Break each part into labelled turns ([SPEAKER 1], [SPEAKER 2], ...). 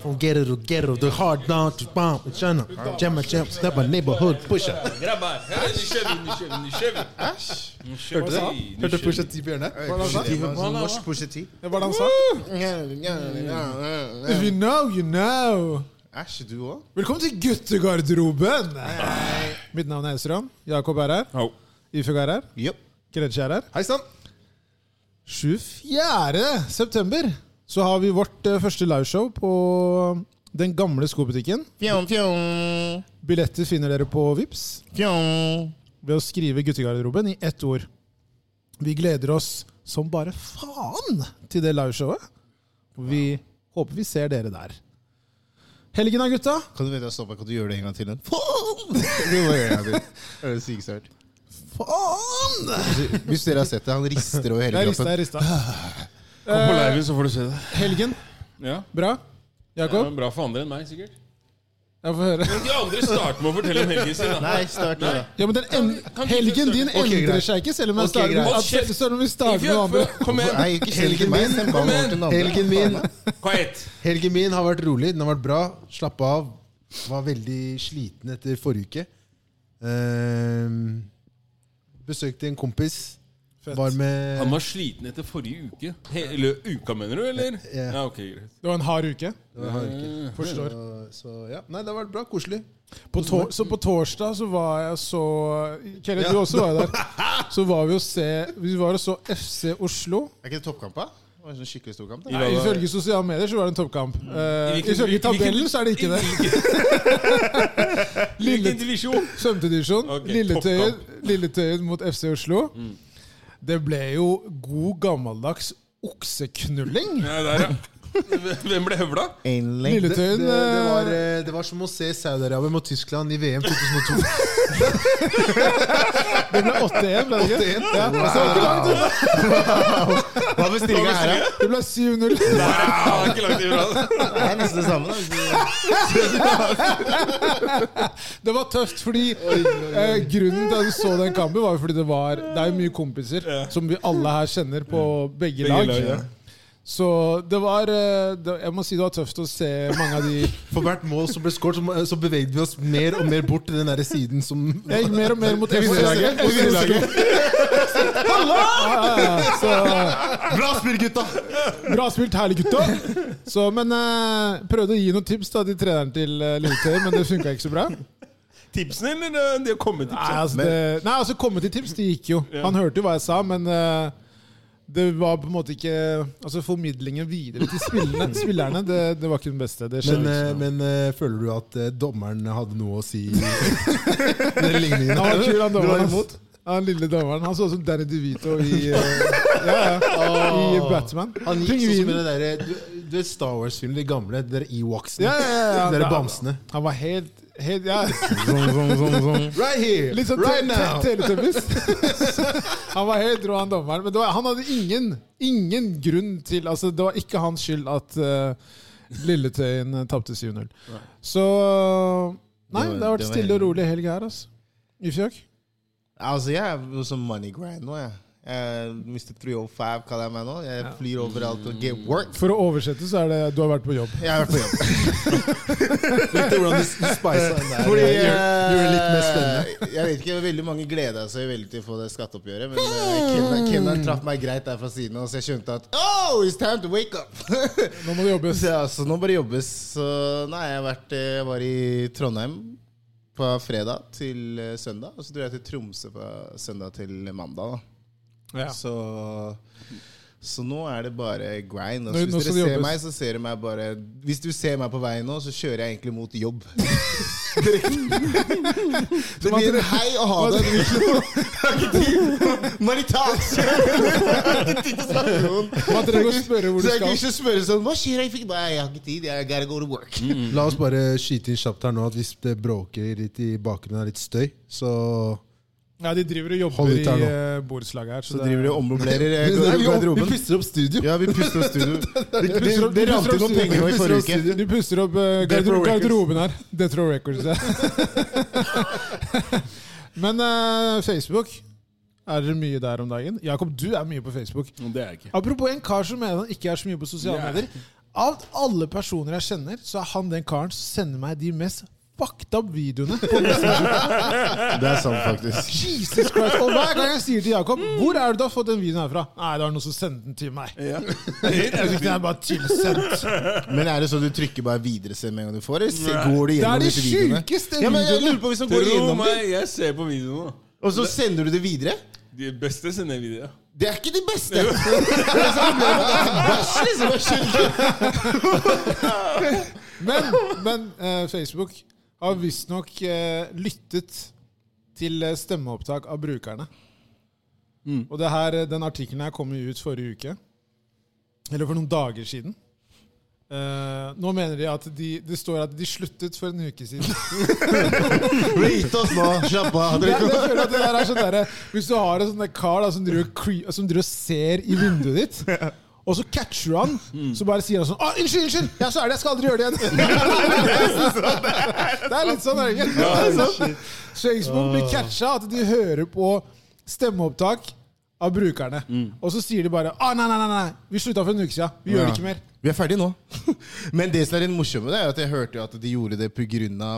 [SPEAKER 1] From ghetto to ghetto, the hard down to bomb and shunna. Jam a champ, step a neighborhood pusher.
[SPEAKER 2] Grabbar. Hørte du kjøven? Nå kjøven, nå kjøven.
[SPEAKER 1] Hørte du det? Hørte du Pusha T, Bjørne?
[SPEAKER 3] Norsk Pusha T.
[SPEAKER 4] Det var det han sa. If you know, you know.
[SPEAKER 3] Æsj, du òg?
[SPEAKER 4] Velkommen til guttegarderoben! Mitt navn er Esram. Jakob er her.
[SPEAKER 2] Au.
[SPEAKER 4] Ifug er her.
[SPEAKER 3] Jepp.
[SPEAKER 4] Kretsje er her.
[SPEAKER 3] Hei sann.
[SPEAKER 4] 24. september så har vi vårt eh, første liveshow på den gamle skobutikken.
[SPEAKER 3] Fjong, fjong.
[SPEAKER 4] Billetter finner dere på Vips
[SPEAKER 3] Fjong.
[SPEAKER 4] ved å skrive 'Guttegarderoben' i ett ord. Vi gleder oss som bare faen til det liveshowet. Og Vi håper vi ser dere der. Helgen da, gutta.
[SPEAKER 3] Kan du vente å stoppe? Kan du gjøre det en gang til? En? Faen! Du må gjøre det en gang til. Det er sykt størt.
[SPEAKER 4] Faen!
[SPEAKER 3] Hvis- Hvis dere har sett det, han rister over hele
[SPEAKER 4] Jeg rista,
[SPEAKER 3] kroppen.
[SPEAKER 4] jeg rista.
[SPEAKER 2] Kom på leiren, så får du se det.
[SPEAKER 4] Eh, Helgen,
[SPEAKER 2] Ja.
[SPEAKER 4] bra?
[SPEAKER 2] Det er
[SPEAKER 4] Jakob,
[SPEAKER 2] jo bra for andre enn meg, sikkert.
[SPEAKER 4] jeg får høre.
[SPEAKER 2] Kan ikke andre starte med å fortelle om helgen sin? da?
[SPEAKER 3] Nei, start nå. da.
[SPEAKER 4] Ja, men den en
[SPEAKER 2] kan vi-
[SPEAKER 4] Helgen din
[SPEAKER 3] Ok,
[SPEAKER 4] endrer
[SPEAKER 3] greit.
[SPEAKER 4] seg ikke, selv om jeg
[SPEAKER 3] Ok,
[SPEAKER 4] starter med,
[SPEAKER 2] greit.
[SPEAKER 4] at- selv- selv om vi starter med andre.
[SPEAKER 2] Kom igjen.
[SPEAKER 3] Nei, ikke send til meg. Send ballen over til den andre.
[SPEAKER 1] Helgen min,
[SPEAKER 2] Quiet.
[SPEAKER 1] helgen min har vært rolig, den har vært bra. Slapp av. Var veldig sliten etter forrige uke. Ehm, besøkte en kompis. Var med
[SPEAKER 2] Han var sliten etter forrige uke. Hele uka, mener du, eller?
[SPEAKER 1] Ja.
[SPEAKER 2] Ja, ok, greit.
[SPEAKER 4] Det var en hard uke.
[SPEAKER 1] Det var ikke-
[SPEAKER 4] Forstår.
[SPEAKER 1] Så, så ja. Nei, det har vært bra. Koselig.
[SPEAKER 4] På tor så på torsdag så var jeg så Kenneth, du også var jo der. Så var vi og se Vi var og så FC Oslo.
[SPEAKER 3] Er ikke det toppkamp, da? Det var en sånn skikkelig stor kamp. da.
[SPEAKER 2] Nei,
[SPEAKER 4] Ifølge sosiale medier så var det en toppkamp. Eh,
[SPEAKER 2] hvilken-
[SPEAKER 4] Ifølge
[SPEAKER 2] hvilken-
[SPEAKER 4] tabellen så er det ikke det. Lille-
[SPEAKER 2] Hvilken divisjon?
[SPEAKER 4] Svømmedivisjon.
[SPEAKER 2] Ok,
[SPEAKER 4] Lilletøyen, Lilletøyen mot FC Oslo. Det ble jo god gammeldags okseknulling.
[SPEAKER 2] Ja, der, ja. Hvem ble høvla?
[SPEAKER 3] En lengde.
[SPEAKER 1] Det,
[SPEAKER 4] Lilletøyen
[SPEAKER 1] det, det, var,
[SPEAKER 4] eh,
[SPEAKER 1] eh, det var som å se Saudi-Arabia mot Tyskland i VM 2002.
[SPEAKER 4] Det ble 8-1, ble det ikke?
[SPEAKER 1] 81.
[SPEAKER 4] Ja, så det var ikke langt unna.
[SPEAKER 3] Hva er bestillinga her, da?
[SPEAKER 4] Det ble 7-0.
[SPEAKER 2] Nei, det var ikke langt ifra.
[SPEAKER 3] Det er nesten det samme. da.
[SPEAKER 4] Det var tøft, fordi eh, grunnen til at vi så den kampen, var jo fordi det var Det er jo mye kompiser som vi alle her kjenner på
[SPEAKER 2] Begge
[SPEAKER 4] begge lag.
[SPEAKER 2] lag, ja.
[SPEAKER 4] Så det var eh, det, Jeg må si det var tøft å se mange av de
[SPEAKER 1] For hvert mål som ble skåret, så, må- så bevegde vi oss mer og mer bort til den der siden som
[SPEAKER 4] Jeg gikk mer og mer mot
[SPEAKER 3] Oslo-laget. Oslo-laget.
[SPEAKER 1] Bra spill, gutta!
[SPEAKER 4] Bra spilt, herlig gutta! Så, men eh, prøvde å gi noen tips da, til treneren til uh, Lilletøy, men det funka ikke så bra. Nei,
[SPEAKER 2] Tipsene, eller eh, de har kommet tipsene?
[SPEAKER 4] altså, det, nei, altså komme til tips, det gikk jo. Han hørte jo hva jeg sa, men eh, det var på en måte ikke Altså formidlingen videre til spillerne, spillerne det, det var ikke den beste. Det
[SPEAKER 1] Men,
[SPEAKER 4] skjedde
[SPEAKER 1] eh,
[SPEAKER 4] ikke.
[SPEAKER 1] men eh, føler du at eh, dommeren hadde noe å si? Den ligningen
[SPEAKER 4] Han var kul, han
[SPEAKER 1] Du var
[SPEAKER 4] dommeren.
[SPEAKER 1] imot?
[SPEAKER 4] ass. Han lille dommeren. Han så ut som Danny DeVito i, eh, ja, ja, i Batman.
[SPEAKER 1] Han gikk sånn som i
[SPEAKER 4] Pingvinen.
[SPEAKER 1] den derre Du du vet Star Wars-filmen, de gamle? De der Ewoksene?
[SPEAKER 4] Ja, ja, ja, ja.
[SPEAKER 1] De der bamsene?
[SPEAKER 4] Han var helt, helt ja.
[SPEAKER 1] Right here!
[SPEAKER 4] Litt sånn
[SPEAKER 1] right
[SPEAKER 4] te-
[SPEAKER 1] now!
[SPEAKER 4] te- Teletubbies. han var helt rå, han dommeren. Men det var, han hadde ingen, ingen grunn til Altså, det var ikke hans skyld at uh, Lilletøyen eh, tapte 7-0. Så eh, Nei,
[SPEAKER 3] Det var-
[SPEAKER 4] det har vært
[SPEAKER 3] det var
[SPEAKER 4] stille og
[SPEAKER 3] heldig.
[SPEAKER 4] rolig helg her, altså. I fjøk.
[SPEAKER 3] Altså, jeg er jo som money grind nå, jeg. jeg oh Mr. 305 kaller jeg meg nå. Jeg flyr overalt og get work.
[SPEAKER 4] For å oversette så er det du har vært på jobb.
[SPEAKER 3] Jeg er på jobb.
[SPEAKER 1] Litt hvordan de spisa den der. eh,
[SPEAKER 3] Fordi,
[SPEAKER 1] Gjør- gjør det litt mer spennende.
[SPEAKER 3] eh, Jeg vet ikke, veldig mange gleda seg veldig til å få det skatteoppgjøret, men eh, Kenner- Kenner traff meg greit der fra siden av, så jeg skjønte at Oh, it's time to wake up!
[SPEAKER 4] Nå må det jobbes.
[SPEAKER 3] så, ja, så nå bare jobbes. Så nei, jeg, har vært, eh, jeg var i Trondheim fra fredag til eh, søndag, og så dro jeg til Tromsø fra søndag til mandag. da.
[SPEAKER 4] Ja.
[SPEAKER 3] Så, så nå er det bare grind.
[SPEAKER 4] Nå-
[SPEAKER 3] Altså,
[SPEAKER 4] nå
[SPEAKER 3] hvis dere
[SPEAKER 4] skal det
[SPEAKER 3] ser
[SPEAKER 4] jobbes.
[SPEAKER 3] meg, så ser dere meg bare Hvis du ser meg på veien nå, så kjører jeg egentlig mot jobb. Direkte. det blir en hei og ha det. Maritat! Så
[SPEAKER 4] Man trenger å spørre hvor du
[SPEAKER 3] jeg kan
[SPEAKER 4] skal.
[SPEAKER 3] ikke spørre sånn Hva skjer? Jeg fikk Nei, jeg har ikke tid. Jeg gotta go to work.
[SPEAKER 1] Mm. La oss bare skyte inn kjapt her nå at hvis det bråker litt i bakgrunnen, er litt støy, så
[SPEAKER 4] Ja, de driver og
[SPEAKER 1] Hold
[SPEAKER 4] jobber
[SPEAKER 1] ut
[SPEAKER 4] i
[SPEAKER 1] her nå.
[SPEAKER 4] eh, borettslaget her. Så,
[SPEAKER 3] Så
[SPEAKER 4] det-
[SPEAKER 3] driver de og ommoblerer eh,
[SPEAKER 1] Nei, vi-
[SPEAKER 3] garderoben.
[SPEAKER 1] Vi puster opp studio.
[SPEAKER 3] Ja, vi puster oss studio. Det, det, det,
[SPEAKER 4] puster opp- vi
[SPEAKER 3] rant inn
[SPEAKER 4] puster opp
[SPEAKER 3] noen penger nå i
[SPEAKER 1] studio.
[SPEAKER 3] forrige
[SPEAKER 1] Puster opp
[SPEAKER 3] uke.
[SPEAKER 4] de puster opp eh,
[SPEAKER 2] Death Row
[SPEAKER 4] garder
[SPEAKER 2] Records.
[SPEAKER 4] garderoben her. Death Row Records. ja. Men eh, Facebook Er dere mye der om dagen? Jakob, du er mye på Facebook.
[SPEAKER 2] Det er jeg ikke.
[SPEAKER 4] Apropos en kar som mener han ikke er så mye på sosiale
[SPEAKER 2] Ja.
[SPEAKER 4] medier. Av alle personer jeg kjenner, så er han den karen som sender meg de mest fucked up videoene. på Messenger.
[SPEAKER 3] Det er sant, faktisk.
[SPEAKER 4] Jesus Christ, og Hver gang jeg sier til Jakob 'Hvor er det du har fått den videoen herfra?' Nei, det var noen som sendte den til meg. Den er bare tilsendt.
[SPEAKER 3] Men er det så du trykker bare videre selv med en gang du får det? Se- Går du
[SPEAKER 4] Det
[SPEAKER 3] gjennom
[SPEAKER 4] er de
[SPEAKER 3] disse videoene?
[SPEAKER 4] sjukeste
[SPEAKER 3] Ja, men jeg
[SPEAKER 4] videoene.
[SPEAKER 3] lurer på hvis han går
[SPEAKER 2] Tro
[SPEAKER 3] gjennom det,
[SPEAKER 2] meg, jeg ser på videoene. da.
[SPEAKER 3] og så sender du det videre?
[SPEAKER 2] De beste sender jeg video.
[SPEAKER 3] Det er ikke de beste! Det er sånn, det er bæsj, liksom. Hva skjer?
[SPEAKER 4] Men, men eh, Facebook har visstnok eh, lyttet til eh, stemmeopptak av brukerne.
[SPEAKER 3] Mm.
[SPEAKER 4] Og det her, eh, den artikkelen her kom jo ut forrige uke. Eller for noen dager siden. Eh, nå mener de at de, det står at de sluttet for en uke siden.
[SPEAKER 3] Rate oss nå, slapp av.
[SPEAKER 4] Jeg, jeg føler at det der er sånn derre- Hvis du har en sånn der kar da, som, driver, og cre- som driver og ser i vinduet ditt, og så catcher du han, så bare sier han sånn «Å, 'Unnskyld, unnskyld! Ja, så er det, jeg skal aldri gjøre det igjen!' det er litt sånn, Jørgen. Det er sånn. Skjeggsbukk blir catcha at de hører på stemmeopptak av brukerne, og så sier de bare «Å, nei, nei, nei, nei, vi slutta for en uke siden. Vi gjør det ikke mer'.
[SPEAKER 3] Vi er ferdige nå. Men det som er litt morsomt med det, er at jeg hørte jo at de gjorde det pga.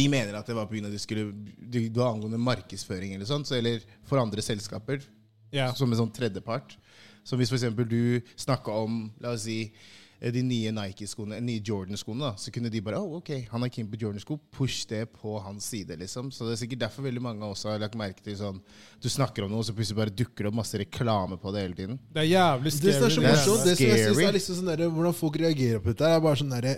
[SPEAKER 3] De mener at det var pga. de skulle de- Det var angående markedsføring eller sånt, så, eller for andre selskaper.
[SPEAKER 4] Ja.
[SPEAKER 3] Som en sånn tredjepart. Så hvis f.eks. du snakka om la oss si, eh, de nye Nike-skoene, eh, nye Jordan-skoene, da, så kunne de bare oh, ok, han er keen på Jordan-sko, push det på hans side. liksom. Så det er sikkert derfor veldig mange også har lagt merke til sånn Du snakker om noe, så plutselig bare dukker det opp masse reklame på det hele tiden.
[SPEAKER 4] Det er jævlig
[SPEAKER 1] Det som er så
[SPEAKER 4] scary.
[SPEAKER 3] er
[SPEAKER 1] morsomt, det som jeg synes
[SPEAKER 3] scary.
[SPEAKER 1] er liksom sånn der, hvordan folk reagerer på dette, her, er bare sånn derre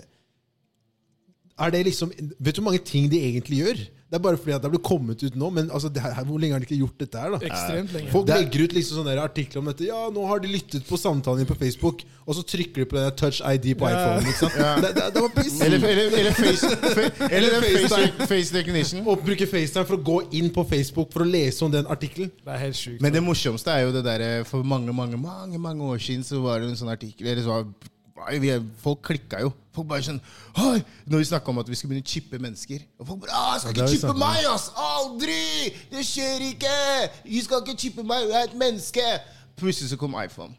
[SPEAKER 1] Er det liksom Vet du hvor mange ting de egentlig gjør? Det er bare fordi at det ble kommet ut nå, men altså, det her, hvor lenge har de ikke gjort dette her, da?
[SPEAKER 4] Ekstremt lenge.
[SPEAKER 1] Folk legger ut liksom sånne der artikler om dette. Ja, nå har de lyttet på samtalen din på Facebook, og så trykker de på den der touch ID på
[SPEAKER 4] Ja.
[SPEAKER 1] iPhone. Ikke sant? Det, det, det var piss.
[SPEAKER 3] Eller, eller, eller face, fe, eller den face, face recognition.
[SPEAKER 1] å bruke FaceTime for å gå inn på Facebook for å lese om den artikkelen.
[SPEAKER 4] Det er helt sjukt.
[SPEAKER 3] Men det morsomste er jo det derre For mange, mange mange, mange år siden så var det en sånn artikkel eller så var, var vi, Folk klikka jo. Folk bare sånn Oi! Når vi snakka om at vi skulle begynne å chippe mennesker. Og folk bare «Ah, jeg skal
[SPEAKER 1] Ja, det har
[SPEAKER 3] ikke
[SPEAKER 1] vi snakket
[SPEAKER 3] chippe
[SPEAKER 1] om.
[SPEAKER 3] meg, ass! Aldri! Det skjer ikke! Du skal ikke chippe meg, jeg er et menneske! Plutselig så kom iPhone.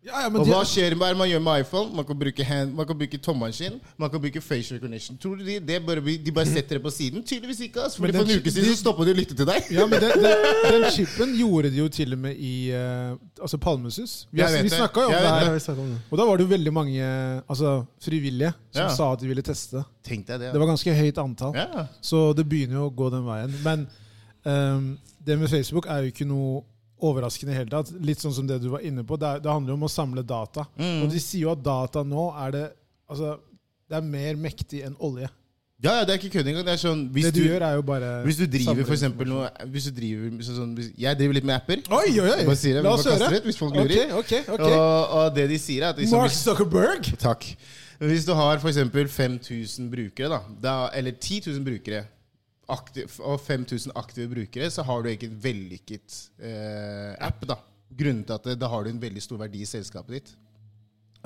[SPEAKER 4] Ja, ja, men
[SPEAKER 3] Og
[SPEAKER 4] de-
[SPEAKER 3] hva skjer med man gjør med iPhone? Man kan bruke, hand, man kan bruke tommelen sin. Man kan bruke facial recognition. Tror du de, det bare, blir- de bare setter det på siden? Tydeligvis ikke. ass. Fordi
[SPEAKER 4] Men
[SPEAKER 3] For
[SPEAKER 4] den-
[SPEAKER 3] en uke siden så stoppa de å lytte til deg.
[SPEAKER 4] Ja, men den, den, den chipen gjorde de jo til og med i eh, altså Palmesus. Vi,
[SPEAKER 3] Jeg vet
[SPEAKER 4] vi
[SPEAKER 3] det.
[SPEAKER 4] snakka jo om
[SPEAKER 3] Jeg
[SPEAKER 4] det
[SPEAKER 3] vet
[SPEAKER 4] her. Og da var det jo veldig mange eh, altså, frivillige som
[SPEAKER 3] Ja.
[SPEAKER 4] sa at de ville teste.
[SPEAKER 3] Tenk deg det.
[SPEAKER 4] Det var ganske høyt antall.
[SPEAKER 3] ja.
[SPEAKER 4] Så det begynner jo å gå den veien. Men ehm, det med Facebook er jo ikke noe overraskende i hele tatt. Litt sånn som det du var inne på. Det, er, det handler jo om å samle data.
[SPEAKER 3] Mm.
[SPEAKER 4] Og de sier jo at data nå er det Altså, det er mer mektig enn olje.
[SPEAKER 3] ja, ja, det er ikke kødd engang. Det er sånn hvis
[SPEAKER 4] det
[SPEAKER 3] du,
[SPEAKER 4] du, gjør, er jo bare
[SPEAKER 3] hvis du driver
[SPEAKER 4] samler
[SPEAKER 3] for eksempel noe hvis du driver, sånn, sånn, hvis, Jeg driver litt med apper.
[SPEAKER 4] Oi, oi, oi!
[SPEAKER 3] Bare sier det, vi
[SPEAKER 4] La oss
[SPEAKER 3] bare
[SPEAKER 4] høre.
[SPEAKER 3] kaster det ut hvis folk lurer.
[SPEAKER 4] Ok, ok, ok.
[SPEAKER 3] Og, og det de sier, er at liksom,
[SPEAKER 4] Mark
[SPEAKER 3] hvis,
[SPEAKER 4] Zuckerberg!
[SPEAKER 3] Takk. Hvis du har f.eks. 5000 brukere, da, da, eller 10 000 brukere, aktiv, og 5000 aktive brukere, så har du egentlig en vellykket eh, app. da. Grunnen til at det, da har du en veldig stor verdi i selskapet ditt.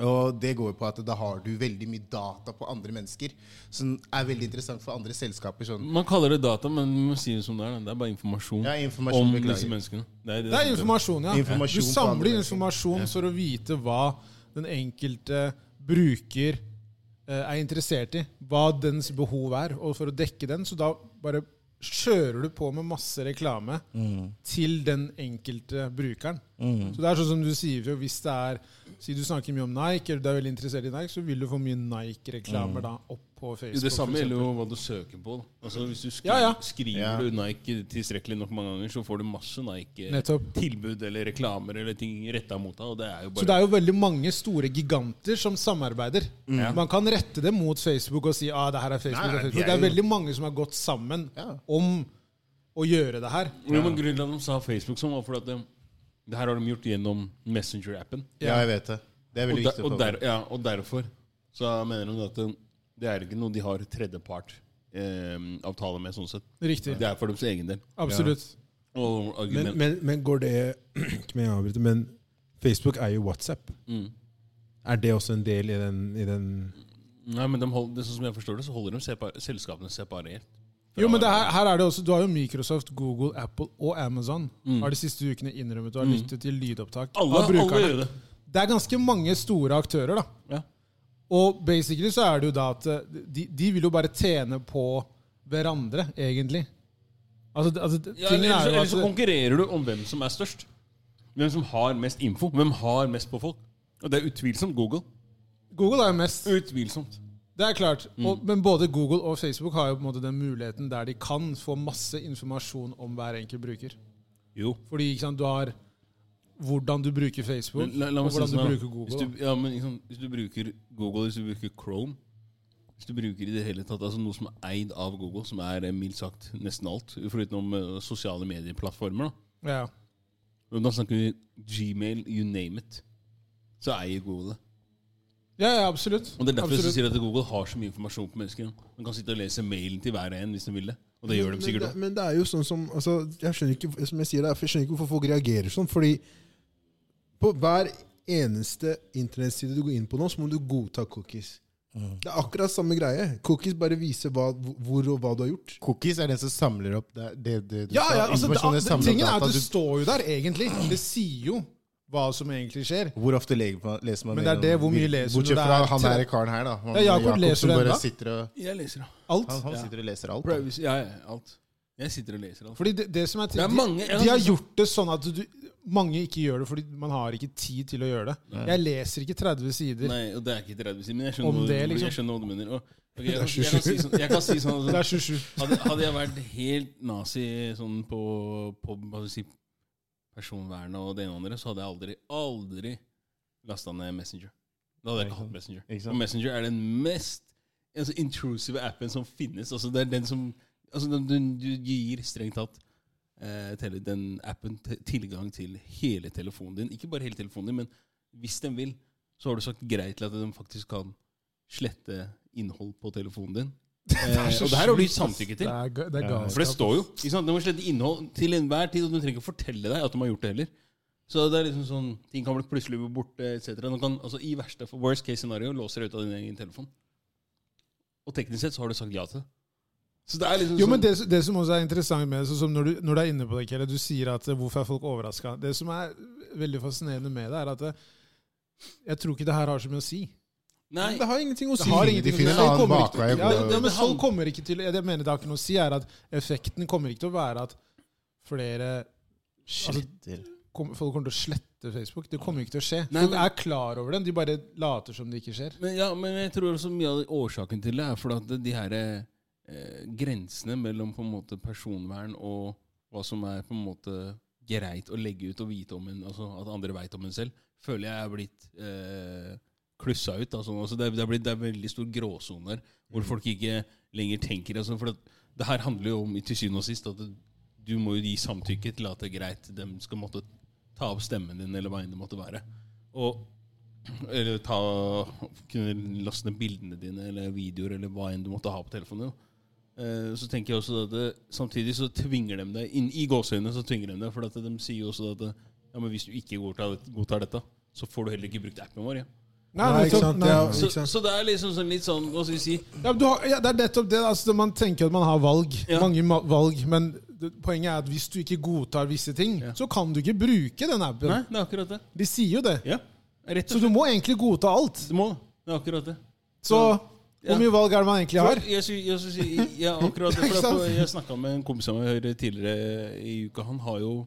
[SPEAKER 3] Og det går på at da har du veldig mye data på andre mennesker, som er veldig interessant for andre selskaper. sånn.
[SPEAKER 2] Man kaller det data, men man må si det som det er. da. Det er bare informasjon,
[SPEAKER 3] Ja, informasjon,
[SPEAKER 2] om
[SPEAKER 3] beklager.
[SPEAKER 2] disse menneskene. Det er,
[SPEAKER 4] Det er informasjon, ja.
[SPEAKER 3] Informasjon
[SPEAKER 4] du
[SPEAKER 3] på andre
[SPEAKER 4] samler
[SPEAKER 3] mennesker.
[SPEAKER 4] informasjon for å vite hva den enkelte bruker eh, er interessert i. Hva dens behov er. Og for å dekke den, så da bare kjører du på med masse reklame
[SPEAKER 3] Mm.
[SPEAKER 4] til den enkelte brukeren. Så det er sånn som du sier, Fio, hvis det er Si du snakker mye om Nike, eller du er veldig interessert i Nike, så vil du få mye
[SPEAKER 3] Mm.
[SPEAKER 4] Nike-reklamer da opp på Facebook.
[SPEAKER 2] Jo, det samme
[SPEAKER 4] for eksempel.
[SPEAKER 2] gjelder jo hva du søker på. Da. Altså, hvis du skri
[SPEAKER 4] Ja, ja.
[SPEAKER 2] Skriver
[SPEAKER 3] Ja.
[SPEAKER 2] du Nike tilstrekkelig nok mange ganger, så får du masse
[SPEAKER 4] Nettopp.
[SPEAKER 2] Nike-tilbud eller reklamer eller ting retta mot deg. Og det er jo
[SPEAKER 4] Så
[SPEAKER 2] bare
[SPEAKER 4] det er jo veldig mange store giganter som samarbeider.
[SPEAKER 2] Mm.
[SPEAKER 4] Man kan rette det mot Facebook og si ah, det her er Facebook.
[SPEAKER 3] Nei,
[SPEAKER 4] og
[SPEAKER 3] nei,
[SPEAKER 4] Facebook.
[SPEAKER 3] de er
[SPEAKER 4] Det er
[SPEAKER 3] jo-
[SPEAKER 4] veldig mange som har gått sammen
[SPEAKER 3] Ja.
[SPEAKER 4] om å gjøre det her.
[SPEAKER 2] Jo, men Grunnen til at de sa Facebook sånn, var fordi at det, det her har de gjort gjennom Messenger-appen.
[SPEAKER 3] Ja, jeg vet det. Det er
[SPEAKER 2] Og,
[SPEAKER 3] veldig
[SPEAKER 2] der,
[SPEAKER 3] viktig. å
[SPEAKER 2] og,
[SPEAKER 3] få
[SPEAKER 2] der, ja, og derfor så mener de at det- det er ikke noe de har tredjepart eh, avtale med, sånn sett.
[SPEAKER 4] Riktig.
[SPEAKER 2] Det er for deres egen del.
[SPEAKER 4] Absolutt.
[SPEAKER 2] Og
[SPEAKER 1] Men,
[SPEAKER 2] argument.
[SPEAKER 1] men, men går det Ikke med å avbryte, men Facebook er jo WhatsApp.
[SPEAKER 2] Mm.
[SPEAKER 1] Er det også en del i den, i den
[SPEAKER 2] Nei, men de hold, det, sånn som jeg forstår det, så holder de separ selskapene separert.
[SPEAKER 4] Jo, men det her, her er det også, Du har jo Microsoft, Google, Apple og Amazon har de siste ukene innrømmet å ha lyttet til lydopptak
[SPEAKER 2] Mm. Alle,
[SPEAKER 4] av
[SPEAKER 2] alle
[SPEAKER 4] brukerne.
[SPEAKER 2] gjør det.
[SPEAKER 4] Det er ganske mange store aktører, da.
[SPEAKER 2] Ja.
[SPEAKER 4] Og basically så er det jo da at eh, de, de vil jo bare tjene på hverandre, egentlig. Altså, det- altså
[SPEAKER 2] Ja,
[SPEAKER 4] tingen
[SPEAKER 2] ellers,
[SPEAKER 4] er jo
[SPEAKER 2] ellers så
[SPEAKER 4] at
[SPEAKER 2] konkurrerer du om hvem som er størst. Hvem som har mest info. Hvem har mest på folk. Og det er utvilsomt Google.
[SPEAKER 4] Google er jo mest
[SPEAKER 2] Utvilsomt.
[SPEAKER 4] Det er klart.
[SPEAKER 2] Mm.
[SPEAKER 4] Og, men både Google og Facebook har jo på en måte den muligheten der de kan få masse informasjon om hver enkelt bruker.
[SPEAKER 2] Jo.
[SPEAKER 4] Fordi ikke sant, du har hvordan du bruker Facebook,
[SPEAKER 2] Men la, la
[SPEAKER 4] og
[SPEAKER 2] meg si det
[SPEAKER 4] hvordan du
[SPEAKER 2] sånn, da.
[SPEAKER 4] bruker Google.
[SPEAKER 2] Hvis du, ja, men liksom, hvis du bruker Google, hvis du bruker Chrome Hvis du bruker i det hele tatt altså noe som er eid av Google, som er eh, mildt sagt nesten alt, foruten eh, sosiale medieplattformer, da.
[SPEAKER 4] da. Ja.
[SPEAKER 2] Og Da snakker vi Gmail, you name it. Så eier Google det.
[SPEAKER 4] Ja, ja, absolutt.
[SPEAKER 2] Og det er derfor
[SPEAKER 4] absolutt.
[SPEAKER 2] jeg sier at Google har så mye informasjon på mennesker. Man kan sitte og lese mailen til hver en hvis de vil det. Og det gjør de sikkert
[SPEAKER 1] men,
[SPEAKER 2] òg.
[SPEAKER 1] det, men det er jo sånn som altså, jeg, skjønner ikke, som jeg, sier, det, jeg skjønner ikke hvorfor folk reagerer sånn. Fordi på hver eneste internettside du går inn på nå, så må du godta cookies.
[SPEAKER 2] Mm.
[SPEAKER 1] Det er akkurat samme greie. Cookies bare viser hva, hvor og hva du har gjort.
[SPEAKER 3] Cookies er den som samler opp det, det, det du
[SPEAKER 4] Ja,
[SPEAKER 3] sa.
[SPEAKER 4] ja, altså, det,
[SPEAKER 3] Informasjonen
[SPEAKER 4] det,
[SPEAKER 3] samler opp
[SPEAKER 4] tingen er
[SPEAKER 3] data.
[SPEAKER 4] at det
[SPEAKER 3] Du-
[SPEAKER 4] står jo der, egentlig. Det sier jo hva som egentlig skjer.
[SPEAKER 3] Hvor ofte leger man, leser man mer
[SPEAKER 4] Men det er det,
[SPEAKER 3] om-
[SPEAKER 4] hvor mye leser du?
[SPEAKER 3] Bortsett
[SPEAKER 4] Det
[SPEAKER 3] fra
[SPEAKER 4] er
[SPEAKER 3] han
[SPEAKER 4] tre-
[SPEAKER 3] der karen her, da. Han,
[SPEAKER 4] Ja, Jakob leser
[SPEAKER 3] som
[SPEAKER 4] den
[SPEAKER 3] bare
[SPEAKER 4] da.
[SPEAKER 3] sitter og,
[SPEAKER 2] Jeg leser, da.
[SPEAKER 4] Alt.
[SPEAKER 3] han, han sitter og leser alt.
[SPEAKER 2] Privacy, ja, ja, alt. Jeg sitter og leser alt.
[SPEAKER 4] Fordi det, det som er,
[SPEAKER 2] Det er mange-
[SPEAKER 4] de, de har gjort det sånn at du, mange ikke gjør det fordi man har ikke tid til å gjøre det. Jeg leser ikke 30 sider.
[SPEAKER 2] Nei, og det er ikke 30 sider, men jeg skjønner,
[SPEAKER 4] Om
[SPEAKER 2] hva,
[SPEAKER 4] det,
[SPEAKER 2] du-
[SPEAKER 4] liksom.
[SPEAKER 2] jeg skjønner hva du mener. Og, ok, jeg, jeg, kan si sånn, jeg kan si sånn
[SPEAKER 4] Det
[SPEAKER 2] altså,
[SPEAKER 4] er 27.
[SPEAKER 2] hadde, hadde jeg vært helt nazi sånn på, på hva skal jeg si, personvernet og det ene og andre, så hadde jeg aldri, aldri lasta ned Messenger. Da hadde jeg ikke hatt Messenger.
[SPEAKER 3] Ikke sant?
[SPEAKER 2] Og Messenger er den mest altså, intrusive appen som finnes. Altså, det er den som altså, den, den, Du gir strengt tatt eh, tele, den appen t tilgang til hele telefonen din. Ikke bare hele telefonen din, men hvis den vil, så har du sagt greit til at den faktisk kan slette innhold på telefonen din. Eh, og det her har du gitt samtykke til.
[SPEAKER 4] Det er, ga- det er galskap.
[SPEAKER 2] For det står jo. Ikke sant? Det må slette innhold til enhver tid, og du trenger ikke fortelle deg at de har gjort det heller. Så det er liksom sånn, ting kan bli plutselig bli borte, etc. Altså, I verste, worst case scenario låser deg ut av din egen telefon. Og teknisk sett så har du sagt ja til det. Så det er liksom
[SPEAKER 4] Jo,
[SPEAKER 2] sånn
[SPEAKER 4] men det, det som også er interessant med det, sånn som når du, når du er inne på det, Kelle, du sier at eh, hvorfor er folk overraska? Det som er veldig fascinerende med det, er at eh, jeg tror ikke det her har så mye å si.
[SPEAKER 2] Nei,
[SPEAKER 1] Det har ingenting å si.
[SPEAKER 4] Det har
[SPEAKER 3] De
[SPEAKER 4] ingenting å si.
[SPEAKER 3] finner en
[SPEAKER 4] Folk
[SPEAKER 3] annen
[SPEAKER 4] kommer ikke-
[SPEAKER 3] bakvei å
[SPEAKER 4] Ja,
[SPEAKER 3] gå-
[SPEAKER 4] ja, men folk kommer ikke til Jeg mener det har ikke noe å si, er at effekten kommer ikke til å være at flere altså, kom, Folk kommer til å slette Facebook. Det kommer ikke til å skje.
[SPEAKER 2] Nei,
[SPEAKER 4] Folk
[SPEAKER 2] men-
[SPEAKER 4] er klar over den, de bare later som det ikke skjer.
[SPEAKER 2] men, ja, men jeg tror også mye av årsaken til det er fordi at de her eh, grensene mellom på en måte personvern og hva som er på en måte greit å legge ut og vite om en, altså at andre veit om en selv, føler jeg er blitt eh, klussa ut. da, sånn. Altså, det, er, det, er blitt, det er veldig stor gråsone her, hvor folk ikke lenger tenker. Altså, for at, det her handler jo om i til syvende og sist at du- du må jo gi samtykke til at det er greit. De skal måtte ta opp stemmen din, eller hva enn det måtte være. Og eller ta, kunne laste ned bildene dine eller videoer eller hva enn du måtte ha på telefonen. din. Eh, Så tenker jeg også at det, Samtidig så tvinger de deg inn, I gåseøynene så tvinger de deg, for at de sier jo også at eh, ja, men hvis du ikke godtar, godtar dette, så får du heller ikke brukt appen vår. Ja.
[SPEAKER 1] Nei, ikke sant? Ja,
[SPEAKER 2] Så,
[SPEAKER 1] ikke sant?
[SPEAKER 2] så det er liksom sånn, litt sånn Hva skal vi si?
[SPEAKER 4] Ja, men du har, ja, det er nettopp det. Altså, man tenker at man har valg.
[SPEAKER 2] Ja.
[SPEAKER 4] Mange ma valg. Men det, poenget er at hvis du ikke godtar visse ting, så kan du ikke bruke den appen.
[SPEAKER 2] Nei, det er akkurat det.
[SPEAKER 4] De sier jo det.
[SPEAKER 2] Ja, Rett
[SPEAKER 4] Så
[SPEAKER 2] og
[SPEAKER 4] du
[SPEAKER 2] slett.
[SPEAKER 4] må egentlig godta alt.
[SPEAKER 2] Du må Det er akkurat det.
[SPEAKER 4] Så
[SPEAKER 2] Ja.
[SPEAKER 4] hvor mye valg er det man egentlig
[SPEAKER 2] For
[SPEAKER 4] har?
[SPEAKER 2] Jeg, sy- jeg, sy- sy- ja, akkurat det.
[SPEAKER 4] Ikke
[SPEAKER 2] For
[SPEAKER 4] sant?
[SPEAKER 2] jeg jeg snakka med en kompis av meg her tidligere i uka. Han har jo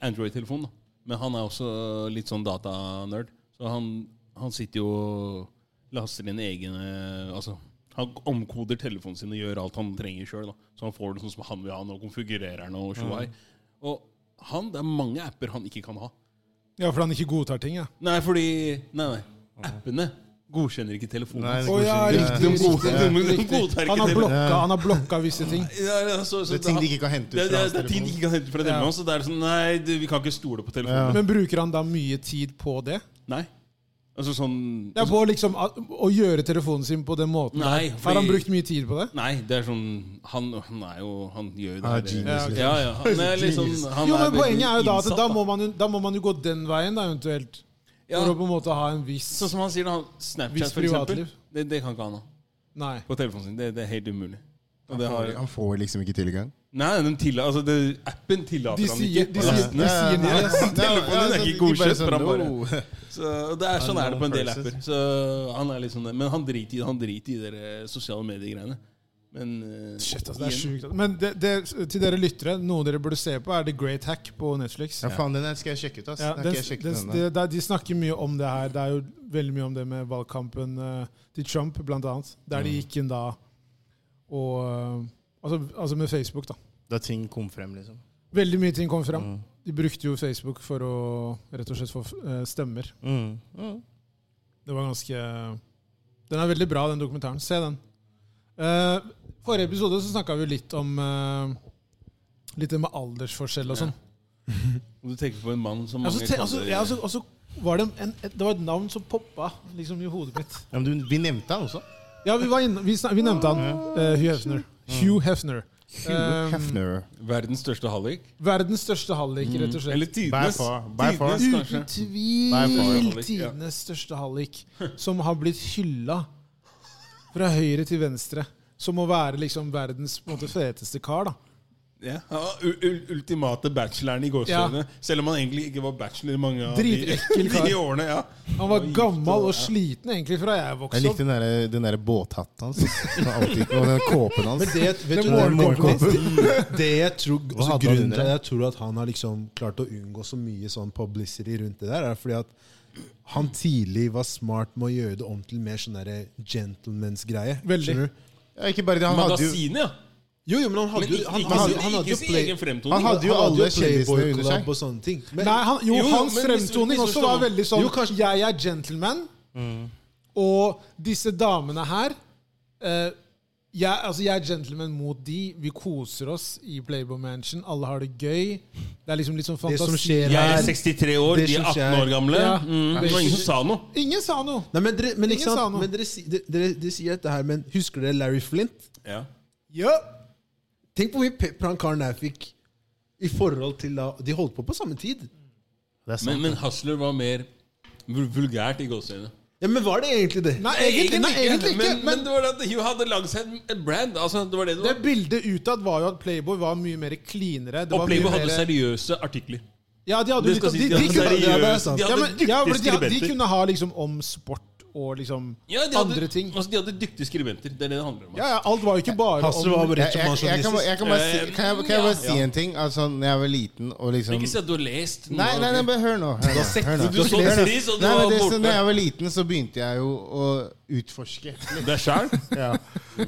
[SPEAKER 2] Android-telefon, da. men han er også litt sånn datanerd. Så han, han sitter jo og laster inn egne Altså, han omkoder telefonen sin og gjør alt han trenger sjøl. Så han får det sånn som han vil ha den, og konfigurerer den og
[SPEAKER 3] Mm.
[SPEAKER 2] tjohei. Og han, det er mange apper han ikke kan ha.
[SPEAKER 4] Ja, for han ikke godtar ting, ja.
[SPEAKER 2] Nei, fordi Nei, nei. Appene godkjenner ikke telefonen.
[SPEAKER 3] Nei,
[SPEAKER 2] hans.
[SPEAKER 3] det
[SPEAKER 4] Å ja,
[SPEAKER 3] godkjenner-
[SPEAKER 4] riktig.
[SPEAKER 2] De
[SPEAKER 4] riktig,
[SPEAKER 2] godtar- de- de godtar ikke
[SPEAKER 4] Han har
[SPEAKER 2] telefonen.
[SPEAKER 4] blokka, han har blokka visse ting.
[SPEAKER 2] Ja, ja, så, så
[SPEAKER 3] Det er ting
[SPEAKER 2] han-
[SPEAKER 3] de ikke kan hente ut
[SPEAKER 2] det,
[SPEAKER 3] fra
[SPEAKER 2] det,
[SPEAKER 3] hans
[SPEAKER 2] det er ting de
[SPEAKER 3] telefon.
[SPEAKER 2] ikke kan hente fra telefonen. Så det er sånn Nei, du, vi kan ikke stole på telefonen.
[SPEAKER 4] Men bruker han da mye tid på det?
[SPEAKER 2] Nei. Altså sånn
[SPEAKER 4] Ja, på liksom a- å gjøre telefonen sin på den måten.
[SPEAKER 2] Nei,
[SPEAKER 4] Har han
[SPEAKER 2] fordi-
[SPEAKER 4] brukt mye tid på det?
[SPEAKER 2] Nei, det er sånn Han, han er jo Han gjør jo det
[SPEAKER 3] Han
[SPEAKER 4] Ah,
[SPEAKER 3] er
[SPEAKER 2] her-
[SPEAKER 3] genius,
[SPEAKER 2] ja, ok. ja, ja. Han er litt sånn han
[SPEAKER 4] liksom. Jo,
[SPEAKER 2] er
[SPEAKER 4] men
[SPEAKER 2] veldig
[SPEAKER 4] Poenget er jo da at
[SPEAKER 2] innsatt,
[SPEAKER 4] da må man jo, da må man jo gå den veien, da, eventuelt.
[SPEAKER 2] Ja.
[SPEAKER 4] For å på en måte ha en viss
[SPEAKER 2] Sånn som han sier, da. han-
[SPEAKER 4] Vis
[SPEAKER 2] Snapchat, for eksempel.
[SPEAKER 4] privatliv.
[SPEAKER 2] Det, det kan ikke han ha
[SPEAKER 4] Nei.
[SPEAKER 2] på telefonen sin. Det, det er helt umulig. Og det har,
[SPEAKER 3] Han får liksom ikke tilgang.
[SPEAKER 2] nei, den tilla, altså det, appen tillater
[SPEAKER 4] De
[SPEAKER 2] han
[SPEAKER 4] sier-
[SPEAKER 2] ikke.
[SPEAKER 4] de sier-
[SPEAKER 2] Lastene.
[SPEAKER 4] ja, sier nei.
[SPEAKER 3] Ja, ja,
[SPEAKER 2] Telefonen er
[SPEAKER 3] så
[SPEAKER 2] ikke
[SPEAKER 3] de bare
[SPEAKER 2] godkjent,
[SPEAKER 3] sånn,
[SPEAKER 2] for han bare-
[SPEAKER 3] «No».
[SPEAKER 2] Så det er Sånn er det på en del
[SPEAKER 3] Unknown
[SPEAKER 2] apper. Så han er litt sånn, men han driter i det, han driter i de der eh, sosiale medier-greiene. Men eh,
[SPEAKER 4] Shit, altså, det er
[SPEAKER 2] igjen-
[SPEAKER 4] sjukt. Men det, det, til dere lyttere, noe dere burde se på, er The Great Hack på Netflix.
[SPEAKER 3] Ja, faen, den her skal jeg sjekke ut. ass.
[SPEAKER 4] Ja,
[SPEAKER 3] Den har
[SPEAKER 4] den,
[SPEAKER 3] ikke jeg sjekket
[SPEAKER 4] den,
[SPEAKER 3] ennå.
[SPEAKER 4] det, det, de snakker mye om det her. Det er jo veldig mye om det med valgkampen eh, til Trump, blant annet. Der
[SPEAKER 3] Mm.
[SPEAKER 4] de gikk inn da og eh, altså, altså med Facebook, da.
[SPEAKER 3] Da ting kom frem, liksom.
[SPEAKER 4] Veldig mye ting kom fram.
[SPEAKER 3] Mm.
[SPEAKER 4] De brukte jo Facebook for å rett og slett få eh, stemmer.
[SPEAKER 3] Mm. Mm.
[SPEAKER 4] Det var ganske Den er veldig bra, den dokumentaren. Se den. Eh, forrige episode så snakka vi jo litt om eh, Litt det med aldersforskjell og sånn.
[SPEAKER 2] Og du tenker på en mann som
[SPEAKER 4] Ja, så
[SPEAKER 2] mange
[SPEAKER 4] te- altså,
[SPEAKER 2] kaller-
[SPEAKER 4] ja, altså, altså, var det, en, et, det var et navn som poppa liksom, i hodet mitt.
[SPEAKER 3] Ja, men du, vi nevnte han også.
[SPEAKER 4] Ja, vi, var inne, vi, snak, vi nevnte han. eh, Hugh Hefner. Hugh Hefner. Ehm, Eh,
[SPEAKER 3] Hugh Hefner.
[SPEAKER 2] Verdens største hallik.
[SPEAKER 4] Verdens største hallik, rett og
[SPEAKER 2] Eller
[SPEAKER 3] By
[SPEAKER 4] slett.
[SPEAKER 2] tidenes.
[SPEAKER 3] far. By far.
[SPEAKER 2] Tidenes, kanskje.
[SPEAKER 4] Uten tvil
[SPEAKER 3] Nei, for-
[SPEAKER 2] hallik, ja.
[SPEAKER 4] tidenes største hallik, som har blitt hylla fra høyre til venstre. Som å være liksom verdens på en måte, feteste kar, da.
[SPEAKER 2] Ja, han var u- u- ultimate bacheloren i gåsehudene. Selv om han egentlig ikke var bachelor i mange av
[SPEAKER 4] Dritekkel
[SPEAKER 2] de,
[SPEAKER 4] kar.
[SPEAKER 2] de årene. ja
[SPEAKER 4] Han var gammel og sliten egentlig fra jeg
[SPEAKER 3] Jeg
[SPEAKER 4] vokste
[SPEAKER 3] likte
[SPEAKER 4] opp.
[SPEAKER 3] den der, den der båthatten hans. Den var alltid- Og den kåpen hans.
[SPEAKER 1] Men det, vet
[SPEAKER 4] Men
[SPEAKER 1] du,
[SPEAKER 4] Warren
[SPEAKER 1] det,
[SPEAKER 3] Buffett.
[SPEAKER 1] det jeg tror, altså,
[SPEAKER 3] hadde han
[SPEAKER 1] Grunnen
[SPEAKER 3] under
[SPEAKER 1] til at
[SPEAKER 3] det?
[SPEAKER 1] jeg tror at han har liksom klart å unngå så mye sånn publicity rundt det der, er fordi at han tidlig var smart med å gjøre det om til mer sånn derre gentlemans-greie.
[SPEAKER 4] Veldig.
[SPEAKER 1] Skjønner du?
[SPEAKER 3] Ja, ikke bare det, han hadde jo
[SPEAKER 2] Magasinet, ja.
[SPEAKER 1] Jo, jo, men han hadde
[SPEAKER 2] Men
[SPEAKER 1] jo
[SPEAKER 2] ikke,
[SPEAKER 1] han,
[SPEAKER 2] ikke,
[SPEAKER 1] han, hadde-
[SPEAKER 2] sin-
[SPEAKER 1] han hadde
[SPEAKER 2] ikke
[SPEAKER 1] jo
[SPEAKER 2] sin
[SPEAKER 1] play-
[SPEAKER 2] egen fremtoning.
[SPEAKER 3] Han hadde jo
[SPEAKER 1] han
[SPEAKER 3] alle
[SPEAKER 1] hadde jo
[SPEAKER 3] kjendisene under
[SPEAKER 1] Playboy-kollabb
[SPEAKER 3] seg.
[SPEAKER 1] og sånne ting. Men-
[SPEAKER 4] Nei, han, jo,
[SPEAKER 2] Jo,
[SPEAKER 4] hans
[SPEAKER 2] men hvis du-
[SPEAKER 4] fremtoning
[SPEAKER 2] hvis du
[SPEAKER 4] også var
[SPEAKER 2] forstår-
[SPEAKER 4] veldig sånn
[SPEAKER 1] Jo, kanskje-
[SPEAKER 4] Jeg er gentleman, og disse damene her eh, jeg, altså jeg er gentleman mot de. Vi koser oss i Playboy Mansion. Alle har det gøy. Det er liksom litt sånn
[SPEAKER 1] Det
[SPEAKER 4] fantasi.
[SPEAKER 1] som skjer
[SPEAKER 2] Jeg er
[SPEAKER 1] her
[SPEAKER 2] 63 år,
[SPEAKER 1] Det
[SPEAKER 2] de er
[SPEAKER 1] synes
[SPEAKER 2] 18
[SPEAKER 1] jeg-
[SPEAKER 2] år gamle.
[SPEAKER 4] Ja.
[SPEAKER 2] Mm, det var ingen som sa noe.
[SPEAKER 4] Ingen sa noe!
[SPEAKER 1] Nei, men dere, men, ikke
[SPEAKER 4] Ingen sa
[SPEAKER 1] sant?
[SPEAKER 4] noe.
[SPEAKER 1] men dere, si- dere, dere, dere sier dette her, men husker dere Larry Flint?
[SPEAKER 2] Ja.
[SPEAKER 4] Ja.
[SPEAKER 1] Tenk på hvor mye pepper han karen der fikk i forhold til da De holdt på på samme tid.
[SPEAKER 3] Det er sant.
[SPEAKER 2] Men, men Hustler var mer vul- vulgært i gåsehudene.
[SPEAKER 1] Ja, Men var det egentlig det?
[SPEAKER 4] Nei, egentlig, nei, egentlig ikke.
[SPEAKER 2] Men, men
[SPEAKER 4] Men,
[SPEAKER 2] det var det at Hugh hadde lagd seg en- en brand. Altså, det var det det
[SPEAKER 4] det
[SPEAKER 2] var.
[SPEAKER 4] bildet utad var jo at Playboy var mye mer cleanere. Det
[SPEAKER 2] Og
[SPEAKER 4] var
[SPEAKER 2] Playboy
[SPEAKER 4] mye
[SPEAKER 2] hadde
[SPEAKER 4] mer-
[SPEAKER 2] seriøse artikler.
[SPEAKER 4] Ja, de hadde
[SPEAKER 2] Det
[SPEAKER 4] litt
[SPEAKER 2] skal
[SPEAKER 4] av-
[SPEAKER 2] sies,
[SPEAKER 4] de, de,
[SPEAKER 2] de
[SPEAKER 4] kunne,
[SPEAKER 1] ja,
[SPEAKER 2] hadde
[SPEAKER 1] det er
[SPEAKER 2] seriøse
[SPEAKER 1] sant.
[SPEAKER 2] De
[SPEAKER 4] ja, men,
[SPEAKER 2] hadde
[SPEAKER 4] ja,
[SPEAKER 2] dyktige
[SPEAKER 4] men de, de
[SPEAKER 2] skribenter.
[SPEAKER 4] kunne ha liksom om sport og liksom
[SPEAKER 2] Ja, de hadde,
[SPEAKER 4] andre ting.
[SPEAKER 2] Altså, de hadde dyktige skribenter. Det er det det handler om.
[SPEAKER 4] Ja, ja, alt var jo ikke bare
[SPEAKER 1] Hasse
[SPEAKER 4] om
[SPEAKER 1] var bare
[SPEAKER 3] jeg,
[SPEAKER 1] rett som
[SPEAKER 3] jeg, jeg, kan,
[SPEAKER 1] pensjonist.
[SPEAKER 3] bare- jeg kan bare si, kan jeg, kan jeg bare
[SPEAKER 2] Eh,
[SPEAKER 3] si en ting? Altså, når jeg var liten og liksom
[SPEAKER 2] Ikke si at du har lest noe.
[SPEAKER 3] Nei, nei, nei, bare hør nå. Hør nå, hør nå.
[SPEAKER 2] Du så
[SPEAKER 3] Hør nå.
[SPEAKER 2] Therese, og du
[SPEAKER 3] Nei, men
[SPEAKER 2] var
[SPEAKER 3] det,
[SPEAKER 2] borte.
[SPEAKER 3] så, når jeg var liten, så begynte jeg jo å utforske.
[SPEAKER 2] Det er sjæl.
[SPEAKER 3] Ja.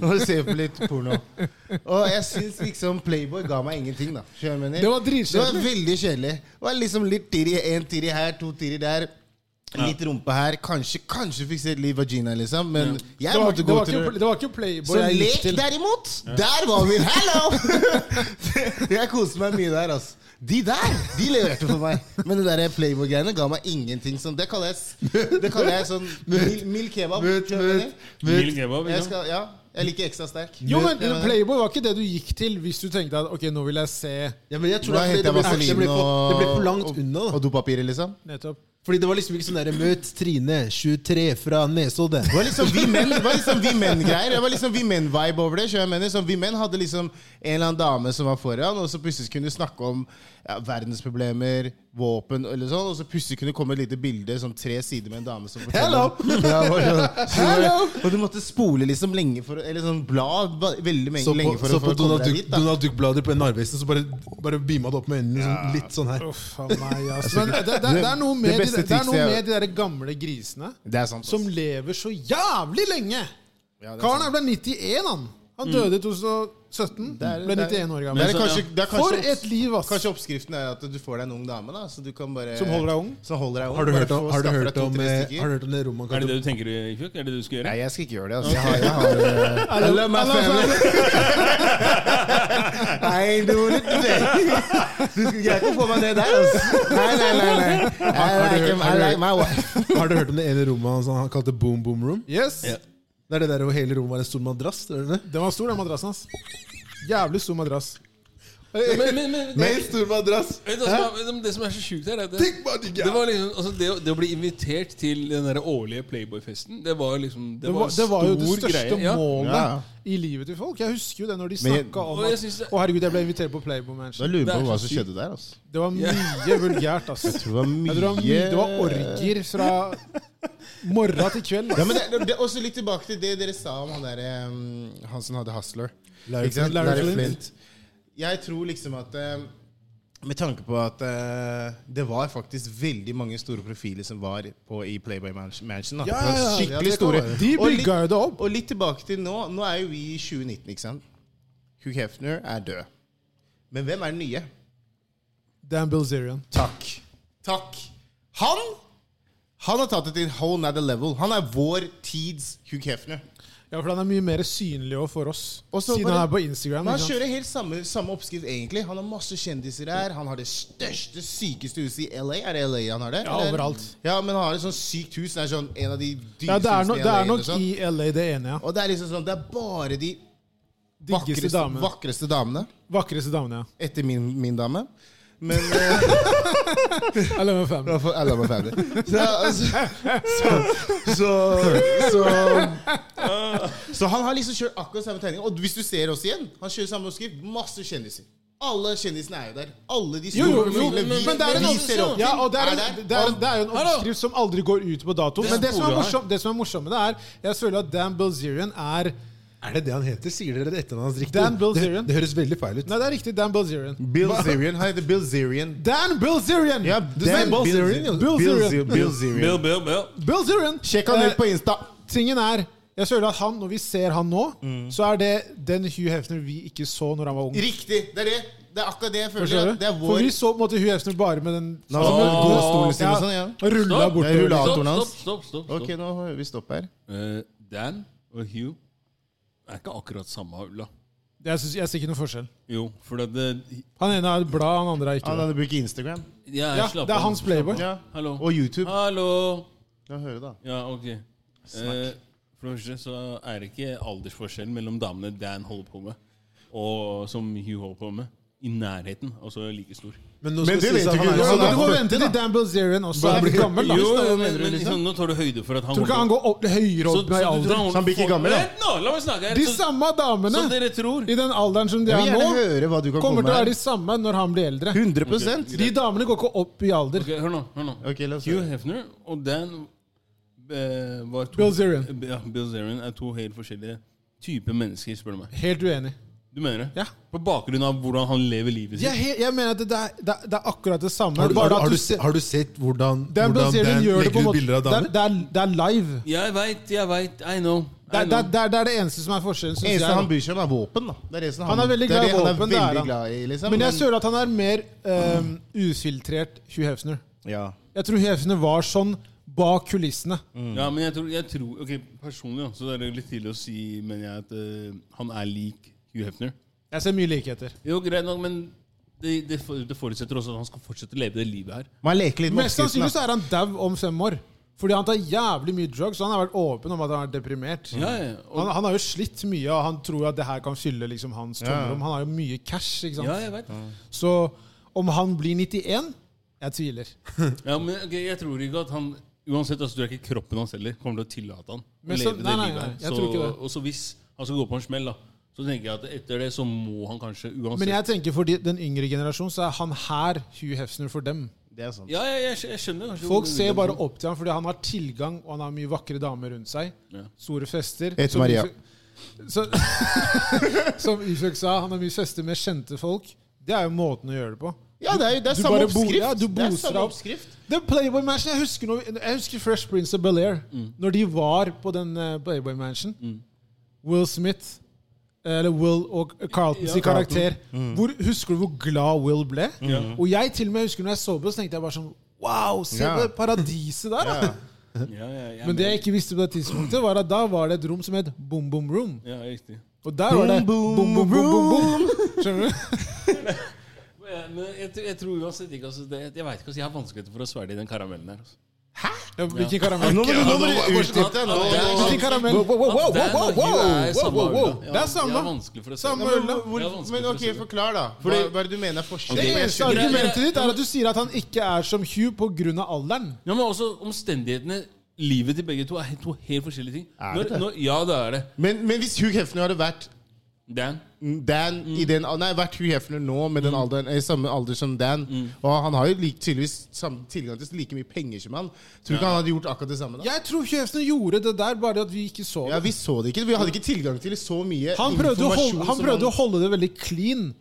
[SPEAKER 3] Og se på litt porno. Og jeg syns liksom Playboy ga meg ingenting, da. Skjønner du hva jeg mener?
[SPEAKER 4] Det var dritkjedelig.
[SPEAKER 3] Det var veldig kjedelig. Det var liksom litt tiri, en tiri her, to tiri der. Litt rumpe her. Kanskje, kanskje fikk sett litt vagina, liksom. Men
[SPEAKER 4] det
[SPEAKER 3] jeg
[SPEAKER 4] var,
[SPEAKER 3] måtte
[SPEAKER 4] det
[SPEAKER 3] gå
[SPEAKER 4] var,
[SPEAKER 3] til
[SPEAKER 4] ikke, det var ikke Playboy
[SPEAKER 3] så
[SPEAKER 4] jeg gikk
[SPEAKER 3] lek,
[SPEAKER 4] til.
[SPEAKER 3] derimot, der var vi! Hello! jeg koste meg mye der, altså. De der de leverte for meg. Men det der Playboy-greiene ga meg ingenting. Sånn, det, kaller jeg, s- det kaller jeg sånn mil- mild kebab. skjønner du hva jeg mener?
[SPEAKER 2] Mild kebab. ikke
[SPEAKER 3] Jeg,
[SPEAKER 2] sant?
[SPEAKER 3] skal, ja, jeg liker ekstra sterk.
[SPEAKER 4] Jo,
[SPEAKER 3] Skjønner du
[SPEAKER 4] men
[SPEAKER 3] hva jeg mener?
[SPEAKER 4] Playboy var ikke det du gikk til hvis du tenkte at ok, nå vil jeg se
[SPEAKER 1] Ja, men jeg tror
[SPEAKER 3] Da
[SPEAKER 1] det er fordi
[SPEAKER 3] henter
[SPEAKER 1] det
[SPEAKER 3] jeg
[SPEAKER 1] ble, for- det ble,
[SPEAKER 3] vaselin
[SPEAKER 1] for, det ble for langt
[SPEAKER 3] og,
[SPEAKER 1] unna.
[SPEAKER 3] og
[SPEAKER 1] da
[SPEAKER 3] dopapiret, liksom.
[SPEAKER 4] nettopp.
[SPEAKER 1] Fordi det var liksom ikke sånn derre Møt Trine, 23, fra Nesodden.
[SPEAKER 3] Det var liksom vi menn Det var liksom vi menn-greier. Det var liksom vi menn-vibe over det. skjønner jeg mener. Så vi menn hadde liksom en eller annen dame som var foran, og så plutselig kunne snakke om ja, verdensproblemer, våpen eller sånn, og så plutselig kunne komme et lite bilde, sånn tre sider med en dame som
[SPEAKER 1] Hello!
[SPEAKER 3] Ja, det var sånn.
[SPEAKER 1] Hello!
[SPEAKER 3] Og du måtte spole liksom lenge for å- Eller sånn blad va- veldig menge,
[SPEAKER 1] Så på,
[SPEAKER 3] lenge for,
[SPEAKER 1] så
[SPEAKER 3] å-
[SPEAKER 1] på
[SPEAKER 3] for å komme
[SPEAKER 1] Donald
[SPEAKER 3] deg
[SPEAKER 1] Duck-
[SPEAKER 3] dit. da.
[SPEAKER 1] Donald Duck-blader på Narvesen, så bare, bare beama det opp med øynene sånn, litt sånn her.
[SPEAKER 4] Uff a meg, ass. Men det, det, det er noe
[SPEAKER 3] Det
[SPEAKER 4] med,
[SPEAKER 3] beste
[SPEAKER 4] de, det er noe
[SPEAKER 3] tipset jeg-
[SPEAKER 4] med de der gamle grisene
[SPEAKER 3] Det er sant. altså. ass.
[SPEAKER 4] som lever så jævlig lenge.
[SPEAKER 3] Ja, det er
[SPEAKER 4] Karen
[SPEAKER 3] sant.
[SPEAKER 4] her ble 91, han. Han døde i 2017.
[SPEAKER 3] er-
[SPEAKER 4] Ble
[SPEAKER 3] det er-
[SPEAKER 4] 91 år
[SPEAKER 3] det er
[SPEAKER 4] gammel.
[SPEAKER 3] kanskje, det er kanskje,
[SPEAKER 4] For et liv, ass.
[SPEAKER 3] kanskje oppskriften er at du får deg en ung dame, da. Så du kan bare
[SPEAKER 4] Som holder deg ung?
[SPEAKER 3] Som holder deg ung.
[SPEAKER 1] Har du
[SPEAKER 3] Bare
[SPEAKER 1] hørt om,
[SPEAKER 3] få
[SPEAKER 1] har du
[SPEAKER 3] skaffe
[SPEAKER 1] hørt
[SPEAKER 3] deg
[SPEAKER 1] om,
[SPEAKER 3] to-tre
[SPEAKER 1] eh,
[SPEAKER 3] stykker.
[SPEAKER 1] har du hørt om det rommet han
[SPEAKER 2] Er det
[SPEAKER 1] kan
[SPEAKER 2] det du tenker, Ifjok? Er det det du skal gjøre?
[SPEAKER 3] Nei, jeg skal ikke gjøre det. Altså. Jeg har, jeg har, I love my family. I do it today. Du skal greier ikke å få meg ned der, altså. Nei, nei, nei. nei. I like, him, I like my wife.
[SPEAKER 1] Har du hørt om det ene rommet han, som han kalte Boom Boom Room?
[SPEAKER 4] Yes.
[SPEAKER 2] Ja.
[SPEAKER 1] Det er det der hvor hele rommet var en stor madrass? Det er det det?
[SPEAKER 4] Den var stor, den madrassen hans. Jævlig stor madrass.
[SPEAKER 2] Men, men, men, det,
[SPEAKER 1] en stor madrass!
[SPEAKER 2] vet du hva som er- vet du, det som er så sjukt her, er at det,
[SPEAKER 1] Tenk bare ikke-
[SPEAKER 2] det, var liksom, altså det, å- det å bli invitert til den der årlige Playboy-festen, det var liksom Det
[SPEAKER 4] Det
[SPEAKER 2] var,
[SPEAKER 4] var, det var jo det
[SPEAKER 2] stor
[SPEAKER 4] største
[SPEAKER 2] greie. Ja.
[SPEAKER 4] målet.
[SPEAKER 3] Ja.
[SPEAKER 4] i livet til folk. Jeg husker jo det når de
[SPEAKER 3] Men jeg-
[SPEAKER 4] snakka om
[SPEAKER 2] Og jeg
[SPEAKER 4] at
[SPEAKER 2] synes det-
[SPEAKER 4] Å, herregud, jeg ble invitert på Playboy-match.
[SPEAKER 3] Da lurer jeg
[SPEAKER 2] Det
[SPEAKER 3] på
[SPEAKER 2] er
[SPEAKER 3] hva
[SPEAKER 2] så
[SPEAKER 3] som
[SPEAKER 2] sykt.
[SPEAKER 3] skjedde der. altså.
[SPEAKER 4] Det var mye vulgært, ass.
[SPEAKER 3] Jeg tror det var mye,
[SPEAKER 4] Jeg tror det var, mye, det var orgier fra morgen til kveld.
[SPEAKER 3] Ja, men det, det, det, også litt tilbake til det dere sa om han der, eh, han som hadde Hustler.
[SPEAKER 1] Larry
[SPEAKER 3] Ikke sant?
[SPEAKER 1] Flint.
[SPEAKER 3] Larry,
[SPEAKER 4] Larry
[SPEAKER 3] Flint. Jeg tror liksom at eh, Med tanke på at eh, det var faktisk veldig mange store profiler som var på, i Playboy Mans- Mansion. da.
[SPEAKER 4] Ja, ja, ja.
[SPEAKER 1] Ja, det
[SPEAKER 3] Skikkelig
[SPEAKER 1] kan
[SPEAKER 3] store.
[SPEAKER 1] være.
[SPEAKER 4] De
[SPEAKER 3] Og litt-
[SPEAKER 4] bygga jo det opp.
[SPEAKER 3] Og litt tilbake til nå. Nå er jo vi i 2019, ikke sant? Hugh Hefner er død. Men hvem er den nye?
[SPEAKER 4] Dan Bilzerian.
[SPEAKER 3] Takk. Takk. Han Han har tatt det til whole another level. Han er vår tids Hugh Hefner.
[SPEAKER 4] Ja, for han er mye mer synlig også for oss.
[SPEAKER 3] Og så
[SPEAKER 4] siden
[SPEAKER 3] bare-
[SPEAKER 4] han er på Instagram.
[SPEAKER 3] Men han
[SPEAKER 4] ikke sant?
[SPEAKER 3] kjører helt samme, samme oppskrift, egentlig. Han har masse kjendiser her. Han har det største, sykeste huset i LA. Er det LA han har det?
[SPEAKER 4] Ja, overalt.
[SPEAKER 3] Ja, men han har et sånt sykt hus. Det er sånn en av de dyreste
[SPEAKER 4] Ja, det er, no,
[SPEAKER 3] husene i
[SPEAKER 4] det
[SPEAKER 3] LA.
[SPEAKER 4] er nok
[SPEAKER 3] eller sånn.
[SPEAKER 4] i LA, det ene, ja.
[SPEAKER 3] Og det er liksom sånn Det er bare de
[SPEAKER 4] Diggeste
[SPEAKER 3] vakreste,
[SPEAKER 4] damene.
[SPEAKER 3] vakreste damene.
[SPEAKER 4] Vakreste damene, ja.
[SPEAKER 3] Etter min, min dame. Men eh,
[SPEAKER 4] Jeg lever med fem.
[SPEAKER 3] for alle var ferdig. Så, altså, så, så, så Så han har liksom kjørt akkurat samme tegning. Og hvis du ser oss igjen, han kjører samme oppskrift. Masse kjendiser. Alle kjendisene er jo der. Alle de
[SPEAKER 4] Jo, jo,
[SPEAKER 3] store
[SPEAKER 4] jo,
[SPEAKER 3] profilene vi,
[SPEAKER 4] men det er en
[SPEAKER 3] vi
[SPEAKER 4] oppskrift.
[SPEAKER 3] ser opp til,
[SPEAKER 4] Ja, og det er, en-
[SPEAKER 3] der.
[SPEAKER 4] det er, en- det er jo en
[SPEAKER 2] Hallo!
[SPEAKER 4] oppskrift som aldri går ut på dato. Men det som er morsomt, det som er morsomt med det, er Jeg føler at Dan Bilzerian er
[SPEAKER 1] Er det det han heter? Sier dere det etternavnet hans riktig?
[SPEAKER 4] Dan
[SPEAKER 1] det,
[SPEAKER 4] Bilzerian.
[SPEAKER 1] det høres veldig feil ut.
[SPEAKER 4] Nei, det er riktig. Dan Bilzerian.
[SPEAKER 3] Bill Zerian. Han heter Bill Zerian.
[SPEAKER 4] Dan Bilzerian!
[SPEAKER 3] Ja,
[SPEAKER 4] Dan
[SPEAKER 3] Dan Bill
[SPEAKER 4] Bilzerian.
[SPEAKER 3] Zerian. Bill Zer-
[SPEAKER 4] Bilzerian.
[SPEAKER 3] Bill Zerian.
[SPEAKER 2] Bill, Bill.
[SPEAKER 4] Bilzerian.
[SPEAKER 3] Sjekk han ut på Insta.
[SPEAKER 4] Tingen er jeg føler at han, Når vi ser han nå, så er det den Hugh Hefner vi ikke så når han var ung.
[SPEAKER 3] Mm. Riktig. Det er det. Det er akkurat det jeg føler.
[SPEAKER 4] Skjønner
[SPEAKER 3] at
[SPEAKER 4] du?
[SPEAKER 3] Det er
[SPEAKER 4] For
[SPEAKER 3] vår
[SPEAKER 4] vi så på en måte Hugh Hefner bare med den
[SPEAKER 3] Nå, så, med
[SPEAKER 2] Åh.
[SPEAKER 3] gåstolen sin og sånn, ja.
[SPEAKER 4] og liksom- rulla
[SPEAKER 2] Stopp.
[SPEAKER 4] bort.
[SPEAKER 3] Jeg rulla.
[SPEAKER 2] Stopp,
[SPEAKER 3] Rullatoren hans.
[SPEAKER 2] stopp, stopp. stopp, stopp.
[SPEAKER 3] Ok, nå vi stopp her.
[SPEAKER 2] Eh, Dan og Hugh er ikke akkurat samme ulla.
[SPEAKER 4] Jeg, synes, jeg ser ikke noen forskjell.
[SPEAKER 2] Jo, for det, det
[SPEAKER 4] Han ene er blad, han andre er ikke
[SPEAKER 3] Han
[SPEAKER 4] blad.
[SPEAKER 3] hadde brukt Instagram.
[SPEAKER 2] jeg er
[SPEAKER 4] Ja,
[SPEAKER 2] slapp
[SPEAKER 4] det er
[SPEAKER 2] av.
[SPEAKER 4] hans playboy.
[SPEAKER 3] Ja.
[SPEAKER 2] Hallo.
[SPEAKER 3] Og YouTube.
[SPEAKER 2] Hallo!
[SPEAKER 3] Ja, høre da.
[SPEAKER 2] Ja, ok. Eh, for det første så er det ikke aldersforskjell mellom damene Dan holder på med, og som Hugh holder på med, i nærheten. Altså like stor.
[SPEAKER 1] Men, nå
[SPEAKER 3] Men det
[SPEAKER 1] sies
[SPEAKER 3] vet
[SPEAKER 1] at
[SPEAKER 3] du
[SPEAKER 1] han
[SPEAKER 3] ikke,
[SPEAKER 1] er
[SPEAKER 4] Ja,
[SPEAKER 3] så
[SPEAKER 1] jo
[SPEAKER 4] men
[SPEAKER 3] da-
[SPEAKER 1] sånn-
[SPEAKER 4] du må
[SPEAKER 3] han
[SPEAKER 4] vente til Dan Bilzerian også er blitt gammel. da.
[SPEAKER 2] Jo,
[SPEAKER 4] Hvis det er-
[SPEAKER 2] men,
[SPEAKER 4] mener du
[SPEAKER 2] men
[SPEAKER 4] liksom?
[SPEAKER 2] liksom, nå tar du høyde for at han
[SPEAKER 4] Tror du ikke han går opp, høyere opp i alder?
[SPEAKER 3] sånn- Så han blir ikke gammel, da?
[SPEAKER 2] Vent nå, la meg snakke her.
[SPEAKER 4] De
[SPEAKER 2] Så,
[SPEAKER 4] samme
[SPEAKER 2] så
[SPEAKER 4] damene
[SPEAKER 2] dere tror.
[SPEAKER 4] i den alderen som de
[SPEAKER 3] Jeg
[SPEAKER 4] er
[SPEAKER 3] vil gjerne
[SPEAKER 4] nå,
[SPEAKER 3] høre hva du kan
[SPEAKER 4] kommer
[SPEAKER 3] komme
[SPEAKER 4] til å være
[SPEAKER 3] med.
[SPEAKER 4] de samme når han blir eldre.
[SPEAKER 3] 100
[SPEAKER 4] De damene går ikke opp i alder.
[SPEAKER 2] Ok, hør nå, hør nå.
[SPEAKER 3] Ok, la oss
[SPEAKER 2] Hugh
[SPEAKER 3] høre.
[SPEAKER 2] Hefner og Dan eh, var to,
[SPEAKER 4] Bill Zerian.
[SPEAKER 2] Ja, Bill Zerian er to helt forskjellige typer mennesker, spør du meg.
[SPEAKER 4] Helt uenig.
[SPEAKER 2] Du mener det?
[SPEAKER 4] Ja.
[SPEAKER 2] På bakgrunn av hvordan han lever livet
[SPEAKER 4] Jeg,
[SPEAKER 2] sitt.
[SPEAKER 4] er helt- jeg mener at det, det, er, det, er- det er akkurat det samme.
[SPEAKER 1] Har du, har,
[SPEAKER 4] bare
[SPEAKER 1] du-
[SPEAKER 4] at
[SPEAKER 1] har, du,
[SPEAKER 4] du-
[SPEAKER 1] se- har du sett hvordan,
[SPEAKER 4] Dan
[SPEAKER 1] hvordan
[SPEAKER 4] Bilzerian gjør det på en
[SPEAKER 1] legger ut
[SPEAKER 4] måte
[SPEAKER 1] bilder av
[SPEAKER 4] det er,
[SPEAKER 1] damer?
[SPEAKER 4] det, er, det er live.
[SPEAKER 2] Jeg veit, jeg veit. I know.
[SPEAKER 4] Det
[SPEAKER 2] I
[SPEAKER 4] er det,
[SPEAKER 2] know.
[SPEAKER 4] er- det, er, det er det eneste som er forskjellen. Synes
[SPEAKER 3] Eneste han
[SPEAKER 4] jeg.
[SPEAKER 3] bryr seg om, er våpen. da det er det som
[SPEAKER 4] Han er veldig
[SPEAKER 3] det
[SPEAKER 4] glad i
[SPEAKER 3] det han er
[SPEAKER 4] våpen, det er
[SPEAKER 3] veldig
[SPEAKER 4] han.
[SPEAKER 3] glad i, liksom.
[SPEAKER 4] Men jeg føler at han er mer ehm, ufiltrert Hugh Hefner.
[SPEAKER 3] ja.
[SPEAKER 4] Jeg tror Hugh Hefner var sånn bak kulissene.
[SPEAKER 2] Ja, men jeg tror, jeg tror Ok, personlig, da, så er det litt tidlig å si, mener jeg, at eh, han er lik Hugh Hefner.
[SPEAKER 4] Jeg ser mye likheter.
[SPEAKER 2] Jo, greit nok, men det, det, for- det forutsetter også at han skal fortsette å leve det livet her.
[SPEAKER 3] Man leker litt med
[SPEAKER 4] Mest sannsynlig
[SPEAKER 3] oppskriften.
[SPEAKER 4] så er han dau om fem år. Fordi han tar jævlig mye drugs, og han har vært åpen om at han er deprimert.
[SPEAKER 2] Ja, ja, og,
[SPEAKER 4] Han, han har jo slitt mye, og han tror jo at det her kan fylle liksom, hans tomrom. Han har jo mye cash. ikke sant?
[SPEAKER 2] ja jeg veit.
[SPEAKER 4] Så om han blir 91 Jeg tviler.
[SPEAKER 2] Ja, men ok, jeg tror ikke at han Uansett, altså, du er ikke kroppen hans heller. Kommer til å tillate han å
[SPEAKER 4] Men så-
[SPEAKER 2] leve det
[SPEAKER 4] nei, nei,
[SPEAKER 2] livet her.
[SPEAKER 4] nei, jeg
[SPEAKER 2] Så-
[SPEAKER 4] tror ikke det.
[SPEAKER 2] Og så hvis han skal gå på en smell, da, så tenker jeg at etter det så må han kanskje uansett
[SPEAKER 4] Men jeg tenker for de, den yngre generasjonen så er han her Hugh Hefner for dem.
[SPEAKER 3] Det er sant.
[SPEAKER 2] Ja, ja jeg, skj- jeg skjønner kanskje
[SPEAKER 4] Folk ser bare opp til ham fordi han har tilgang, og han har mye vakre damer rundt seg.
[SPEAKER 2] Ja.
[SPEAKER 4] Store fester.
[SPEAKER 3] Jeg heter
[SPEAKER 4] Som
[SPEAKER 3] Maria.
[SPEAKER 4] Isak- Så, som Isak sa, han har mye fester med kjente folk. Det er jo måten å gjøre det på.
[SPEAKER 3] Ja, det er, det er
[SPEAKER 4] Du
[SPEAKER 3] samme
[SPEAKER 4] bare bo-
[SPEAKER 3] oppskrift.
[SPEAKER 4] ja,
[SPEAKER 3] det
[SPEAKER 4] du
[SPEAKER 3] er
[SPEAKER 4] boser deg
[SPEAKER 3] samme
[SPEAKER 4] opp.
[SPEAKER 3] oppskrift.
[SPEAKER 4] Den Playboy Mansion, jeg husker, når vi- jeg husker Fresh Prince of Bel-Air.
[SPEAKER 3] Mm.
[SPEAKER 4] Når de var på den eh, Playboy Mansion. Will Smith, eh, eller Will og Carlton sin karakter.
[SPEAKER 3] Mm.
[SPEAKER 4] Hvor, husker du hvor glad Will ble? Og jeg til og med husker når jeg så på det, så tenkte jeg bare sånn Wow, se
[SPEAKER 3] Ja.
[SPEAKER 4] på paradiset der! da.
[SPEAKER 3] Ja.
[SPEAKER 2] Ja, ja, jeg,
[SPEAKER 4] Men det jeg ikke visste på det tidspunktet, var at da var det et rom som het Boom Boom Room.
[SPEAKER 2] Ja, riktig.
[SPEAKER 4] Og der var det
[SPEAKER 3] Boom
[SPEAKER 4] Boom Boom Boom Boom. boom. Skjønner du?
[SPEAKER 2] Men jeg, men jeg, tror- jeg tror uansett ikke altså, det, Jeg vet ikke, altså, jeg har vanskeligheter for å svelge i den karamellen der. Altså.
[SPEAKER 4] Ja, Hvilken karamell?
[SPEAKER 3] Nå må du, nå må
[SPEAKER 2] Ja,
[SPEAKER 3] du
[SPEAKER 2] nå-
[SPEAKER 3] utdype det. Nå-
[SPEAKER 2] Ja,
[SPEAKER 3] nå-
[SPEAKER 4] Hvilken karamell?
[SPEAKER 2] At Dan og Hugh er samme ulla.
[SPEAKER 4] Det er
[SPEAKER 2] Jeg har
[SPEAKER 4] samme.
[SPEAKER 2] vanskelig for å se
[SPEAKER 4] Samme
[SPEAKER 2] det.
[SPEAKER 3] Men
[SPEAKER 4] ulla.
[SPEAKER 3] hvor-
[SPEAKER 2] Det er vanskelig
[SPEAKER 3] Men
[SPEAKER 2] for å
[SPEAKER 3] ok,
[SPEAKER 2] se det.
[SPEAKER 3] forklar, da. Hva, hva er det du mener er
[SPEAKER 4] Det
[SPEAKER 3] forskjellen? Jeg
[SPEAKER 4] eneste
[SPEAKER 3] skjønner-
[SPEAKER 4] argumentet ditt er at du sier at han ikke er som Hugh pga. alderen.
[SPEAKER 2] Ja, men også omstendighetene Livet til begge to er to helt forskjellige ting.
[SPEAKER 3] Er
[SPEAKER 2] når,
[SPEAKER 3] det det?
[SPEAKER 2] Når, ja, det er det.
[SPEAKER 3] Men, men hvis Hugh Hefner hadde vært
[SPEAKER 2] Dan.
[SPEAKER 3] Dan i den Nei, vært Hugh Hefner nå med den alderen, eh, samme alder som Dan Og han har jo lik, tydeligvis samme tilgang til like mye penger som han. Tror du ikke han hadde gjort akkurat det samme da?
[SPEAKER 4] Jeg tror Kjefsen gjorde det der, bare at vi ikke så det.
[SPEAKER 3] Ja, Vi så det ikke. Vi hadde ikke tilgang til så mye
[SPEAKER 4] Han prøvde, å
[SPEAKER 3] informasjon
[SPEAKER 4] holde, han
[SPEAKER 3] som
[SPEAKER 4] prøvde å holde det veldig clean.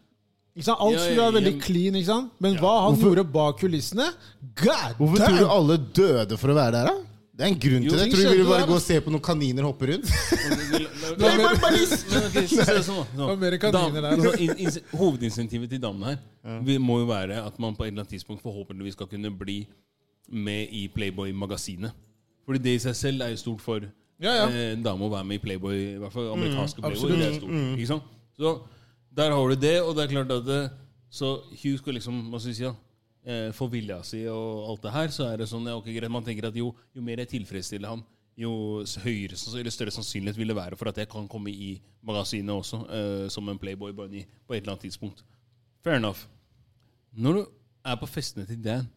[SPEAKER 4] Ikke sant? Alt
[SPEAKER 2] Ja,
[SPEAKER 4] skulle være
[SPEAKER 2] ja,
[SPEAKER 4] veldig
[SPEAKER 2] ja.
[SPEAKER 4] clean, ikke sant? men hva han gjorde bak kulissene God
[SPEAKER 3] Hvorfor tror du
[SPEAKER 4] damn!
[SPEAKER 3] alle døde for å være der, da? Det er en grunn til det.
[SPEAKER 4] ting
[SPEAKER 3] Tror du vi
[SPEAKER 4] skjedde
[SPEAKER 3] vil bare
[SPEAKER 4] der,
[SPEAKER 3] gå og se på noen kaniner hoppe rundt?
[SPEAKER 2] Nei, men- Men ok, så ser det sånn, da.
[SPEAKER 4] var mer
[SPEAKER 2] Sånn.
[SPEAKER 4] kaniner
[SPEAKER 2] Dam-
[SPEAKER 4] der.
[SPEAKER 2] så in- in- Hovedinsensivet til damene her vi må jo være at man på et eller annet tidspunkt forhåpentligvis skal kunne bli med i Playboy-magasinet. Fordi det i seg selv er jo stort for
[SPEAKER 4] Ja, Mm, ja.
[SPEAKER 2] eh, en dame å være med i Playboy. I hvert fall amerikanske Playboy. Det er stort, ikke sant? Så der har du det, og det er klart at det, Så Hugh skulle liksom hva skal vi si da, eh, få vilja si og alt det her, så er det sånn ja, ok, greit, Man tenker at jo, jo mer jeg tilfredsstiller ham, jo s- høyere sanns- eller større sannsynlighet vil det være for at jeg kan komme i magasinet også, eh, som en Playboy Bunny på et eller annet tidspunkt. Fair enough. Når du er på festene til Dan,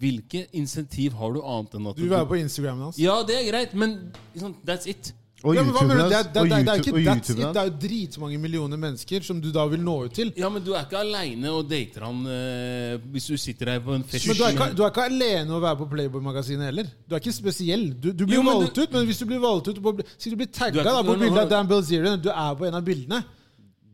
[SPEAKER 2] hvilke insentiv har du annet enn at
[SPEAKER 4] Du var jo på Instagramen hans.
[SPEAKER 2] ja, det er greit, men liksom, that's it.
[SPEAKER 3] Og
[SPEAKER 4] Ja, men hva mener du?
[SPEAKER 3] YouTube-en
[SPEAKER 4] Det
[SPEAKER 3] hans,
[SPEAKER 4] er, det, er, det, er, det, er
[SPEAKER 3] og
[SPEAKER 4] ikke,
[SPEAKER 3] YouTube- og
[SPEAKER 4] that's it.
[SPEAKER 3] YouTuben
[SPEAKER 4] det er jo dritmange millioner mennesker som du da vil nå ut til.
[SPEAKER 2] Ja, men du er ikke aleine og dater han eh, hvis du sitter her på en fest.
[SPEAKER 4] Men du er, ikke, du er ikke alene å være på Playboy-magasinet heller. Du er ikke spesiell. Du, du blir
[SPEAKER 2] Jo, men
[SPEAKER 4] valgt
[SPEAKER 2] du-
[SPEAKER 4] ut, men hvis du blir valgt ut på, Si du blir
[SPEAKER 2] Du
[SPEAKER 4] tagga
[SPEAKER 2] er ikke-
[SPEAKER 4] da, på
[SPEAKER 2] nå- nå-
[SPEAKER 4] bildet av Dan Belzerian, du er på en av bildene.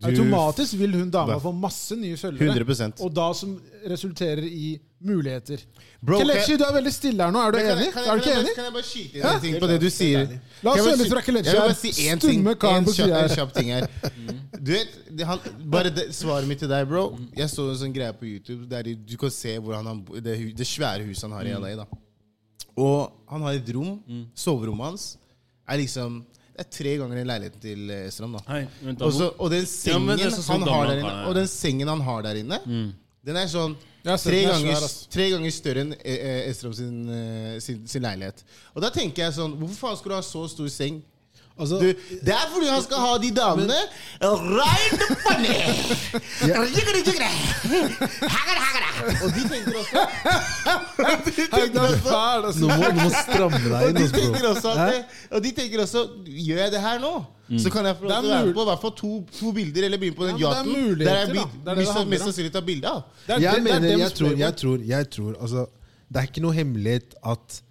[SPEAKER 4] Automatisk vil hun dama få masse nye følgere.
[SPEAKER 3] 100%.
[SPEAKER 4] Og da som resulterer i muligheter.
[SPEAKER 3] Bro,
[SPEAKER 4] Kelechi,
[SPEAKER 3] kan-
[SPEAKER 4] du er veldig stille her nå. Er du
[SPEAKER 3] Men kan
[SPEAKER 4] enig?
[SPEAKER 3] jeg- kan jeg-
[SPEAKER 4] Er du ikke
[SPEAKER 3] kan jeg-
[SPEAKER 4] enig?
[SPEAKER 3] Kan jeg bare skyte inn en ting på det du sier?
[SPEAKER 4] La oss
[SPEAKER 3] Kan jeg bare
[SPEAKER 4] høre
[SPEAKER 3] si-
[SPEAKER 4] litt fra Kelechi
[SPEAKER 3] Jeg vil bare
[SPEAKER 4] her.
[SPEAKER 3] si én ting.
[SPEAKER 4] Stumme karen
[SPEAKER 3] En
[SPEAKER 4] på
[SPEAKER 3] kjapp,
[SPEAKER 4] siden
[SPEAKER 3] en
[SPEAKER 4] her.
[SPEAKER 3] kjapp ting her.
[SPEAKER 2] Mm.
[SPEAKER 3] Du vet, det, han, bare det, svaret mitt til deg, bro. Jeg så en sånn greie på YouTube der de- du kan se hvordan han, bo- det, hu- det svære huset han har i LA. da. Og han har et rom.
[SPEAKER 2] Mm.
[SPEAKER 3] Soverommet hans er liksom Det er tre ganger den leiligheten til eh, Strøm. da.
[SPEAKER 2] Hei, vent da.
[SPEAKER 3] Og så- og den
[SPEAKER 2] Ja,
[SPEAKER 3] sengen
[SPEAKER 2] men det er sånn som
[SPEAKER 3] han har
[SPEAKER 2] damene
[SPEAKER 3] der
[SPEAKER 2] kan
[SPEAKER 3] inne,
[SPEAKER 2] være.
[SPEAKER 3] og den sengen han har der inne, den er sånn
[SPEAKER 4] Jeg har sett
[SPEAKER 3] tre
[SPEAKER 4] den, den er svær,
[SPEAKER 3] ganger,
[SPEAKER 4] ass.
[SPEAKER 3] tre ganger større enn eh, eh, Estrom sin, eh, sin, sin leilighet. Og da tenker jeg sånn Hvorfor faen skulle du ha så stor seng?
[SPEAKER 1] Altså,
[SPEAKER 3] Du, det er fordi han skal ha de damene right up and down. Jigger, jigger. Hagar, hagar. Og de tenker også
[SPEAKER 4] Hei, du er fæl, altså.
[SPEAKER 1] nå må du må stramme deg
[SPEAKER 3] og
[SPEAKER 1] inn.
[SPEAKER 3] de
[SPEAKER 1] altså,
[SPEAKER 3] tenker
[SPEAKER 1] bro.
[SPEAKER 3] også at det, Og de tenker også Gjør jeg det her nå, så kan jeg få lov
[SPEAKER 4] Det er
[SPEAKER 3] til å være
[SPEAKER 4] mul-
[SPEAKER 3] med på i hvert fall to, to bilder, eller begynne på den
[SPEAKER 4] Ja, men det er
[SPEAKER 3] yachten.
[SPEAKER 4] muligheter,
[SPEAKER 3] Der jeg
[SPEAKER 4] da.
[SPEAKER 3] blir-
[SPEAKER 4] Det er det det
[SPEAKER 3] mest-
[SPEAKER 4] handler
[SPEAKER 3] mest
[SPEAKER 4] om.
[SPEAKER 3] sannsynlig tar bilde av.
[SPEAKER 4] Det er- det-
[SPEAKER 1] Jeg
[SPEAKER 4] det er
[SPEAKER 1] mener,
[SPEAKER 4] dems
[SPEAKER 1] jeg tror,
[SPEAKER 4] Playboy.
[SPEAKER 1] jeg tror, jeg tror altså, Det er ikke noe hemmelighet at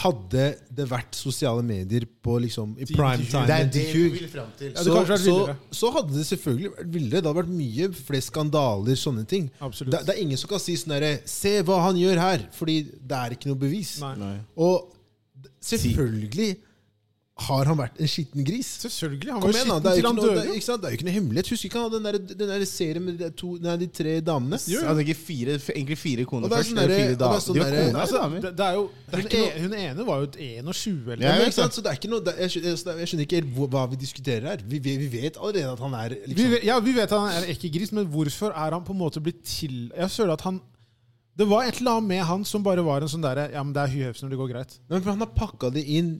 [SPEAKER 1] hadde det vært sosiale medier på liksom, i prime time
[SPEAKER 3] Det er det
[SPEAKER 1] til
[SPEAKER 3] vi
[SPEAKER 1] Hugh,
[SPEAKER 3] vil fram til.
[SPEAKER 4] Ja, det
[SPEAKER 1] så,
[SPEAKER 4] kanskje vært
[SPEAKER 1] så,
[SPEAKER 4] villere.
[SPEAKER 1] så hadde det selvfølgelig vært villere. Det hadde vært mye flere skandaler, sånne ting.
[SPEAKER 4] Absolutt.
[SPEAKER 1] Det, det er ingen som kan si sånn herre Se hva han gjør her! Fordi det er ikke noe bevis.
[SPEAKER 4] Nei.
[SPEAKER 1] Og d- selvfølgelig har han vært en skitten gris.
[SPEAKER 4] Selvfølgelig. Han
[SPEAKER 1] Kom
[SPEAKER 4] var
[SPEAKER 1] igjen, da. Det er
[SPEAKER 4] skitten
[SPEAKER 1] jo
[SPEAKER 4] til
[SPEAKER 1] ikke
[SPEAKER 4] han
[SPEAKER 1] noe, det,
[SPEAKER 4] døde.
[SPEAKER 1] er- ikke sant? Det er jo ikke noe hemmelighet. Husker ikke han den der, den der serien med de, to, nei, de tre damene?
[SPEAKER 3] Jeg hadde Altså, ikke fire, egentlig fire koner
[SPEAKER 1] Og det er
[SPEAKER 3] først.
[SPEAKER 1] sånn
[SPEAKER 3] eller
[SPEAKER 1] derre-
[SPEAKER 3] fire
[SPEAKER 1] og det er
[SPEAKER 3] damer.
[SPEAKER 1] sånn
[SPEAKER 3] De var
[SPEAKER 1] derre-
[SPEAKER 3] koner,
[SPEAKER 1] altså,
[SPEAKER 3] damer.
[SPEAKER 4] Det, det er jo, det er
[SPEAKER 1] Hun
[SPEAKER 4] ikke
[SPEAKER 1] e-
[SPEAKER 4] noe, hun ene var jo et 21
[SPEAKER 1] Ja,
[SPEAKER 3] Jeg
[SPEAKER 4] eller
[SPEAKER 1] men,
[SPEAKER 3] vet
[SPEAKER 1] ikke sant? Så det er ikke noe, det, jeg, skjø- jeg, jeg skjønner ikke helt hvor- hva vi diskuterer her. Vi, vi, vi vet allerede at han er
[SPEAKER 4] vi,
[SPEAKER 1] liksom,
[SPEAKER 4] ve- ja, vi vet han er ikke gris, men hvorfor er han på en måte blitt til Jeg føler at han Det var et eller annet med han som bare var en sånn derre Ja, men det er Hugh Hefner, det går greit.
[SPEAKER 1] Nei, men Han har pakka det inn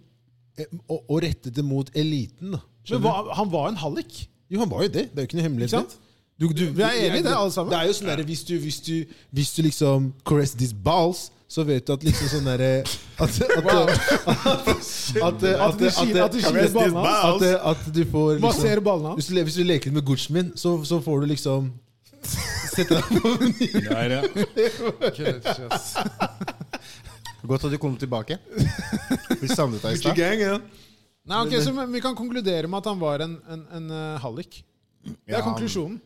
[SPEAKER 1] eh, og, og rettet det mot eliten. da.
[SPEAKER 4] Men
[SPEAKER 1] Skjønner
[SPEAKER 4] hva, han var en hallik.
[SPEAKER 1] du? Jo, han var jo det. Det er jo ikke noe hemmelighet.
[SPEAKER 4] Ikke sant?
[SPEAKER 1] Du, du,
[SPEAKER 4] Vi er enige i det, alle sammen.
[SPEAKER 1] Det er jo sånn der, hvis, du, hvis, du, hvis du liksom caress these balls, så vet du at liksom sånn derre at, at, at,
[SPEAKER 4] At du skiller- at du skiller ballene hans.
[SPEAKER 1] at, at du får
[SPEAKER 4] Masserer ballene hans.
[SPEAKER 1] Hvis du, le- hvis du leker litt med Gucci min, så, så får du liksom Sette deg på menyen.
[SPEAKER 2] Der, ja.
[SPEAKER 3] Godt at du kom tilbake. Vi savnet deg i stad.
[SPEAKER 4] Nei, ok, så vi kan konkludere med at han var en, en, en eh, hallik. Det er
[SPEAKER 3] Ja,
[SPEAKER 4] konklusjonen.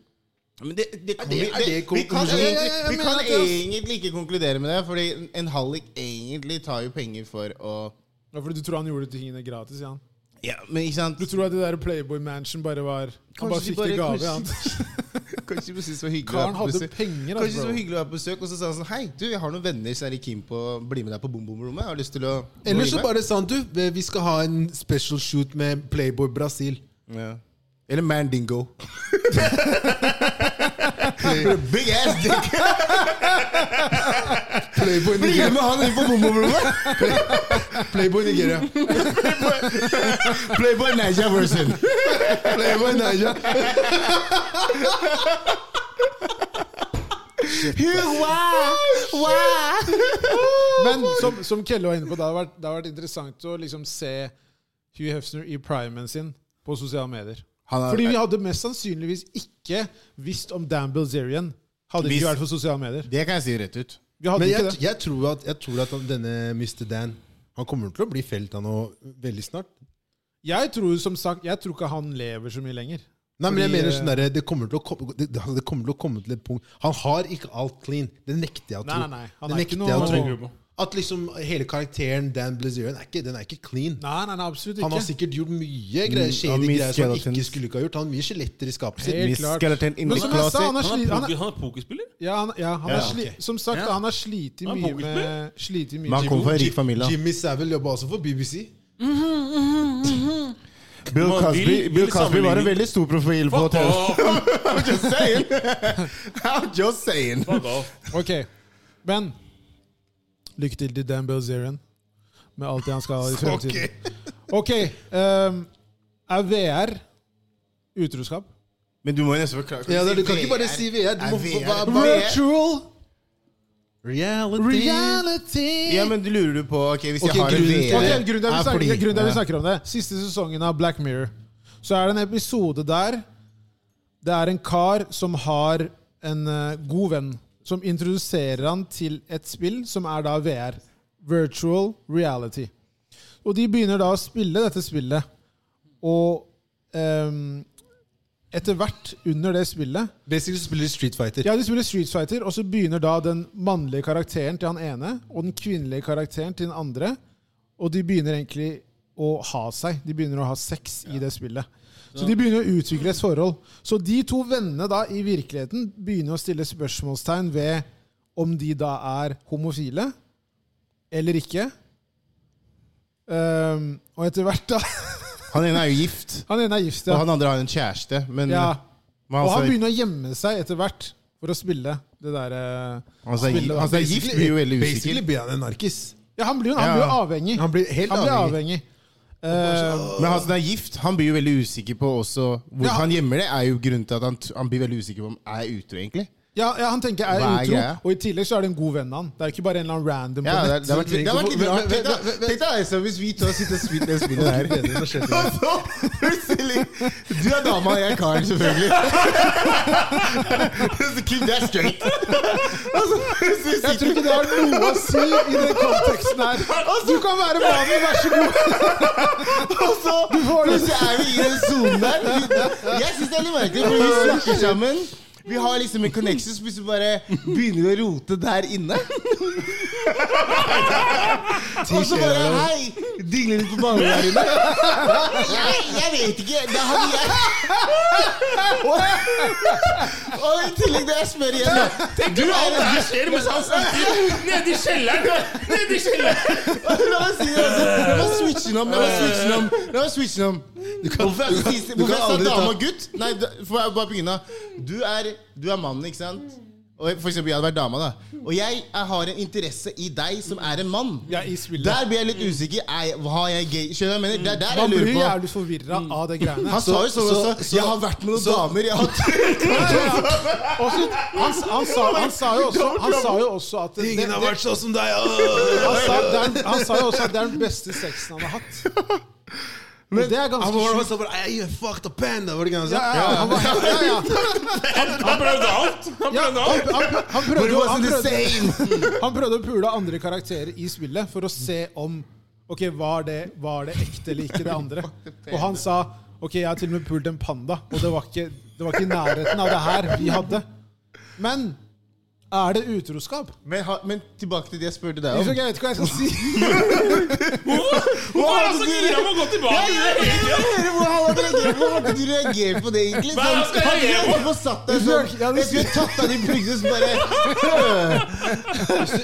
[SPEAKER 3] Men det, det kan vi,
[SPEAKER 1] er det
[SPEAKER 3] det, vi kan,
[SPEAKER 1] konklusjonen?
[SPEAKER 3] egentlig,
[SPEAKER 4] Ja, ja, ja,
[SPEAKER 3] vi
[SPEAKER 4] men
[SPEAKER 3] kan
[SPEAKER 4] at det er-
[SPEAKER 3] egentlig ikke konkludere med det, Fordi en hallik egentlig tar jo penger for å
[SPEAKER 4] Ja, fordi du tror han gjorde tingene gratis? Ja.
[SPEAKER 3] Ja, men ikke sant?
[SPEAKER 4] Du tror at det der Playboy Mansion bare var Han bare
[SPEAKER 3] Kanskje de
[SPEAKER 4] fikk det i gave?
[SPEAKER 3] bare-
[SPEAKER 4] Ja.
[SPEAKER 3] Kanskje de synes det var hyggelig å
[SPEAKER 4] Karen
[SPEAKER 3] være på
[SPEAKER 4] hadde
[SPEAKER 3] besøk.
[SPEAKER 4] penger,
[SPEAKER 3] Kanskje
[SPEAKER 4] altså,
[SPEAKER 3] det var
[SPEAKER 4] bro.
[SPEAKER 3] hyggelig å være på besøk, og så sa han sånn Hei, du, jeg har noen venner som er i keen på å bli med deg på bom-bom-rommet. Har du lyst til å
[SPEAKER 1] Eller så
[SPEAKER 3] bli med?»
[SPEAKER 1] bare sånn, du, vi skal ha en special shoot med Playboy Brasil.
[SPEAKER 3] ja. Eller Mandingo. Big ass dick!
[SPEAKER 1] Playboy
[SPEAKER 3] Bli med han inn på bom-bom-rommet!
[SPEAKER 1] Playboy Nigeria.
[SPEAKER 3] Playboy Naja version.
[SPEAKER 1] Playboy Nigeria.
[SPEAKER 4] Men som, som Kelle var inne på, det har vært, det har vært interessant å liksom se Hugh Hefner i primen sin på sosiale medier.
[SPEAKER 1] Han er-
[SPEAKER 4] Fordi vi hadde mest sannsynligvis ikke visst om Dan Bilzerian hadde vi
[SPEAKER 3] Hvis-
[SPEAKER 4] ikke vært for sosiale medier.
[SPEAKER 3] Det kan jeg si rett ut.
[SPEAKER 4] Vi hadde
[SPEAKER 1] Men
[SPEAKER 4] ikke
[SPEAKER 1] jeg,
[SPEAKER 4] det.
[SPEAKER 1] jeg tror at, jeg tror at han- denne Mr. Dan Han kommer til å bli felt av noe veldig snart.
[SPEAKER 4] Jeg tror som sagt, jeg tror ikke han lever så mye lenger.
[SPEAKER 1] Nei, men jeg
[SPEAKER 4] Fordi,
[SPEAKER 1] mener
[SPEAKER 4] eh,
[SPEAKER 1] sånn derre, det, kommer til å komme- det, det kommer til å komme til et punkt Han har ikke alt clean. Det nekter jeg å tro.
[SPEAKER 4] Nei, nei, nei. Han
[SPEAKER 1] Det
[SPEAKER 4] er ikke
[SPEAKER 1] nekter
[SPEAKER 4] noe-
[SPEAKER 1] jeg å
[SPEAKER 4] Hva
[SPEAKER 1] tro.
[SPEAKER 4] tenker du på?
[SPEAKER 1] At liksom hele karakteren Dan Blazerian er ikke, den er ikke clean.
[SPEAKER 4] Nei, nei, nei absolutt ikke.
[SPEAKER 1] Han har sikkert gjort mye greier,
[SPEAKER 3] Mm,
[SPEAKER 1] shady
[SPEAKER 3] og mye
[SPEAKER 1] greier som han
[SPEAKER 3] skeletons.
[SPEAKER 1] ikke skulle ikke ha gjort. Han har mye skjeletter i skapet sitt.
[SPEAKER 4] Helt klart. Men som jeg sa, han
[SPEAKER 2] Han
[SPEAKER 4] er, sli,
[SPEAKER 2] er,
[SPEAKER 4] han er,
[SPEAKER 2] poker, han er pokerspiller?
[SPEAKER 4] ja, han, ja, han
[SPEAKER 3] Ja,
[SPEAKER 4] er
[SPEAKER 3] ja,
[SPEAKER 4] sli,
[SPEAKER 1] ok.
[SPEAKER 4] som sagt,
[SPEAKER 2] Ja.
[SPEAKER 4] han har slitt
[SPEAKER 2] Han er
[SPEAKER 4] mye
[SPEAKER 2] pokerspiller.
[SPEAKER 4] med slitt mye.
[SPEAKER 3] Men han kommer fra en
[SPEAKER 1] Jim-
[SPEAKER 3] rik familie. da.
[SPEAKER 1] Jimmy Savile jobba også for BBC.
[SPEAKER 3] Bill
[SPEAKER 2] Man vil-
[SPEAKER 3] Cosby, Bill
[SPEAKER 2] vil
[SPEAKER 3] Cosby var en
[SPEAKER 2] sammenligne-
[SPEAKER 3] veldig stor profil på
[SPEAKER 2] Fuck
[SPEAKER 3] TV.
[SPEAKER 2] off!
[SPEAKER 3] I'm just saying. I'm just saying.
[SPEAKER 2] Fuck off.
[SPEAKER 4] Ok, men lykke til til Dan Bilzerian med alt det han skal i fremtiden. Ok, ehm, er VR utroskap?
[SPEAKER 3] Men du må jo nesten forklare.
[SPEAKER 1] Ja, du kan ikke bare si VR. Du må, hva- hva-
[SPEAKER 4] Virtual
[SPEAKER 1] Reality.
[SPEAKER 4] reality!
[SPEAKER 3] Ja, men du lurer du på ok, hvis
[SPEAKER 1] Ok,
[SPEAKER 3] jeg har en
[SPEAKER 1] grunnen til-
[SPEAKER 3] VR
[SPEAKER 4] Ok, grunnen til at vi
[SPEAKER 1] er
[SPEAKER 4] snakker,
[SPEAKER 1] fordi-
[SPEAKER 4] grunnen til at vi
[SPEAKER 1] ja.
[SPEAKER 4] snakker om det Siste sesongen av Black Mirror Så er det en episode der Det er en kar som har en eh, god venn Som introduserer han til et spill Som er da VR Virtual Reality Og de begynner da å spille dette spillet Og ehm, etter hvert under det spillet
[SPEAKER 1] Basically så spiller de Street Fighter.
[SPEAKER 4] ja, de spiller Street Fighter, og så begynner da den mannlige karakteren til han ene og den kvinnelige karakteren til den andre. Og de begynner egentlig å ha seg. De begynner å ha sex i det spillet. Så de begynner å utvikle et forhold. Så de to vennene da i virkeligheten begynner å stille spørsmålstegn ved om de da er homofile eller ikke. Ehm, og etter hvert, da
[SPEAKER 3] Han ene er jo gift,
[SPEAKER 4] Han ene er gift,
[SPEAKER 3] og
[SPEAKER 4] ja.
[SPEAKER 3] han andre har en kjæreste. Men
[SPEAKER 4] ja.
[SPEAKER 3] men han
[SPEAKER 4] Og han
[SPEAKER 3] sa-
[SPEAKER 4] begynner å gjemme seg etter hvert for å spille det derre
[SPEAKER 3] han sa gi- han sa gift blir jo veldig
[SPEAKER 1] Basically
[SPEAKER 3] usikker.
[SPEAKER 1] blir han en narkis.
[SPEAKER 4] Ja, han blir jo han
[SPEAKER 3] Ja.
[SPEAKER 4] blir jo avhengig.
[SPEAKER 1] Han blir helt
[SPEAKER 4] Han blir
[SPEAKER 1] avhengig.
[SPEAKER 4] avhengig. Eh,
[SPEAKER 3] Men han som er gift, han blir jo veldig usikker på også Hvor
[SPEAKER 4] Ja.
[SPEAKER 3] han gjemmer det, er jo grunnen til at han, t- han blir veldig usikker på om er jeg utro, egentlig.
[SPEAKER 4] ja, ja, han tenker jeg
[SPEAKER 3] Hva
[SPEAKER 4] er
[SPEAKER 3] er
[SPEAKER 4] utro,
[SPEAKER 3] greia?
[SPEAKER 4] og i tillegg så er det en god venn av han. Det er ikke bare en eller annen random
[SPEAKER 3] Ja,
[SPEAKER 4] på
[SPEAKER 3] det,
[SPEAKER 4] nett.
[SPEAKER 3] det, har vært, det har vært litt rart.
[SPEAKER 1] Vent,
[SPEAKER 3] Tenk
[SPEAKER 1] vent,
[SPEAKER 3] deg-
[SPEAKER 1] vent, vent.
[SPEAKER 3] tenk deg altså, hvis vi to sitter og spiller det spillet
[SPEAKER 1] Det er
[SPEAKER 3] der.
[SPEAKER 1] bedre enn å skjønne det.
[SPEAKER 3] Og så plutselig Du er dama, og jeg er karen, selvfølgelig. Så Keep that straight. Og så plutselig
[SPEAKER 4] Jeg
[SPEAKER 3] sitter
[SPEAKER 4] tror ikke det har noe å si i den konteksten her. Du kan være mannen, vær så god.
[SPEAKER 3] og så plutselig er vi i den sonen der. Jeg syns det er litt merkelig, for vi snakker sammen. Vi har liksom en connection, så plutselig bare begynner vi å rote der inne. Og så bare hei! Dingler litt på banen der inne. Jeg, jeg vet ikke. Det hadde jeg. Og, og i tillegg, når jeg spør igjen Du er
[SPEAKER 2] Det her skjer mens han sitter nede i kjelleren! Nede i kjelleren!
[SPEAKER 3] La meg si det. altså. La meg switche den om. La meg switche den om. La meg switche den om. Hvorfor er det siste-
[SPEAKER 1] du
[SPEAKER 3] hvorfor
[SPEAKER 1] kan
[SPEAKER 3] jeg sa
[SPEAKER 1] aldri ta-
[SPEAKER 3] dame og gutt? Nei, da- for jeg bare begynne. Du er, du er mannen, ikke sant? Og jeg- for eksempel, jeg hadde vært dama, da. Og jeg, jeg har en interesse i deg som er en mann.
[SPEAKER 4] Ja, i spillet.
[SPEAKER 3] Der blir jeg litt usikker. Er, jeg- har jeg gay? Skjønner du hva jeg mener? Det er der jeg
[SPEAKER 4] Man blir
[SPEAKER 3] lurer
[SPEAKER 4] jo
[SPEAKER 3] på.
[SPEAKER 4] jævlig forvirra av de greiene.
[SPEAKER 3] Han sa jo sånn
[SPEAKER 1] Så-
[SPEAKER 3] også.
[SPEAKER 1] så-
[SPEAKER 3] jeg har vært med noen
[SPEAKER 1] så-
[SPEAKER 3] damer. Jeg har
[SPEAKER 4] Og så- Han, han, sa, han, sa jo også, han sa jo også at det, det,
[SPEAKER 1] Ingen har
[SPEAKER 4] han,
[SPEAKER 1] vært sånn som deg!
[SPEAKER 4] sa, det er, han sa jo også at det er den beste sexen han har hatt. Og det er ganske sjukt.
[SPEAKER 1] You fucked a panda! Var det ikke han
[SPEAKER 4] Ja,
[SPEAKER 1] sa?
[SPEAKER 4] ja, han var helt- ja, ja.
[SPEAKER 2] Han prøvde alt! Han prøvde
[SPEAKER 4] Ja, han,
[SPEAKER 2] alt!
[SPEAKER 4] han, han, prøvde,
[SPEAKER 3] But it
[SPEAKER 4] jo-
[SPEAKER 3] wasn't
[SPEAKER 4] han,
[SPEAKER 3] the
[SPEAKER 4] prøvde, han prøvde å pule andre karakterer i spillet for å se om Ok, var det, var det ekte eller ikke det andre. Og han sa Ok, jeg har til og med pult en panda, og det var ikke, det var ikke i nærheten av det her vi hadde. Men er det utroskap?
[SPEAKER 3] men, ha, men tilbake til det jeg spurte deg
[SPEAKER 4] Jeg
[SPEAKER 3] om.
[SPEAKER 4] vet ikke hva jeg skal si.
[SPEAKER 2] Hvorfor er han så gira med å gå tilbake til det? hele tiden?
[SPEAKER 3] Hvorfor hadde du reagert på det, egentlig?
[SPEAKER 2] Hva skal jeg
[SPEAKER 3] hadde
[SPEAKER 2] reagere på?
[SPEAKER 3] du satt deg sånn
[SPEAKER 4] Ja, du-
[SPEAKER 3] Jeg skulle tatt av de pluggene som bare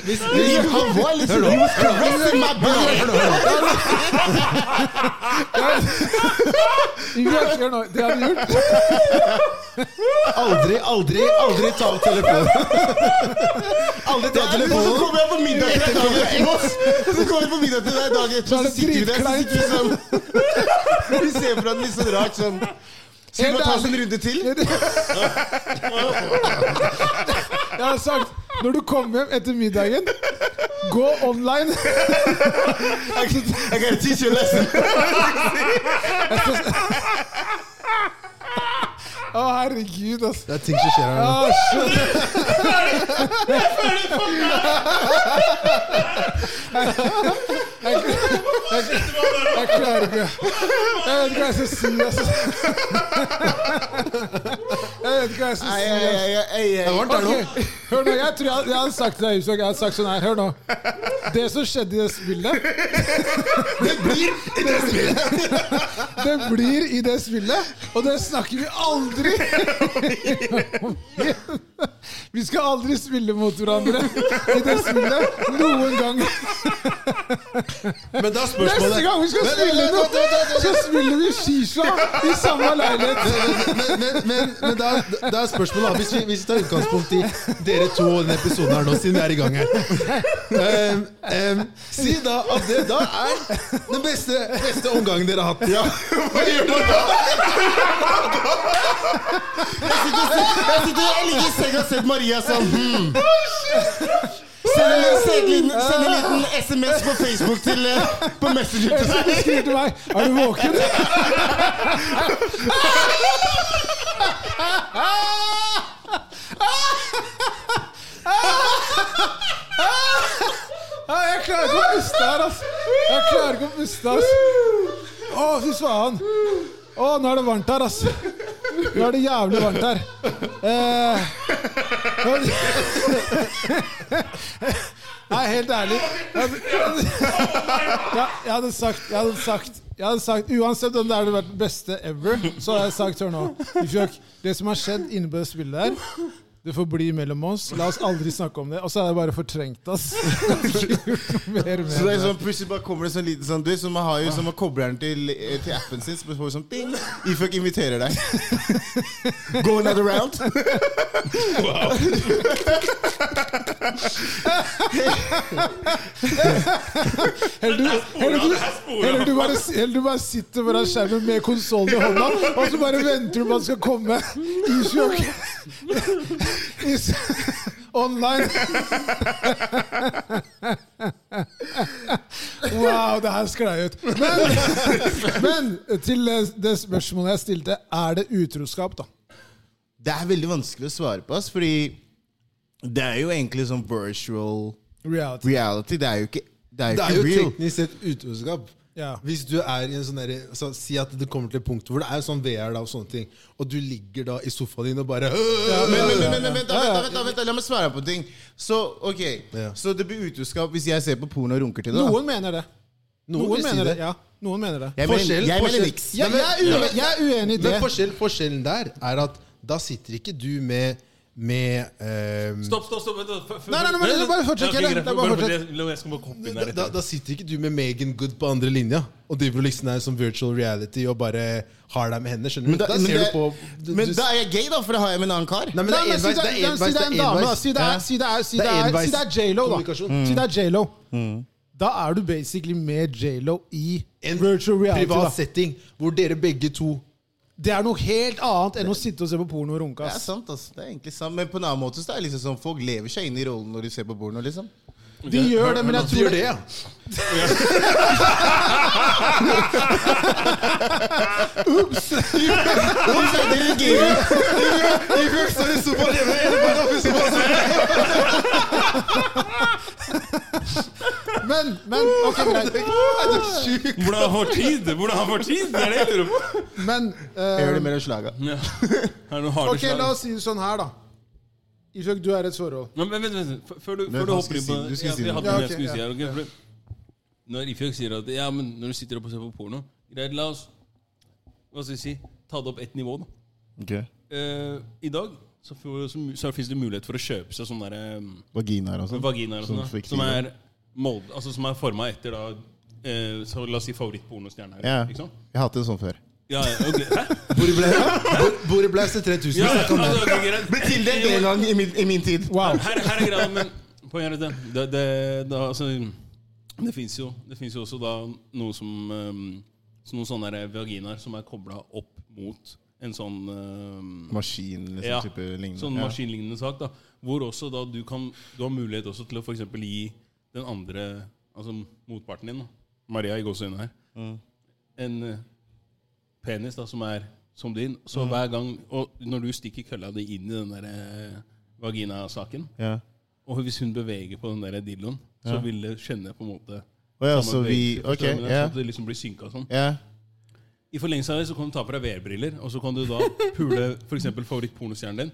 [SPEAKER 1] Hvis,
[SPEAKER 3] Men Han var liksom He was caressing my butt.
[SPEAKER 4] Vi har ikke gjort noe. Det har vi gjort.
[SPEAKER 1] aldri, aldri, aldri ta opp telefonen! aldri ta opp
[SPEAKER 3] Og så
[SPEAKER 1] telefonen!
[SPEAKER 3] kommer jeg på middag til deg dagen etterpå. Og så kommer jeg på middag til deg dagen etterpå,
[SPEAKER 4] Så er
[SPEAKER 3] og så
[SPEAKER 4] det
[SPEAKER 3] sitter vi der så sitter vi sånn Vi ser på hverandre litt sånn rart sånn Skal vi bare ta oss en runde til?
[SPEAKER 4] Jeg har sagt når du kommer hjem etter middagen, gå online.
[SPEAKER 3] I gotta teach you a lesson.
[SPEAKER 4] Å, herregud, altså.
[SPEAKER 1] Det er ting som skjer her nå.
[SPEAKER 4] Ah, shit. Jeg jeg klarer ikke Jeg vet ikke hva jeg skal si, altså. Jeg vet ikke hva jeg skal
[SPEAKER 3] Ei, ei,
[SPEAKER 4] si. altså.
[SPEAKER 3] ei, ei, ei.
[SPEAKER 4] Ok, Hør nå, jeg tror jeg, jeg hadde sagt til deg, Husvåg, jeg hadde sagt sånn her, hør nå. Det som skjedde i det spillet
[SPEAKER 3] Det blir det blir-
[SPEAKER 4] Det blir i det spillet, og det snakker vi aldri om igjen. Vi skal aldri spille mot hverandre i det spillet noen gang.
[SPEAKER 1] Men da er spørsmålet
[SPEAKER 4] Neste gang vi skal spille noe, så spiller vi shisha i samme leilighet.
[SPEAKER 1] Men, men, men, men da, da er spørsmålet da, hvis vi, hvis vi tar utgangspunkt i dere to og denne episoden her nå, siden vi er i gang her Ehm, ehm, Si da at det da er den beste, beste omgangen dere har hatt.
[SPEAKER 3] Ja, hva gjør du da? Jeg sitter, jeg ligger i senga og ser Maria sånn hmm. Send en, send, en liten, send en liten SMS på Facebook til eh, På Messenger til
[SPEAKER 4] Så
[SPEAKER 3] deg.
[SPEAKER 4] du skriver til meg Er du våken? Ja, Jeg klarer ikke å puste her, ass. Jeg klarer ikke å puste, ass. Å, fy faen. Å, nå er det varmt her, ass. Nå er det jævlig varmt her. Eh, Nei, helt ærlig. Jeg, ja, jeg hadde sagt, jeg hadde sagt jeg hadde sagt, Uansett om det hadde vært det beste ever, så hadde jeg sagt hør nå Ifjøk, Det som har skjedd inne på det spillet der, det får bli mellom oss. La oss aldri snakke om det. Og så hadde jeg bare fortrengt ass.
[SPEAKER 3] Så
[SPEAKER 4] Mer,
[SPEAKER 3] det er
[SPEAKER 4] mer.
[SPEAKER 3] sånn, Plutselig bare kommer det sånn liten sånn Du, som man har jo som man kobler den til, eh, til appen sin. Så får vi sånn ding Ifølge inviterer deg. Go another round.
[SPEAKER 4] Heller du, heller du, heller du, bare, heller du bare sitter foran skjermen med konsollen i hånda, og så bare venter du på at den skal komme. Isjok. Is online. Wow, det her sklei ut. Men, men til det spørsmålet jeg stilte, er det utroskap, da?
[SPEAKER 3] Det er veldig vanskelig å svare på, ass, fordi det er jo egentlig sånn virtual
[SPEAKER 4] Reality.
[SPEAKER 3] reality. Det er jo ikke, det er jo
[SPEAKER 1] Det
[SPEAKER 3] ikke
[SPEAKER 1] er jo
[SPEAKER 3] real.
[SPEAKER 1] teknisk sett utroskap.
[SPEAKER 4] Ja.
[SPEAKER 1] Hvis du er i en sånn derre- altså, Si at det kommer til et punkt hvor det er sånn VR da, og sånne ting, og du ligger da i sofaen din og bare
[SPEAKER 3] Men, men, men, men, men vent, da, vent, da, vent, da, vent, da, la meg svare på en ting. Så ok,
[SPEAKER 1] Ja.
[SPEAKER 3] så det blir utroskap hvis jeg ser på porno og runker til det? da?
[SPEAKER 4] Noen mener det. Noen,
[SPEAKER 1] vil si
[SPEAKER 4] mener det.
[SPEAKER 1] det.
[SPEAKER 4] Ja, noen mener det.
[SPEAKER 3] Jeg mener,
[SPEAKER 1] Forskjell,
[SPEAKER 3] jeg
[SPEAKER 1] forskjell.
[SPEAKER 3] mener niks.
[SPEAKER 4] Ja,
[SPEAKER 1] Nei,
[SPEAKER 4] jeg, er
[SPEAKER 1] men-
[SPEAKER 4] uenig, jeg er uenig i det.
[SPEAKER 1] Men forskjell, forskjellen der er at da sitter ikke du med, med ehm,
[SPEAKER 2] Stopp, stopp, stopp. vent, vent, f- f-
[SPEAKER 4] Nei, nei, nei, men bare fortsett,
[SPEAKER 2] Ja, ok,
[SPEAKER 4] Kenneth,
[SPEAKER 2] greit,
[SPEAKER 4] det er bare
[SPEAKER 2] bare
[SPEAKER 4] fortsett.
[SPEAKER 2] fortsett. La meg- Jeg skal bare hoppe inn
[SPEAKER 1] da,
[SPEAKER 2] her
[SPEAKER 1] da,
[SPEAKER 2] etter.
[SPEAKER 1] da sitter ikke du med Megan Good på andre linja og driver liksom der som virtual reality og bare har deg med henne. skjønner du?
[SPEAKER 3] Men da,
[SPEAKER 1] da
[SPEAKER 3] men
[SPEAKER 1] ser
[SPEAKER 3] det,
[SPEAKER 1] du på du,
[SPEAKER 3] men
[SPEAKER 1] du,
[SPEAKER 3] da er jeg gay, da, for det har jeg med en annen kar.
[SPEAKER 1] Nei, men det
[SPEAKER 4] Nei,
[SPEAKER 1] er
[SPEAKER 4] men si
[SPEAKER 1] enveis. Det er
[SPEAKER 4] det- nei, si
[SPEAKER 1] enveis.
[SPEAKER 4] det er en dame, da. Si det er-
[SPEAKER 1] enveis.
[SPEAKER 4] si det er- si
[SPEAKER 1] Det
[SPEAKER 4] det
[SPEAKER 1] er
[SPEAKER 4] er-
[SPEAKER 1] enveis
[SPEAKER 4] si det er J.Lo, da.
[SPEAKER 1] kommunikasjon. Mm.
[SPEAKER 4] Si det er J.Lo. Da er du basically med J.Lo i
[SPEAKER 1] En
[SPEAKER 4] virtual reality.
[SPEAKER 1] privat
[SPEAKER 4] Da.
[SPEAKER 1] setting hvor dere begge to
[SPEAKER 4] Det er noe helt annet enn å sitte og se på porno og runke.
[SPEAKER 3] Det er
[SPEAKER 4] ass.
[SPEAKER 3] sant, ass. Det er egentlig sant. Men på en annen måte så er det liksom sånn folk lever seg inn i rollen når de ser på porno, liksom.
[SPEAKER 4] De gjør det, men jeg
[SPEAKER 1] De
[SPEAKER 4] tror
[SPEAKER 1] gjør det, ja.
[SPEAKER 4] Men, men, ok, greit.
[SPEAKER 2] Hvordan han får tid? Hvordan han får tid? Det er det jeg lurer på.
[SPEAKER 4] men
[SPEAKER 3] Jeg hører
[SPEAKER 4] eh,
[SPEAKER 3] det mer enn slaga.
[SPEAKER 2] Ja. Her er noe harde
[SPEAKER 4] Ok,
[SPEAKER 2] slag.
[SPEAKER 4] la oss si det sånn her, da. Ifølge du er i et forhold.
[SPEAKER 2] Nå, Men vent, vent, vent. F- Før du,
[SPEAKER 3] Men
[SPEAKER 2] før du
[SPEAKER 3] han
[SPEAKER 2] hopper
[SPEAKER 3] skulle
[SPEAKER 2] inn på
[SPEAKER 3] si- du
[SPEAKER 2] det.
[SPEAKER 3] skulle
[SPEAKER 2] Ja,
[SPEAKER 3] si
[SPEAKER 2] jeg
[SPEAKER 3] noe.
[SPEAKER 2] hadde
[SPEAKER 4] Ja,
[SPEAKER 2] noe
[SPEAKER 4] ok,
[SPEAKER 2] jeg skulle si
[SPEAKER 4] ja.
[SPEAKER 2] her. ok, for det- Når Ifjøk sier at Ja, men når du sitter opp og ser på porno Greit, la oss Hva skal vi si? Ta det opp ett nivå, da. Eh, I dag så, får- så, så finnes det mulighet for å kjøpe seg sånn derre
[SPEAKER 3] Vaginaer og sånn.
[SPEAKER 2] vaginaer og
[SPEAKER 3] Sånn
[SPEAKER 2] sånn, da,
[SPEAKER 3] fiktive.
[SPEAKER 2] som er, mold, altså, som er forma etter da eh, så La oss si favorittpornostjerna. her,
[SPEAKER 3] Ja.
[SPEAKER 2] Ikke sant?
[SPEAKER 3] Jeg hadde en sånn før.
[SPEAKER 2] Ja, ja, ok. Hæ?
[SPEAKER 1] Bordet ble, Bor- bordet ble 3000.
[SPEAKER 2] Ja,
[SPEAKER 1] snakk om det.
[SPEAKER 2] altså, ok, greit.
[SPEAKER 3] Ble tildelt en gang i min, i min tid.
[SPEAKER 4] Wow.
[SPEAKER 2] Her, her er greia, men poenget er det, det, det, det, altså, det fins jo, det finnes ehm, jo også da noe som, um, så noen sånne der vaginaer som er kobla opp mot en sånn eh,
[SPEAKER 3] Maskin, liksom,
[SPEAKER 2] Ja,
[SPEAKER 3] type lignende.
[SPEAKER 2] Sånn
[SPEAKER 3] Ja.
[SPEAKER 2] maskinlignende sak, da. Hvor også da du kan Du har mulighet også til å f.eks. gi den andre, altså motparten din, da, Maria i gåseøynene her, en eh, penis da som er som din. Så hver gang Og når du stikker kølla di inn i den der eh, vaginasaken,
[SPEAKER 3] Ja.
[SPEAKER 2] og hvis hun beveger på den der dildoen, så vil det skjønne på en måte
[SPEAKER 3] Å ja,
[SPEAKER 2] samme
[SPEAKER 3] så vi
[SPEAKER 2] bevegelse,
[SPEAKER 3] Ok,
[SPEAKER 2] forstår du hva jeg mener?
[SPEAKER 3] ja.
[SPEAKER 2] Sånn at det liksom blir synka og sånn.
[SPEAKER 3] ja.
[SPEAKER 2] I forlengelse av det så kan du ta på deg VR-briller, og så kan du da pule f.eks. favorittpornostjernen din.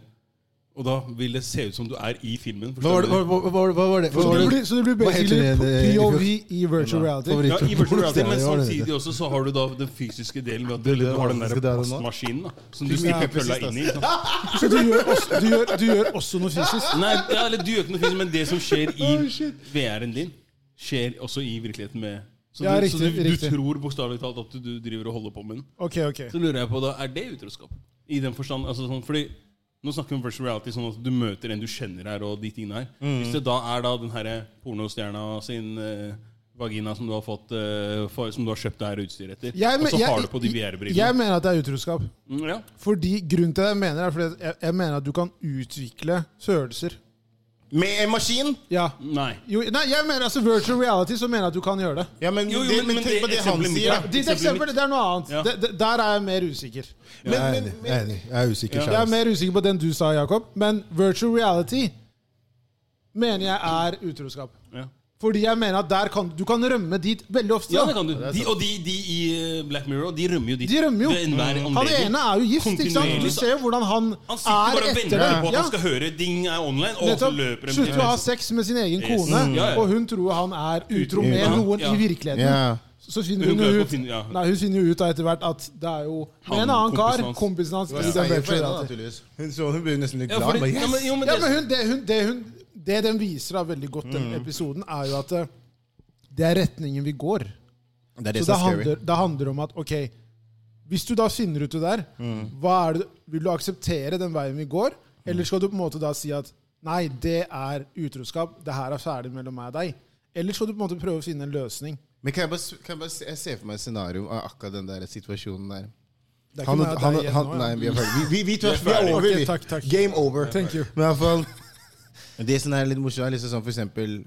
[SPEAKER 2] Og da vil det se ut som du er i filmen.
[SPEAKER 1] Hva var det? Hva, hva, hva, hva var det? Hva
[SPEAKER 4] Så
[SPEAKER 1] var
[SPEAKER 4] du
[SPEAKER 1] det?
[SPEAKER 4] blir, så du blir
[SPEAKER 1] Hva heter
[SPEAKER 4] basically
[SPEAKER 1] det, det-
[SPEAKER 4] POV i virtual reality?
[SPEAKER 1] Favoritt-
[SPEAKER 2] Ja, i virtual reality, Men
[SPEAKER 1] Ja,
[SPEAKER 2] sånn
[SPEAKER 1] det var det.
[SPEAKER 2] samtidig også så har du da den fysiske delen ved at
[SPEAKER 3] Det-
[SPEAKER 2] du
[SPEAKER 3] det
[SPEAKER 2] har den
[SPEAKER 3] var-
[SPEAKER 2] der
[SPEAKER 3] skal det ha det nå?
[SPEAKER 2] plastmaskinen da, som du
[SPEAKER 3] Tusen
[SPEAKER 2] stikker
[SPEAKER 3] hjertelig
[SPEAKER 2] kølla
[SPEAKER 3] sist,
[SPEAKER 2] inn i. ikke sant?
[SPEAKER 4] Så du gjør, også, du, gjør, du gjør også noe fysisk?
[SPEAKER 2] Nei, ja, eller du gjør ikke noe fysisk, men det som skjer i VR-en din, skjer også i virkeligheten med Så,
[SPEAKER 4] Ja,
[SPEAKER 2] du,
[SPEAKER 4] riktig,
[SPEAKER 2] så du,
[SPEAKER 4] riktig.
[SPEAKER 2] du tror bokstavelig talt at du, du driver og holder på med den.
[SPEAKER 4] Ok, ok.
[SPEAKER 2] Så lurer jeg på da, er det utroskap? I den forstand, altså sånn, fordi Nå snakker vi om virtual reality, sånn at du møter en du kjenner her. og de tingene her
[SPEAKER 4] Mm.
[SPEAKER 2] Hvis det da er da den her eh, pornostjerna sin eh, vagina som du har fått eh, for, Som du har kjøpt det her utstyret etter,
[SPEAKER 4] Jeg
[SPEAKER 2] og
[SPEAKER 4] men-
[SPEAKER 2] så har
[SPEAKER 4] jeg-
[SPEAKER 2] du på de
[SPEAKER 4] Jeg
[SPEAKER 2] VR-brillene
[SPEAKER 4] mener at det er utroskap.
[SPEAKER 2] mm, ja.
[SPEAKER 4] Fordi Grunnen til det jeg mener, er fordi at jeg, jeg mener at du kan utvikle følelser.
[SPEAKER 3] Med en maskin?
[SPEAKER 4] Ja.
[SPEAKER 2] Nei.
[SPEAKER 4] Jo, nei, jeg mener altså virtual reality, så mener jeg at du kan gjøre det.
[SPEAKER 3] Ja, men,
[SPEAKER 2] Jo, jo,
[SPEAKER 3] det,
[SPEAKER 2] men-
[SPEAKER 3] men,
[SPEAKER 2] men
[SPEAKER 3] tenk
[SPEAKER 2] det
[SPEAKER 3] på det han
[SPEAKER 2] eksempelet mitt-
[SPEAKER 3] sier, da.
[SPEAKER 2] Ja.
[SPEAKER 4] Ditt eksempel, det er noe annet.
[SPEAKER 2] Ja.
[SPEAKER 4] Det- det- der er jeg mer usikker.
[SPEAKER 1] Jeg er enig. Jeg er enig. Jeg er usikker
[SPEAKER 4] Jeg er
[SPEAKER 1] sjøl.
[SPEAKER 2] altså.
[SPEAKER 4] mer usikker på den du sa, Jakob, men virtual reality mener jeg er utroskap.
[SPEAKER 2] Ja.
[SPEAKER 4] Fordi jeg mener at der kan du kan rømme dit veldig ofte.
[SPEAKER 2] ja,
[SPEAKER 4] da.
[SPEAKER 2] det kan du. De, og de, de i eh, Black Mirror de rømmer jo dit.
[SPEAKER 4] De rømmer jo. Mm.
[SPEAKER 2] Ved enhver
[SPEAKER 4] Han
[SPEAKER 2] anledning.
[SPEAKER 4] ene er jo gift, ikke sant? Du
[SPEAKER 2] Kontinuerlig.
[SPEAKER 4] ser jo hvordan han,
[SPEAKER 2] Han sitter
[SPEAKER 4] er
[SPEAKER 2] bare og
[SPEAKER 4] etter
[SPEAKER 2] venter
[SPEAKER 4] det.
[SPEAKER 2] på at
[SPEAKER 4] Ja.
[SPEAKER 2] han skal høre ding er online, og så
[SPEAKER 4] Nettopp.
[SPEAKER 2] løper de
[SPEAKER 4] Slutter å ha sex med sin egen
[SPEAKER 2] Yes.
[SPEAKER 4] kone,
[SPEAKER 2] Mm. Ja, ja.
[SPEAKER 4] og hun tror han er utro med
[SPEAKER 2] Ja.
[SPEAKER 4] noen
[SPEAKER 2] Ja.
[SPEAKER 4] i virkeligheten.
[SPEAKER 3] Ja.
[SPEAKER 4] Så finner
[SPEAKER 2] Hun
[SPEAKER 4] hun,
[SPEAKER 2] klarer
[SPEAKER 4] jo
[SPEAKER 2] ikke å
[SPEAKER 4] ut
[SPEAKER 2] finne- ja.
[SPEAKER 4] Nei, hun finner jo ut da etter hvert at det er jo
[SPEAKER 2] Han,
[SPEAKER 4] en annen kar,
[SPEAKER 2] kompisen hans.
[SPEAKER 4] kompisen hans, i
[SPEAKER 3] Ja,
[SPEAKER 4] den
[SPEAKER 3] jeg er for
[SPEAKER 4] virtual
[SPEAKER 3] en, da,
[SPEAKER 4] reality.
[SPEAKER 3] naturligvis. Hun så hun ble jo nesten litt
[SPEAKER 2] Ja,
[SPEAKER 3] glad.
[SPEAKER 2] fordi,
[SPEAKER 3] bare,
[SPEAKER 2] ja, men,
[SPEAKER 3] yes!
[SPEAKER 2] jo, men
[SPEAKER 4] Ja,
[SPEAKER 2] det,
[SPEAKER 4] men hun, det, hun, det, hun, det den viser da veldig godt, den
[SPEAKER 2] Mm.
[SPEAKER 4] episoden, er jo at eh, det er retningen vi går.
[SPEAKER 3] Det er
[SPEAKER 4] Så det handler, det handler om at ok, hvis du da finner ut det der,
[SPEAKER 3] Mm.
[SPEAKER 4] hva er det, vil du akseptere den veien vi går? Eller skal du på en måte da si at nei, det er utroskap, det her er ferdig mellom meg og deg? Eller skal du på en måte prøve å finne en løsning?
[SPEAKER 3] Men kan jeg bare, s- kan jeg bare se, jeg ser for meg et scenario av akkurat den der situasjonen der.
[SPEAKER 4] Det er
[SPEAKER 3] Han,
[SPEAKER 4] meg og
[SPEAKER 3] han,
[SPEAKER 4] deg
[SPEAKER 3] han,
[SPEAKER 4] igjen nå, ja.
[SPEAKER 3] nei, vi er ferdig. Vi, vi, vi, vi, vi er
[SPEAKER 4] ferdig.
[SPEAKER 3] over,
[SPEAKER 4] Ok,
[SPEAKER 3] vi.
[SPEAKER 4] takk, takk.
[SPEAKER 3] Game over.
[SPEAKER 4] Thank you.
[SPEAKER 3] Men i hvert fall Det som er litt morsomt, er liksom sånn for eksempel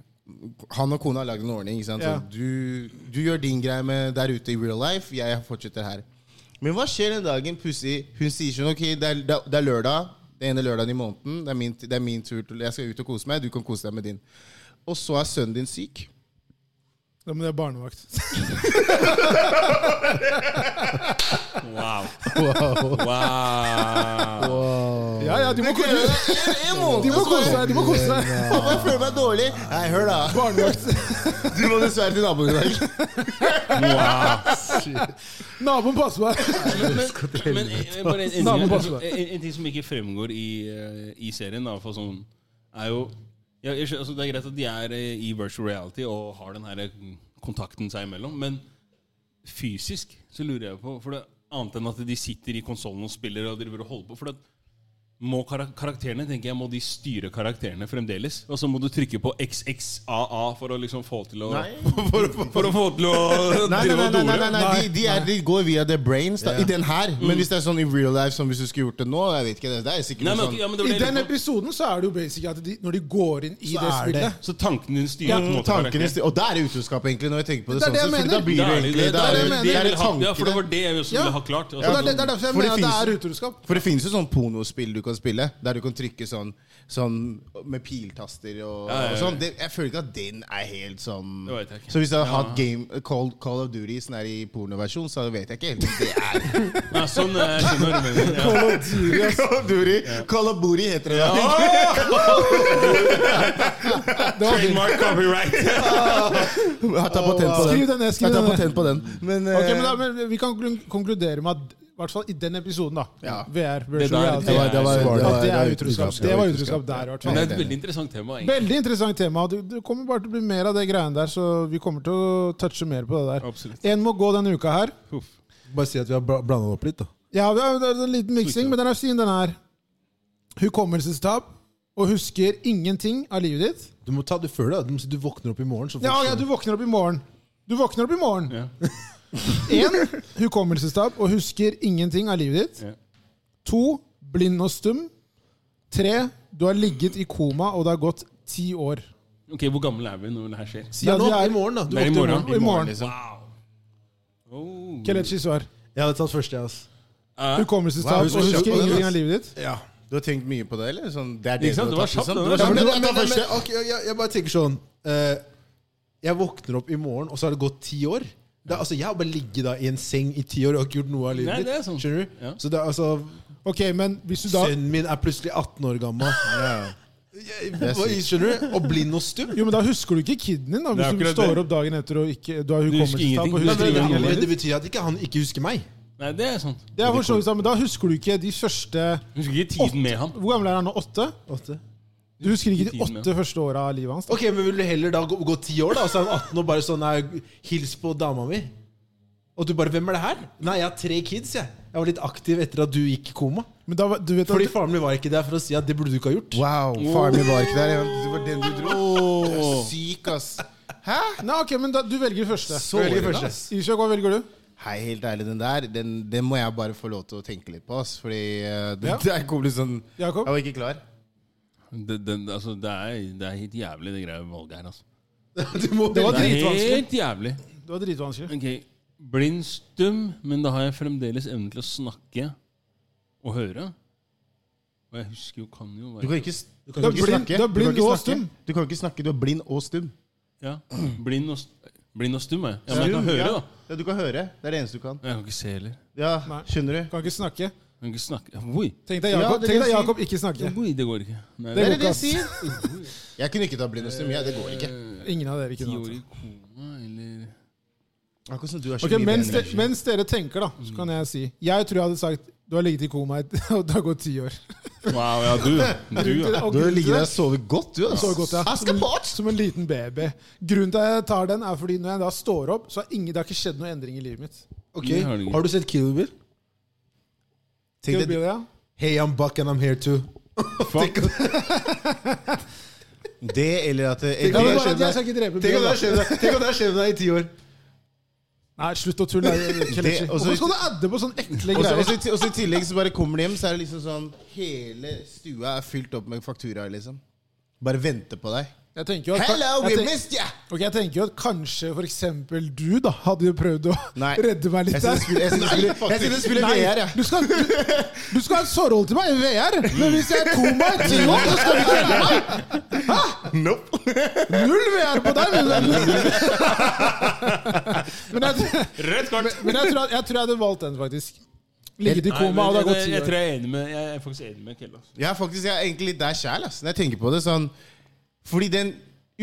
[SPEAKER 3] Han og kona har lagd en ordning. Ikke sant?
[SPEAKER 4] Ja.
[SPEAKER 3] Så du, du gjør din greie med der ute i real life, jeg fortsetter her. Men hva skjer den dagen pussig Hun sier sånn Ok, det er, det er lørdag. Den ene lørdagen i måneden. Det er, min, det er min tur til Jeg skal ut og kose meg. Du kan kose deg med din. Og så er sønnen din syk.
[SPEAKER 4] Ja, men det er barnevakt.
[SPEAKER 2] wow. wow.
[SPEAKER 4] Ja, ja, de må kose seg. De må kose seg. de må kose seg.
[SPEAKER 3] Pappa, jeg føler meg dårlig. Nei, hør da. Du må dessverre til naboen i dag.
[SPEAKER 4] Naboen passer meg.
[SPEAKER 2] Men, men, men eh, bare en, en,
[SPEAKER 4] Naboen
[SPEAKER 2] ting,
[SPEAKER 4] passer
[SPEAKER 2] altså, en, en ting som ikke fremgår i, eh, i serien, da, for sånn, er jo ja, jeg, skjø- altså, Det er greit at de er eh, i virtual reality og har den her eh, kontakten seg imellom, men fysisk så lurer jeg på For det annet enn at de sitter i konsollen og spiller og driver og holder på. For det, må karak karakterene tenker jeg, må de styre karakterene fremdeles? Og så må du trykke på XXAA for å liksom få til å for, å- for å få til å
[SPEAKER 3] Nei, nei,
[SPEAKER 2] drive
[SPEAKER 3] nei,
[SPEAKER 2] og
[SPEAKER 3] nei, nei,
[SPEAKER 2] dore.
[SPEAKER 3] nei, De, de, er, de går via the brains da, i den her. Men hvis det er sånn i real life, som hvis du skulle gjort det nå jeg vet ikke, det, det er sikkert
[SPEAKER 2] Nei, men,
[SPEAKER 3] noe
[SPEAKER 2] ok,
[SPEAKER 3] sånn
[SPEAKER 2] ja, men det var
[SPEAKER 4] I
[SPEAKER 2] det jeg
[SPEAKER 4] den
[SPEAKER 2] lurte på.
[SPEAKER 4] episoden så er det jo basic at de, når de går inn i
[SPEAKER 1] Så
[SPEAKER 4] det
[SPEAKER 1] er det.
[SPEAKER 4] spillet
[SPEAKER 2] Så tanken din styrer på en måte
[SPEAKER 3] Tankene,
[SPEAKER 2] karakteren.
[SPEAKER 3] sti- og der er utroskap, egentlig, når jeg tenker på det,
[SPEAKER 4] Det er
[SPEAKER 3] sånn.
[SPEAKER 4] det jeg
[SPEAKER 3] så- fordi
[SPEAKER 4] mener.
[SPEAKER 3] Da blir det
[SPEAKER 2] Det er
[SPEAKER 3] egentlig
[SPEAKER 2] det-
[SPEAKER 3] da
[SPEAKER 2] det er
[SPEAKER 3] er
[SPEAKER 4] det jeg
[SPEAKER 3] det-
[SPEAKER 4] mener.
[SPEAKER 3] det er
[SPEAKER 2] Jeg
[SPEAKER 3] en
[SPEAKER 2] vil ha- ja, for det
[SPEAKER 3] tanke.
[SPEAKER 2] var det jeg også
[SPEAKER 4] Ja.
[SPEAKER 2] ville ha klart.
[SPEAKER 4] Og
[SPEAKER 2] Altså,
[SPEAKER 4] det er, det er derfor jeg
[SPEAKER 3] For det
[SPEAKER 4] mener at det er
[SPEAKER 3] finnes-
[SPEAKER 4] utroskap.
[SPEAKER 3] For det finnes jo sånn pornospill du kan spille, der du kan trykke sånn, sånn med piltaster og,
[SPEAKER 2] Ja, ja, ja.
[SPEAKER 3] og sånn. Det, jeg føler ikke at den er helt sånn
[SPEAKER 2] Det vet jeg ikke.
[SPEAKER 3] Så hvis jeg hadde hatt game, Call, Call of Duty sånn her i pornoversjon, så vet jeg ikke helt om det er
[SPEAKER 2] Nei, sånn eh, jeg skjønner hva du mener. Ja.
[SPEAKER 3] Call of Duty, Call of Booty heter det. Ja.
[SPEAKER 2] Trademark copyright.
[SPEAKER 3] Jeg tar patent på den.
[SPEAKER 4] Skriv den ned, skriv
[SPEAKER 3] jeg tar
[SPEAKER 4] den ned.
[SPEAKER 3] patent på den. Men,
[SPEAKER 4] Ok,
[SPEAKER 3] eh,
[SPEAKER 4] men, da, men Vi kan klun- konkludere med at i hvert fall i den episoden, da
[SPEAKER 3] Ja.
[SPEAKER 4] VR,
[SPEAKER 2] Det der-
[SPEAKER 4] virtual reality
[SPEAKER 2] det
[SPEAKER 3] var- det var- det var-
[SPEAKER 4] At det
[SPEAKER 3] det
[SPEAKER 4] er
[SPEAKER 3] var
[SPEAKER 4] utroskap.
[SPEAKER 3] utroskap.
[SPEAKER 4] Det var utroskap der, i hvert
[SPEAKER 2] Men
[SPEAKER 4] fall.
[SPEAKER 2] det er et veldig interessant tema. egentlig.
[SPEAKER 4] Veldig interessant tema. Det det kommer bare til å bli mer av det greiene der, så vi kommer til å touche mer på det der.
[SPEAKER 2] Absolutt.
[SPEAKER 4] En må gå denne uka her.
[SPEAKER 1] Bare si at vi har blanda opp litt, da.
[SPEAKER 4] Ja, vi har- det er en liten miksing, men den er fin, den her. Hukommelsestap og husker ingenting av livet ditt.
[SPEAKER 1] Du må ta det før det. da. Du, må si du våkner opp i morgen. Så får
[SPEAKER 4] Ja,
[SPEAKER 1] du
[SPEAKER 4] ja,
[SPEAKER 1] se.
[SPEAKER 4] du våkner opp i morgen. Du våkner opp i morgen.
[SPEAKER 2] Ja.
[SPEAKER 4] Én hukommelsestap og husker ingenting av livet ditt.
[SPEAKER 2] Ja.
[SPEAKER 4] To, blind og stum. Tre, du har ligget i koma, og det har gått ti år.
[SPEAKER 5] Ok, Hvor gammel er vi når det her skjer?
[SPEAKER 4] Si at vi
[SPEAKER 1] nå,
[SPEAKER 4] er
[SPEAKER 1] i morgen, da. Du
[SPEAKER 5] Det er i
[SPEAKER 1] våkner
[SPEAKER 5] morgen.
[SPEAKER 4] i morgen.
[SPEAKER 3] liksom.
[SPEAKER 5] Oh.
[SPEAKER 4] Kelechi svar.
[SPEAKER 1] Jeg hadde tatt første, jeg, ass.
[SPEAKER 5] Eh,
[SPEAKER 4] Hukommelsestap.
[SPEAKER 3] Wow,
[SPEAKER 4] Og
[SPEAKER 3] så kjapt
[SPEAKER 4] husker
[SPEAKER 3] på den,
[SPEAKER 4] ingenting
[SPEAKER 3] ass.
[SPEAKER 4] av livet ditt.
[SPEAKER 1] Ja.
[SPEAKER 3] Du har tenkt mye på det, eller? Sånn, det er det
[SPEAKER 5] Ikke sant?
[SPEAKER 3] du
[SPEAKER 5] Det var
[SPEAKER 3] har tatt,
[SPEAKER 5] kjapt, det var
[SPEAKER 3] liksom? Det
[SPEAKER 1] Ja,
[SPEAKER 3] var kjapt.
[SPEAKER 1] men,
[SPEAKER 3] Men,
[SPEAKER 1] men,
[SPEAKER 3] men,
[SPEAKER 1] men,
[SPEAKER 3] men,
[SPEAKER 1] men, ok, jeg, jeg bare tenker sånn eh, Jeg våkner opp i morgen, og så har det gått ti år. Det, er- altså, jeg har bare ligget da, i en seng i ti år og har ikke gjort noe av livet
[SPEAKER 5] Nei,
[SPEAKER 1] mitt.
[SPEAKER 5] det er sånn.
[SPEAKER 1] Skjønner du?
[SPEAKER 5] Ja.
[SPEAKER 1] Så det er altså
[SPEAKER 4] Ok, men hvis du da
[SPEAKER 1] Sønnen min er plutselig 18 år gammel. Jeg-
[SPEAKER 3] Det er
[SPEAKER 1] hva-
[SPEAKER 3] sykt.
[SPEAKER 1] Skjønner du? Og blind og stum.
[SPEAKER 4] Jo, men da husker du ikke kiden din, da.
[SPEAKER 5] Det er
[SPEAKER 4] Hvis du
[SPEAKER 5] akkurat
[SPEAKER 4] står
[SPEAKER 5] det.
[SPEAKER 4] opp dagen etter og ikke Du har
[SPEAKER 5] ingenting.
[SPEAKER 4] hukommelsestap. og
[SPEAKER 5] Nei,
[SPEAKER 1] Men
[SPEAKER 4] husker
[SPEAKER 1] det,
[SPEAKER 5] er
[SPEAKER 4] ingenting av
[SPEAKER 1] men
[SPEAKER 4] livet
[SPEAKER 1] det
[SPEAKER 4] ditt.
[SPEAKER 1] betyr at ikke han ikke husker meg.
[SPEAKER 5] nei, det er sånn.
[SPEAKER 4] Det er for så vidt sant, men da husker du ikke de første
[SPEAKER 5] Husker ikke tiden med han.
[SPEAKER 4] Hvor gammel er han nå? Åtte?
[SPEAKER 1] Åtte.
[SPEAKER 4] Du husker ikke de
[SPEAKER 5] Tiden, ja.
[SPEAKER 4] åtte første åra av livet hans? da?
[SPEAKER 1] Ok, men Vil du heller da gå, gå ti år, da, og så er han 18 og bare sånn nei, 'Hils på dama mi'? Og du bare 'Hvem er det her?' Nei, jeg har tre kids, jeg. Jeg var litt aktiv etter at du gikk i koma.
[SPEAKER 4] Men da, var- du vet
[SPEAKER 1] Fordi
[SPEAKER 4] at
[SPEAKER 1] faren min var ikke der for å si at det burde du ikke ha gjort.
[SPEAKER 3] Wow, faren min var ikke der. ja. Det var den du dro.
[SPEAKER 4] Oh.
[SPEAKER 3] Du er Syk, ass. Hæ?
[SPEAKER 4] Nei, ok, men da, du velger første.
[SPEAKER 3] Sårende, ass.
[SPEAKER 4] Ishak, hva velger du?
[SPEAKER 3] Hei, helt ærlig, den der, den, den må jeg bare få lov til å tenke litt på, ass. Fordi eh, den
[SPEAKER 4] Ja.
[SPEAKER 3] der kom litt sånn
[SPEAKER 4] Jakob?
[SPEAKER 3] Jeg var ikke klar.
[SPEAKER 5] Det, det, altså, det, er, det er helt jævlig, det greia valget her. altså.
[SPEAKER 1] Du må
[SPEAKER 4] Det var
[SPEAKER 5] Det er
[SPEAKER 4] dritvanskelig.
[SPEAKER 5] helt jævlig.
[SPEAKER 4] Det var dritvanskelig.
[SPEAKER 5] Ok, Blind stum, men da har jeg fremdeles evnen til å snakke og høre. Og jeg husker jo kan jo være
[SPEAKER 3] Du kan ikke, s- du kan
[SPEAKER 4] Du er
[SPEAKER 3] ikke
[SPEAKER 4] blind-
[SPEAKER 3] snakke.
[SPEAKER 4] du er blind
[SPEAKER 3] du kan
[SPEAKER 4] og
[SPEAKER 3] ikke snakke.
[SPEAKER 4] stum.
[SPEAKER 3] Du kan ikke snakke, du er blind og stum.
[SPEAKER 5] ja, blind, og, st- blind og stum. er Jeg. Ja, men jeg kan
[SPEAKER 3] Stum,
[SPEAKER 5] høre,
[SPEAKER 3] ja.
[SPEAKER 5] da.
[SPEAKER 3] Ja, du kan høre. Det er det eneste du kan.
[SPEAKER 5] Men Jeg kan ikke se heller.
[SPEAKER 3] Ja,
[SPEAKER 4] Nei.
[SPEAKER 3] Skjønner du?
[SPEAKER 4] Kan ikke snakke.
[SPEAKER 5] Jeg kan ikke snakke Oi,
[SPEAKER 4] Tenk deg
[SPEAKER 3] Ja, det kan
[SPEAKER 4] Jakob, tenk deg
[SPEAKER 3] jeg si.
[SPEAKER 4] Jakob ikke snakke.
[SPEAKER 5] oi det går ikke. Nei,
[SPEAKER 3] Det er
[SPEAKER 4] Det går
[SPEAKER 3] det
[SPEAKER 4] ikke,
[SPEAKER 3] jeg
[SPEAKER 4] ass.
[SPEAKER 3] sier. Jeg kunne ikke ta blind og stum. Ja, det går ikke.
[SPEAKER 4] Ingen av dere
[SPEAKER 5] ti
[SPEAKER 4] kunne
[SPEAKER 5] år i
[SPEAKER 4] hatt det.
[SPEAKER 5] koma, eller
[SPEAKER 3] Akkurat som du er så
[SPEAKER 4] Ok,
[SPEAKER 3] mye
[SPEAKER 4] mens,
[SPEAKER 3] bedre
[SPEAKER 4] de,
[SPEAKER 3] enn meg.
[SPEAKER 4] mens dere tenker, da, så kan jeg si Jeg tror jeg hadde sagt du har ligget i koma, i- og det har gått ti år.
[SPEAKER 5] Wow, ja, du. Du, ja.
[SPEAKER 4] Og
[SPEAKER 3] Du har
[SPEAKER 4] grunnen til
[SPEAKER 3] ligget der
[SPEAKER 4] det-
[SPEAKER 3] og sovet godt, du. ass.
[SPEAKER 4] Sovet godt, ja. Mm.
[SPEAKER 3] Askepott!
[SPEAKER 4] Som en liten baby. Grunnen til at jeg tar den, er fordi når jeg da står opp, så har ingen, det har ikke skjedd noen endring i livet mitt.
[SPEAKER 1] Ok,
[SPEAKER 5] Det har du ikke.
[SPEAKER 1] Har du sett Kill Bill?
[SPEAKER 4] Skal
[SPEAKER 1] Tenk
[SPEAKER 4] det bli
[SPEAKER 1] deg,
[SPEAKER 4] det, ja?
[SPEAKER 1] Hey, I'm back and I'm here too.
[SPEAKER 3] Det eller at
[SPEAKER 4] Ja, men
[SPEAKER 1] om det
[SPEAKER 4] bare
[SPEAKER 1] skjer
[SPEAKER 4] at jeg skal ikke drepe
[SPEAKER 1] Tenk om det
[SPEAKER 4] Bjørn, da.
[SPEAKER 1] har skjedd deg- tenk om det har skjedd deg i ti år.
[SPEAKER 4] Nei, slutt å tulle. Kelechi.
[SPEAKER 3] Det- og så-
[SPEAKER 4] Hvorfor skal du adde på sånne ekle
[SPEAKER 3] Og så- og
[SPEAKER 4] greier? Altså,
[SPEAKER 3] så i ti- og så i tillegg så bare kommer de hjem, så er det liksom sånn Hele stua er fylt opp med fakturaer, liksom. Bare venter på deg.
[SPEAKER 4] Jeg tenker jo at,
[SPEAKER 3] Hello, we
[SPEAKER 4] jeg tenker,
[SPEAKER 3] missed ya!
[SPEAKER 4] ok, jeg tenker jo at kanskje for eksempel du da hadde jo prøvd å
[SPEAKER 3] Nei.
[SPEAKER 4] redde meg
[SPEAKER 3] Jeg
[SPEAKER 4] litt
[SPEAKER 3] sitter og
[SPEAKER 4] der.
[SPEAKER 3] spiller- jeg sitter og spiller- jeg sitter og spiller
[SPEAKER 4] Nei,
[SPEAKER 3] VR, jeg.
[SPEAKER 4] Du skal, du, du skal ha et forhold til meg i VR, men hvis jeg er koma i ti år, så skal du ikke redde meg!
[SPEAKER 3] Nope.
[SPEAKER 4] Null VR på deg! Men, men, jeg,
[SPEAKER 5] Rødt kart!
[SPEAKER 4] men jeg, tror at, jeg tror jeg hadde valgt den, faktisk. Ligget i
[SPEAKER 5] Nei,
[SPEAKER 4] koma,
[SPEAKER 5] men
[SPEAKER 4] og det har
[SPEAKER 5] jeg,
[SPEAKER 4] gått
[SPEAKER 5] jeg,
[SPEAKER 4] ti
[SPEAKER 5] jeg
[SPEAKER 4] år.
[SPEAKER 5] tror jeg er enig med Jeg er faktisk enig med Kelle. altså.
[SPEAKER 3] Jeg er faktisk jeg er egentlig litt der sjæl, ass. Når jeg tenker på det sånn Fordi den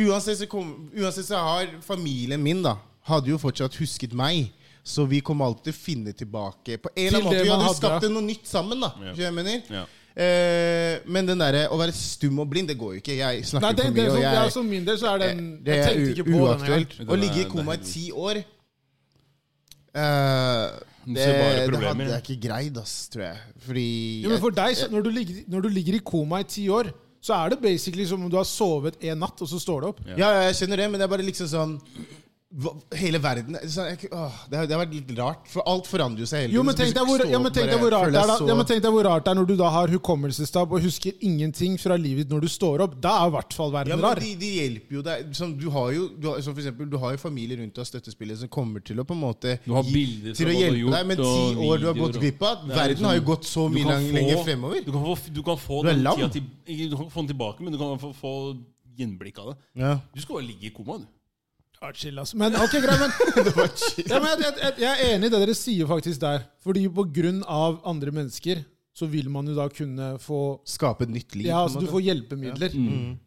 [SPEAKER 3] Uansett så, kom, uansett så har familien min, da, hadde jo fortsatt husket meg. Så vi kommer alltid til å finne tilbake på en eller
[SPEAKER 4] Til
[SPEAKER 3] annen måte.
[SPEAKER 4] det
[SPEAKER 3] Vi hadde
[SPEAKER 4] man
[SPEAKER 3] jo
[SPEAKER 4] hadde, ja.
[SPEAKER 3] skapt noe nytt sammen, da. Skjønner du hva Jeg mener.
[SPEAKER 5] Ja.
[SPEAKER 3] Eh, men den derre å være stum og blind, det går jo ikke. Jeg
[SPEAKER 4] Nei,
[SPEAKER 3] snakker
[SPEAKER 4] det,
[SPEAKER 3] for
[SPEAKER 4] det, sånn
[SPEAKER 3] mye.
[SPEAKER 4] for,
[SPEAKER 3] og
[SPEAKER 4] ja,
[SPEAKER 3] jeg,
[SPEAKER 4] for min del så Eh, er den
[SPEAKER 3] det
[SPEAKER 4] Jeg
[SPEAKER 3] er
[SPEAKER 4] tenkte
[SPEAKER 3] u
[SPEAKER 4] ikke på den engang.
[SPEAKER 3] uaktuelt.
[SPEAKER 5] gang.
[SPEAKER 3] Å ligge
[SPEAKER 5] Det
[SPEAKER 3] i
[SPEAKER 5] er-
[SPEAKER 3] koma i
[SPEAKER 5] det er
[SPEAKER 3] ti år eh, det,
[SPEAKER 5] ser bare
[SPEAKER 3] det
[SPEAKER 5] problemer,
[SPEAKER 3] hadde
[SPEAKER 5] ja.
[SPEAKER 3] jeg ikke greid, ass, tror jeg. Fordi
[SPEAKER 4] Jo, men for deg, så, når, du ligger, når du ligger i koma i ti år, så er det basically som om du har sovet en natt, og så står du opp.
[SPEAKER 3] ja. ja, jeg skjønner det, men det er bare liksom sånn hva- Hele verden sånn, jeg, åh, det, har, det har vært litt rart, for alt forandrer jo seg hele
[SPEAKER 4] Jo, men tenk deg hvor, ja, men tenk deg hvor rart det er da. Ja, men tenk deg hvor rart det er når du da har hukommelsestap og husker ingenting fra livet ditt når du står opp. Da er i hvert
[SPEAKER 3] Ja,
[SPEAKER 4] fall verden
[SPEAKER 3] men
[SPEAKER 4] rar.
[SPEAKER 3] de, de hjelper jo deg. Som du har jo, du har, som for eksempel, du har jo familie rundt deg og støttespillere som kommer til å på en måte
[SPEAKER 5] Du har
[SPEAKER 3] gi-
[SPEAKER 5] bilder
[SPEAKER 3] til
[SPEAKER 5] fra
[SPEAKER 3] å
[SPEAKER 5] hva du har
[SPEAKER 3] hjelpe deg. Men
[SPEAKER 5] gjort, og
[SPEAKER 3] ti år du har gått
[SPEAKER 5] videoer, og-
[SPEAKER 3] glipp av
[SPEAKER 5] Det er
[SPEAKER 3] Verden
[SPEAKER 5] liksom-
[SPEAKER 3] har jo gått så
[SPEAKER 5] Du
[SPEAKER 3] mye
[SPEAKER 5] kan
[SPEAKER 3] lang,
[SPEAKER 5] få-
[SPEAKER 3] lenger fremover.
[SPEAKER 5] Du kan få, du kan få
[SPEAKER 3] Du er
[SPEAKER 5] den
[SPEAKER 3] lam.
[SPEAKER 5] tida til, ikke, du kan få den tilbake, men du kan få, få gjenblikk av det.
[SPEAKER 3] Ja.
[SPEAKER 5] Du skal bare ligge i koma, du.
[SPEAKER 4] Ja, chill, ass. Men ok, greit, men, ja, men jeg, jeg, jeg- jeg er enig i det dere sier faktisk der. Fordi på grunn av andre mennesker, så vil man jo da kunne få
[SPEAKER 3] Skape et nytt liv. på
[SPEAKER 4] Ja,
[SPEAKER 3] en
[SPEAKER 4] altså du
[SPEAKER 3] måte.
[SPEAKER 4] får hjelpemidler.
[SPEAKER 3] Mm.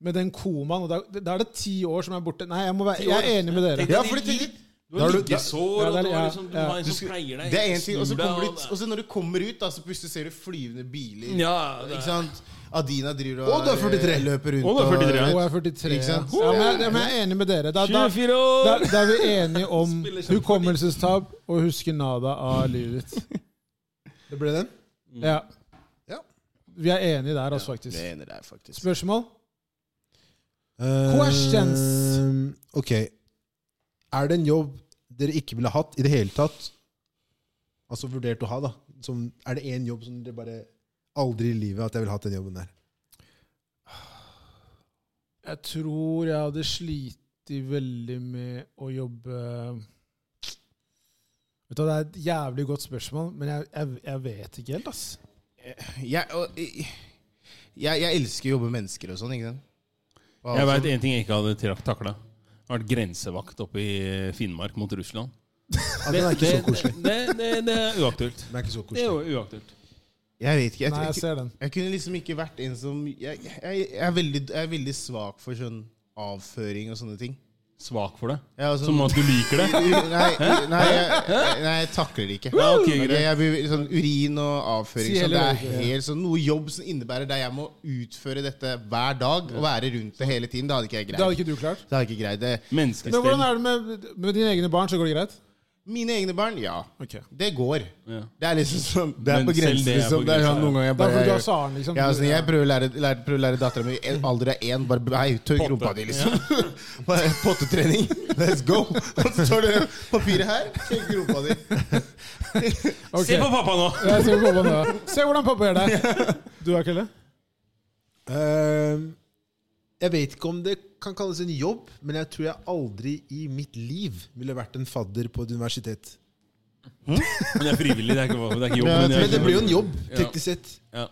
[SPEAKER 4] Med den komaen, og da- da er det ti år som er borte. Nei, jeg, må være, jeg er enig med dere.
[SPEAKER 3] Ja, fordi tenk-
[SPEAKER 5] Du
[SPEAKER 3] Da
[SPEAKER 5] har
[SPEAKER 3] er du-
[SPEAKER 5] liggesår,
[SPEAKER 4] ja,
[SPEAKER 5] og
[SPEAKER 4] det er-
[SPEAKER 5] du har
[SPEAKER 4] ja,
[SPEAKER 5] liksom, du
[SPEAKER 4] ja.
[SPEAKER 5] har en
[SPEAKER 3] Du
[SPEAKER 5] som
[SPEAKER 3] skal-
[SPEAKER 5] pleier deg.
[SPEAKER 3] Det er en ting, og så
[SPEAKER 5] snur deg,
[SPEAKER 3] kommer
[SPEAKER 5] og
[SPEAKER 3] du, og så når du kommer ut, da, så plutselig ser du flyvende biler.
[SPEAKER 5] Ja, det
[SPEAKER 3] Ikke
[SPEAKER 5] er-
[SPEAKER 3] sant? Adina driver og
[SPEAKER 1] Og du er 43.
[SPEAKER 3] løper rundt
[SPEAKER 5] Og du er 43.
[SPEAKER 4] Og jeg er 43.
[SPEAKER 3] Ikke sant?
[SPEAKER 4] Ja, men, jeg, ja, men jeg er enig med dere. Da, da,
[SPEAKER 5] 24
[SPEAKER 4] da,
[SPEAKER 5] år!
[SPEAKER 4] da er vi enige om
[SPEAKER 5] Spiller kjempeparti.
[SPEAKER 4] hukommelsestap og husker nada av livet ditt.
[SPEAKER 1] Det ble den.
[SPEAKER 4] Ja.
[SPEAKER 1] Ja.
[SPEAKER 4] Vi er enige der, altså,
[SPEAKER 3] Det
[SPEAKER 4] faktisk.
[SPEAKER 3] ene der, faktisk.
[SPEAKER 4] Spørsmål?
[SPEAKER 1] Eh,
[SPEAKER 4] Questions.
[SPEAKER 1] ok. Er det en jobb dere ikke ville hatt i det hele tatt, altså vurdert å ha, da? Som, er det én jobb som dere bare Aldri i livet at jeg ville hatt den jobben der.
[SPEAKER 4] Jeg tror jeg hadde slitt veldig med å jobbe Vet du, hva, Det er et jævlig godt spørsmål, men jeg, jeg, jeg vet ikke helt. ass.
[SPEAKER 3] Jeg, og, jeg, jeg elsker å jobbe med mennesker og sånn, ikke sant? Og
[SPEAKER 2] Jeg
[SPEAKER 3] altså-
[SPEAKER 2] veit én ting jeg ikke hadde takla. Vært grensevakt oppe i Finnmark mot Russland.
[SPEAKER 1] Ja, Altså, den er ikke så koselig.
[SPEAKER 2] Det, det, det er uaktuelt.
[SPEAKER 1] Den er ikke så
[SPEAKER 2] Det er
[SPEAKER 1] koselig.
[SPEAKER 2] jo uaktuelt.
[SPEAKER 3] Jeg vet ikke. Jeg,
[SPEAKER 4] Nei,
[SPEAKER 3] jeg,
[SPEAKER 4] jeg ser den.
[SPEAKER 3] Jeg kunne liksom ikke vært en som Jeg, jeg, jeg, er, veldig, jeg er veldig svak for sånn avføring og sånne ting.
[SPEAKER 2] Svak for det.
[SPEAKER 3] Jeg er sånn-
[SPEAKER 2] Som at du liker det.
[SPEAKER 3] Nei, nei, jeg, nei, jeg takler det ikke.
[SPEAKER 2] Ja, ok, greit.
[SPEAKER 3] Jeg- jeg blir sånn Urin og avføring
[SPEAKER 4] Si
[SPEAKER 3] sånn,
[SPEAKER 4] heller
[SPEAKER 3] Det er
[SPEAKER 4] det, ja.
[SPEAKER 3] helt sånn noe jobb som innebærer der jeg må utføre dette hver dag og være rundt det hele tiden. Det hadde ikke jeg
[SPEAKER 4] Det
[SPEAKER 3] greid.
[SPEAKER 4] hadde ikke du klart.
[SPEAKER 3] Det hadde jeg ikke greid det.
[SPEAKER 4] Men hvordan
[SPEAKER 2] Menneskestell.
[SPEAKER 4] er det med, med dine egne barn? Så går det greit?
[SPEAKER 3] Mine egne barn, ja.
[SPEAKER 4] Ok.
[SPEAKER 3] Det går.
[SPEAKER 2] Ja.
[SPEAKER 3] Det er liksom sånn Det er
[SPEAKER 2] Men
[SPEAKER 3] på
[SPEAKER 2] selv
[SPEAKER 3] grensen,
[SPEAKER 2] det er på
[SPEAKER 3] liksom. Det er
[SPEAKER 2] grensen, ja.
[SPEAKER 3] sånn noen ganger jeg
[SPEAKER 4] Det
[SPEAKER 3] bare
[SPEAKER 4] er fordi du har saren, liksom.
[SPEAKER 3] Ja, altså, jeg prøver å lære, lære, prøver å lære dattera mi en alder av én. Bare hei, tørk rumpa di, liksom. Bare Pottetrening. Let's go! Og så tar du papiret her, tørk rumpa di.
[SPEAKER 4] Ok.
[SPEAKER 2] Se på pappa nå!
[SPEAKER 4] Jeg ser på pappa nå. Se hvordan pappa gjør det. Du da, Kelle?
[SPEAKER 1] Ehm, jeg vet ikke om det kan kalles en jobb, men jeg tror jeg aldri i mitt liv ville vært en fadder på et universitet.
[SPEAKER 2] Men det er frivillig. Det er ikke, det er ikke jobb.
[SPEAKER 3] Men
[SPEAKER 1] Men
[SPEAKER 2] jeg-
[SPEAKER 1] det blir jo en jobb,
[SPEAKER 2] Ja.
[SPEAKER 1] teknisk sett.
[SPEAKER 2] Ja.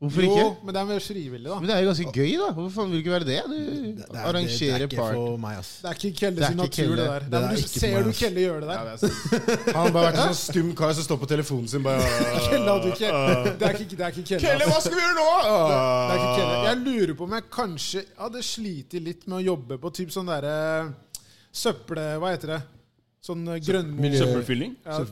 [SPEAKER 3] Hvorfor
[SPEAKER 4] Jo,
[SPEAKER 3] ikke?
[SPEAKER 4] men det er mer frivillig, da.
[SPEAKER 3] Men det er jo ganske gøy, da. Hvorfor faen vil du ikke være det? Du
[SPEAKER 1] Det er-
[SPEAKER 3] arrangerer
[SPEAKER 1] det, det er ikke
[SPEAKER 3] party.
[SPEAKER 1] for meg, ass.
[SPEAKER 4] Det er ikke Kelle
[SPEAKER 3] Det er
[SPEAKER 4] sin
[SPEAKER 3] ikke
[SPEAKER 4] natur,
[SPEAKER 3] Kelle.
[SPEAKER 4] det der.
[SPEAKER 1] Det
[SPEAKER 4] Det
[SPEAKER 1] er
[SPEAKER 4] er,
[SPEAKER 1] ikke
[SPEAKER 4] du
[SPEAKER 1] for
[SPEAKER 4] ser
[SPEAKER 1] meg,
[SPEAKER 4] jo
[SPEAKER 1] ass.
[SPEAKER 4] Kelle gjøre det der.
[SPEAKER 3] Han har bare vært en sånn stum kar som står på telefonen sin bare
[SPEAKER 4] Kelle hadde ikke Det er ikke, det er ikke Kelle.
[SPEAKER 3] Kelle,
[SPEAKER 4] ass.
[SPEAKER 3] hva skal vi gjøre nå?
[SPEAKER 4] Det er ikke Kelle. Jeg lurer på om jeg kanskje hadde slitt litt med å jobbe på typ sånn derre søppel... Hva heter det? Sånn eh, grønnmo...
[SPEAKER 1] Miljø-
[SPEAKER 2] Søppelfylling?
[SPEAKER 4] Ja,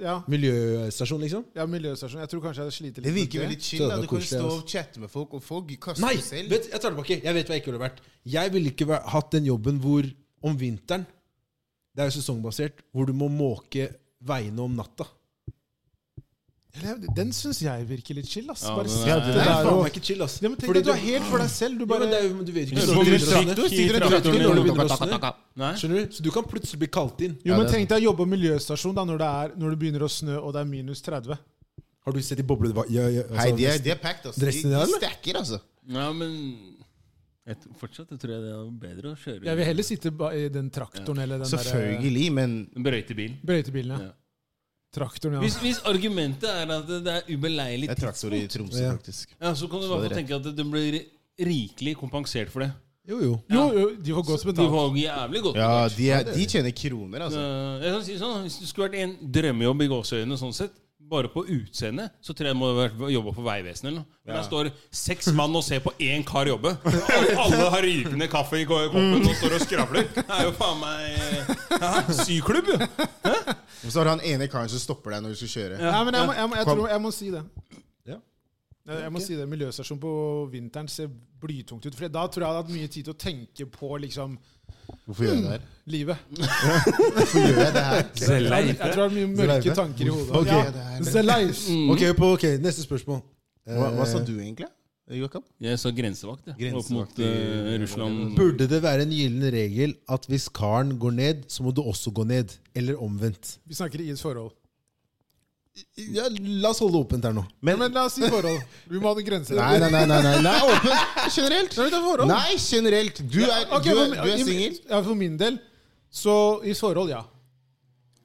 [SPEAKER 4] ja,
[SPEAKER 1] Miljøstasjon, liksom?
[SPEAKER 4] ja, miljøstasjon. Jeg tror kanskje jeg hadde slitt litt
[SPEAKER 3] Det
[SPEAKER 4] med
[SPEAKER 3] virker altså. veldig chill.
[SPEAKER 1] Så det
[SPEAKER 3] da
[SPEAKER 1] var
[SPEAKER 3] Du kan
[SPEAKER 1] koselig,
[SPEAKER 3] stå
[SPEAKER 1] ass.
[SPEAKER 3] og chatte med folk, og folk kaster
[SPEAKER 1] Nei!
[SPEAKER 3] selv.
[SPEAKER 1] Vet, jeg tar det tilbake. Jeg vet hva jeg ikke ville vært. Jeg ville ikke vært, hatt den jobben hvor om vinteren Det er jo sesongbasert. Hvor du må måke veiene om natta.
[SPEAKER 4] Eller, Den syns jeg virker litt chill, ass.
[SPEAKER 2] Ja,
[SPEAKER 4] Bare
[SPEAKER 2] men-
[SPEAKER 4] sitte
[SPEAKER 2] Ja,
[SPEAKER 1] Det
[SPEAKER 2] det
[SPEAKER 4] der
[SPEAKER 1] er faen
[SPEAKER 4] og
[SPEAKER 1] meg ikke chill, ass.
[SPEAKER 4] ja, men tenk
[SPEAKER 1] Fordi
[SPEAKER 4] at du er helt for deg selv.
[SPEAKER 1] Jo,
[SPEAKER 4] Du
[SPEAKER 1] men
[SPEAKER 4] bare
[SPEAKER 1] det er jo, men du vet jo ikke
[SPEAKER 2] Du
[SPEAKER 1] når
[SPEAKER 2] står
[SPEAKER 1] det
[SPEAKER 2] med
[SPEAKER 1] begynner å snø.
[SPEAKER 2] traktor,
[SPEAKER 1] Sitter
[SPEAKER 2] i
[SPEAKER 1] en traktor
[SPEAKER 2] traktoren.
[SPEAKER 1] når det begynner å snø.
[SPEAKER 2] Nei?
[SPEAKER 1] Skjønner du? Så du kan plutselig bli kalt inn.
[SPEAKER 4] Jo, men tenk deg å jobbe på miljøstasjon da når det, er, når det begynner å snø og det er minus 30.
[SPEAKER 1] Har du sett de boblene ja, ja, altså,
[SPEAKER 3] Hei, de er, de er packed, altså. De,
[SPEAKER 1] Dressen der,
[SPEAKER 3] de
[SPEAKER 1] eller?
[SPEAKER 3] stacker, altså.
[SPEAKER 2] Ja, men jeg, t- fortsatt jeg tror jeg det er bedre å kjøre
[SPEAKER 4] Jeg vil heller sitte ba- i den traktoren eller den der eh,
[SPEAKER 3] Selvfølgelig, men
[SPEAKER 2] brøytebil.
[SPEAKER 4] brøytebilen.
[SPEAKER 2] Ja.
[SPEAKER 4] Ja. Traktoren, ja.
[SPEAKER 2] Hvis, hvis argumentet er at det er ubeleilig
[SPEAKER 3] jeg trakk det i Tromsø,
[SPEAKER 1] Ja.
[SPEAKER 3] faktisk.
[SPEAKER 2] ja, så kan du i hvert fall tenke at de blir rikelig kompensert for det.
[SPEAKER 1] Jo, jo.
[SPEAKER 4] Jo, jo, de får godt
[SPEAKER 2] De
[SPEAKER 4] betalt.
[SPEAKER 2] var jævlig godt
[SPEAKER 3] Ja,
[SPEAKER 2] betalt.
[SPEAKER 3] de, er, de tjener kroner, altså.
[SPEAKER 2] Eh, Jeg kan si sånn, Hvis det skulle vært en drømmejobb i gåseøynene, sånn sett, bare på utseendet, så tror jeg det må ha vært jobba på Vegvesenet eller noe. Men der står seks mann og ser på én kar jobbe. Og alle har rykende kaffe i ko- koppen og står og skravler. Det er jo faen meg Hæ? syklubb, jo!
[SPEAKER 3] Og så har han ene karen som stopper deg når du skal kjøre.
[SPEAKER 4] Nei, men jeg må, jeg må, jeg
[SPEAKER 3] Kom.
[SPEAKER 4] tror, jeg må si det.
[SPEAKER 1] Ja.
[SPEAKER 4] Jeg, jeg må si det, Miljøstasjon på vinteren ser blytungt ut. For da tror jeg jeg hadde hatt mye tid til å tenke på liksom
[SPEAKER 3] Hvorfor gjør jeg det her?
[SPEAKER 4] livet.
[SPEAKER 3] Hvorfor gjør jeg det her?
[SPEAKER 4] Jeg, jeg tror jeg hadde mye mørke
[SPEAKER 1] Leive.
[SPEAKER 4] tanker i hodet.
[SPEAKER 3] Hvorfor gjør jeg
[SPEAKER 4] Ja,
[SPEAKER 3] det her?
[SPEAKER 4] the life.
[SPEAKER 1] Ok, på, ok, neste spørsmål.
[SPEAKER 3] Hva, hva sa
[SPEAKER 1] Eh,
[SPEAKER 3] du egentlig, Joakim?
[SPEAKER 2] Jeg sa grensevakt, jeg.
[SPEAKER 3] Grensevakt
[SPEAKER 2] Opp mot eh,
[SPEAKER 3] i-
[SPEAKER 2] Russland.
[SPEAKER 1] Burde det være en gyllen regel at hvis karen går ned, så må du også gå ned? Eller omvendt?
[SPEAKER 4] Vi snakker i et forhold.
[SPEAKER 1] Ja, la oss holde det åpent her nå.
[SPEAKER 4] Men, la oss si forhold. Vi må ha noen grenser.
[SPEAKER 3] Nei, nei, nei. nei, nei, nei åpen. Generelt.
[SPEAKER 4] Skal vi ta forhold?
[SPEAKER 3] Nei, generelt. Du er,
[SPEAKER 4] Ok,
[SPEAKER 3] du
[SPEAKER 4] for
[SPEAKER 3] er,
[SPEAKER 4] min-
[SPEAKER 3] du er
[SPEAKER 4] i-
[SPEAKER 3] singel.
[SPEAKER 4] Ja, for min del. Så i forhold, ja.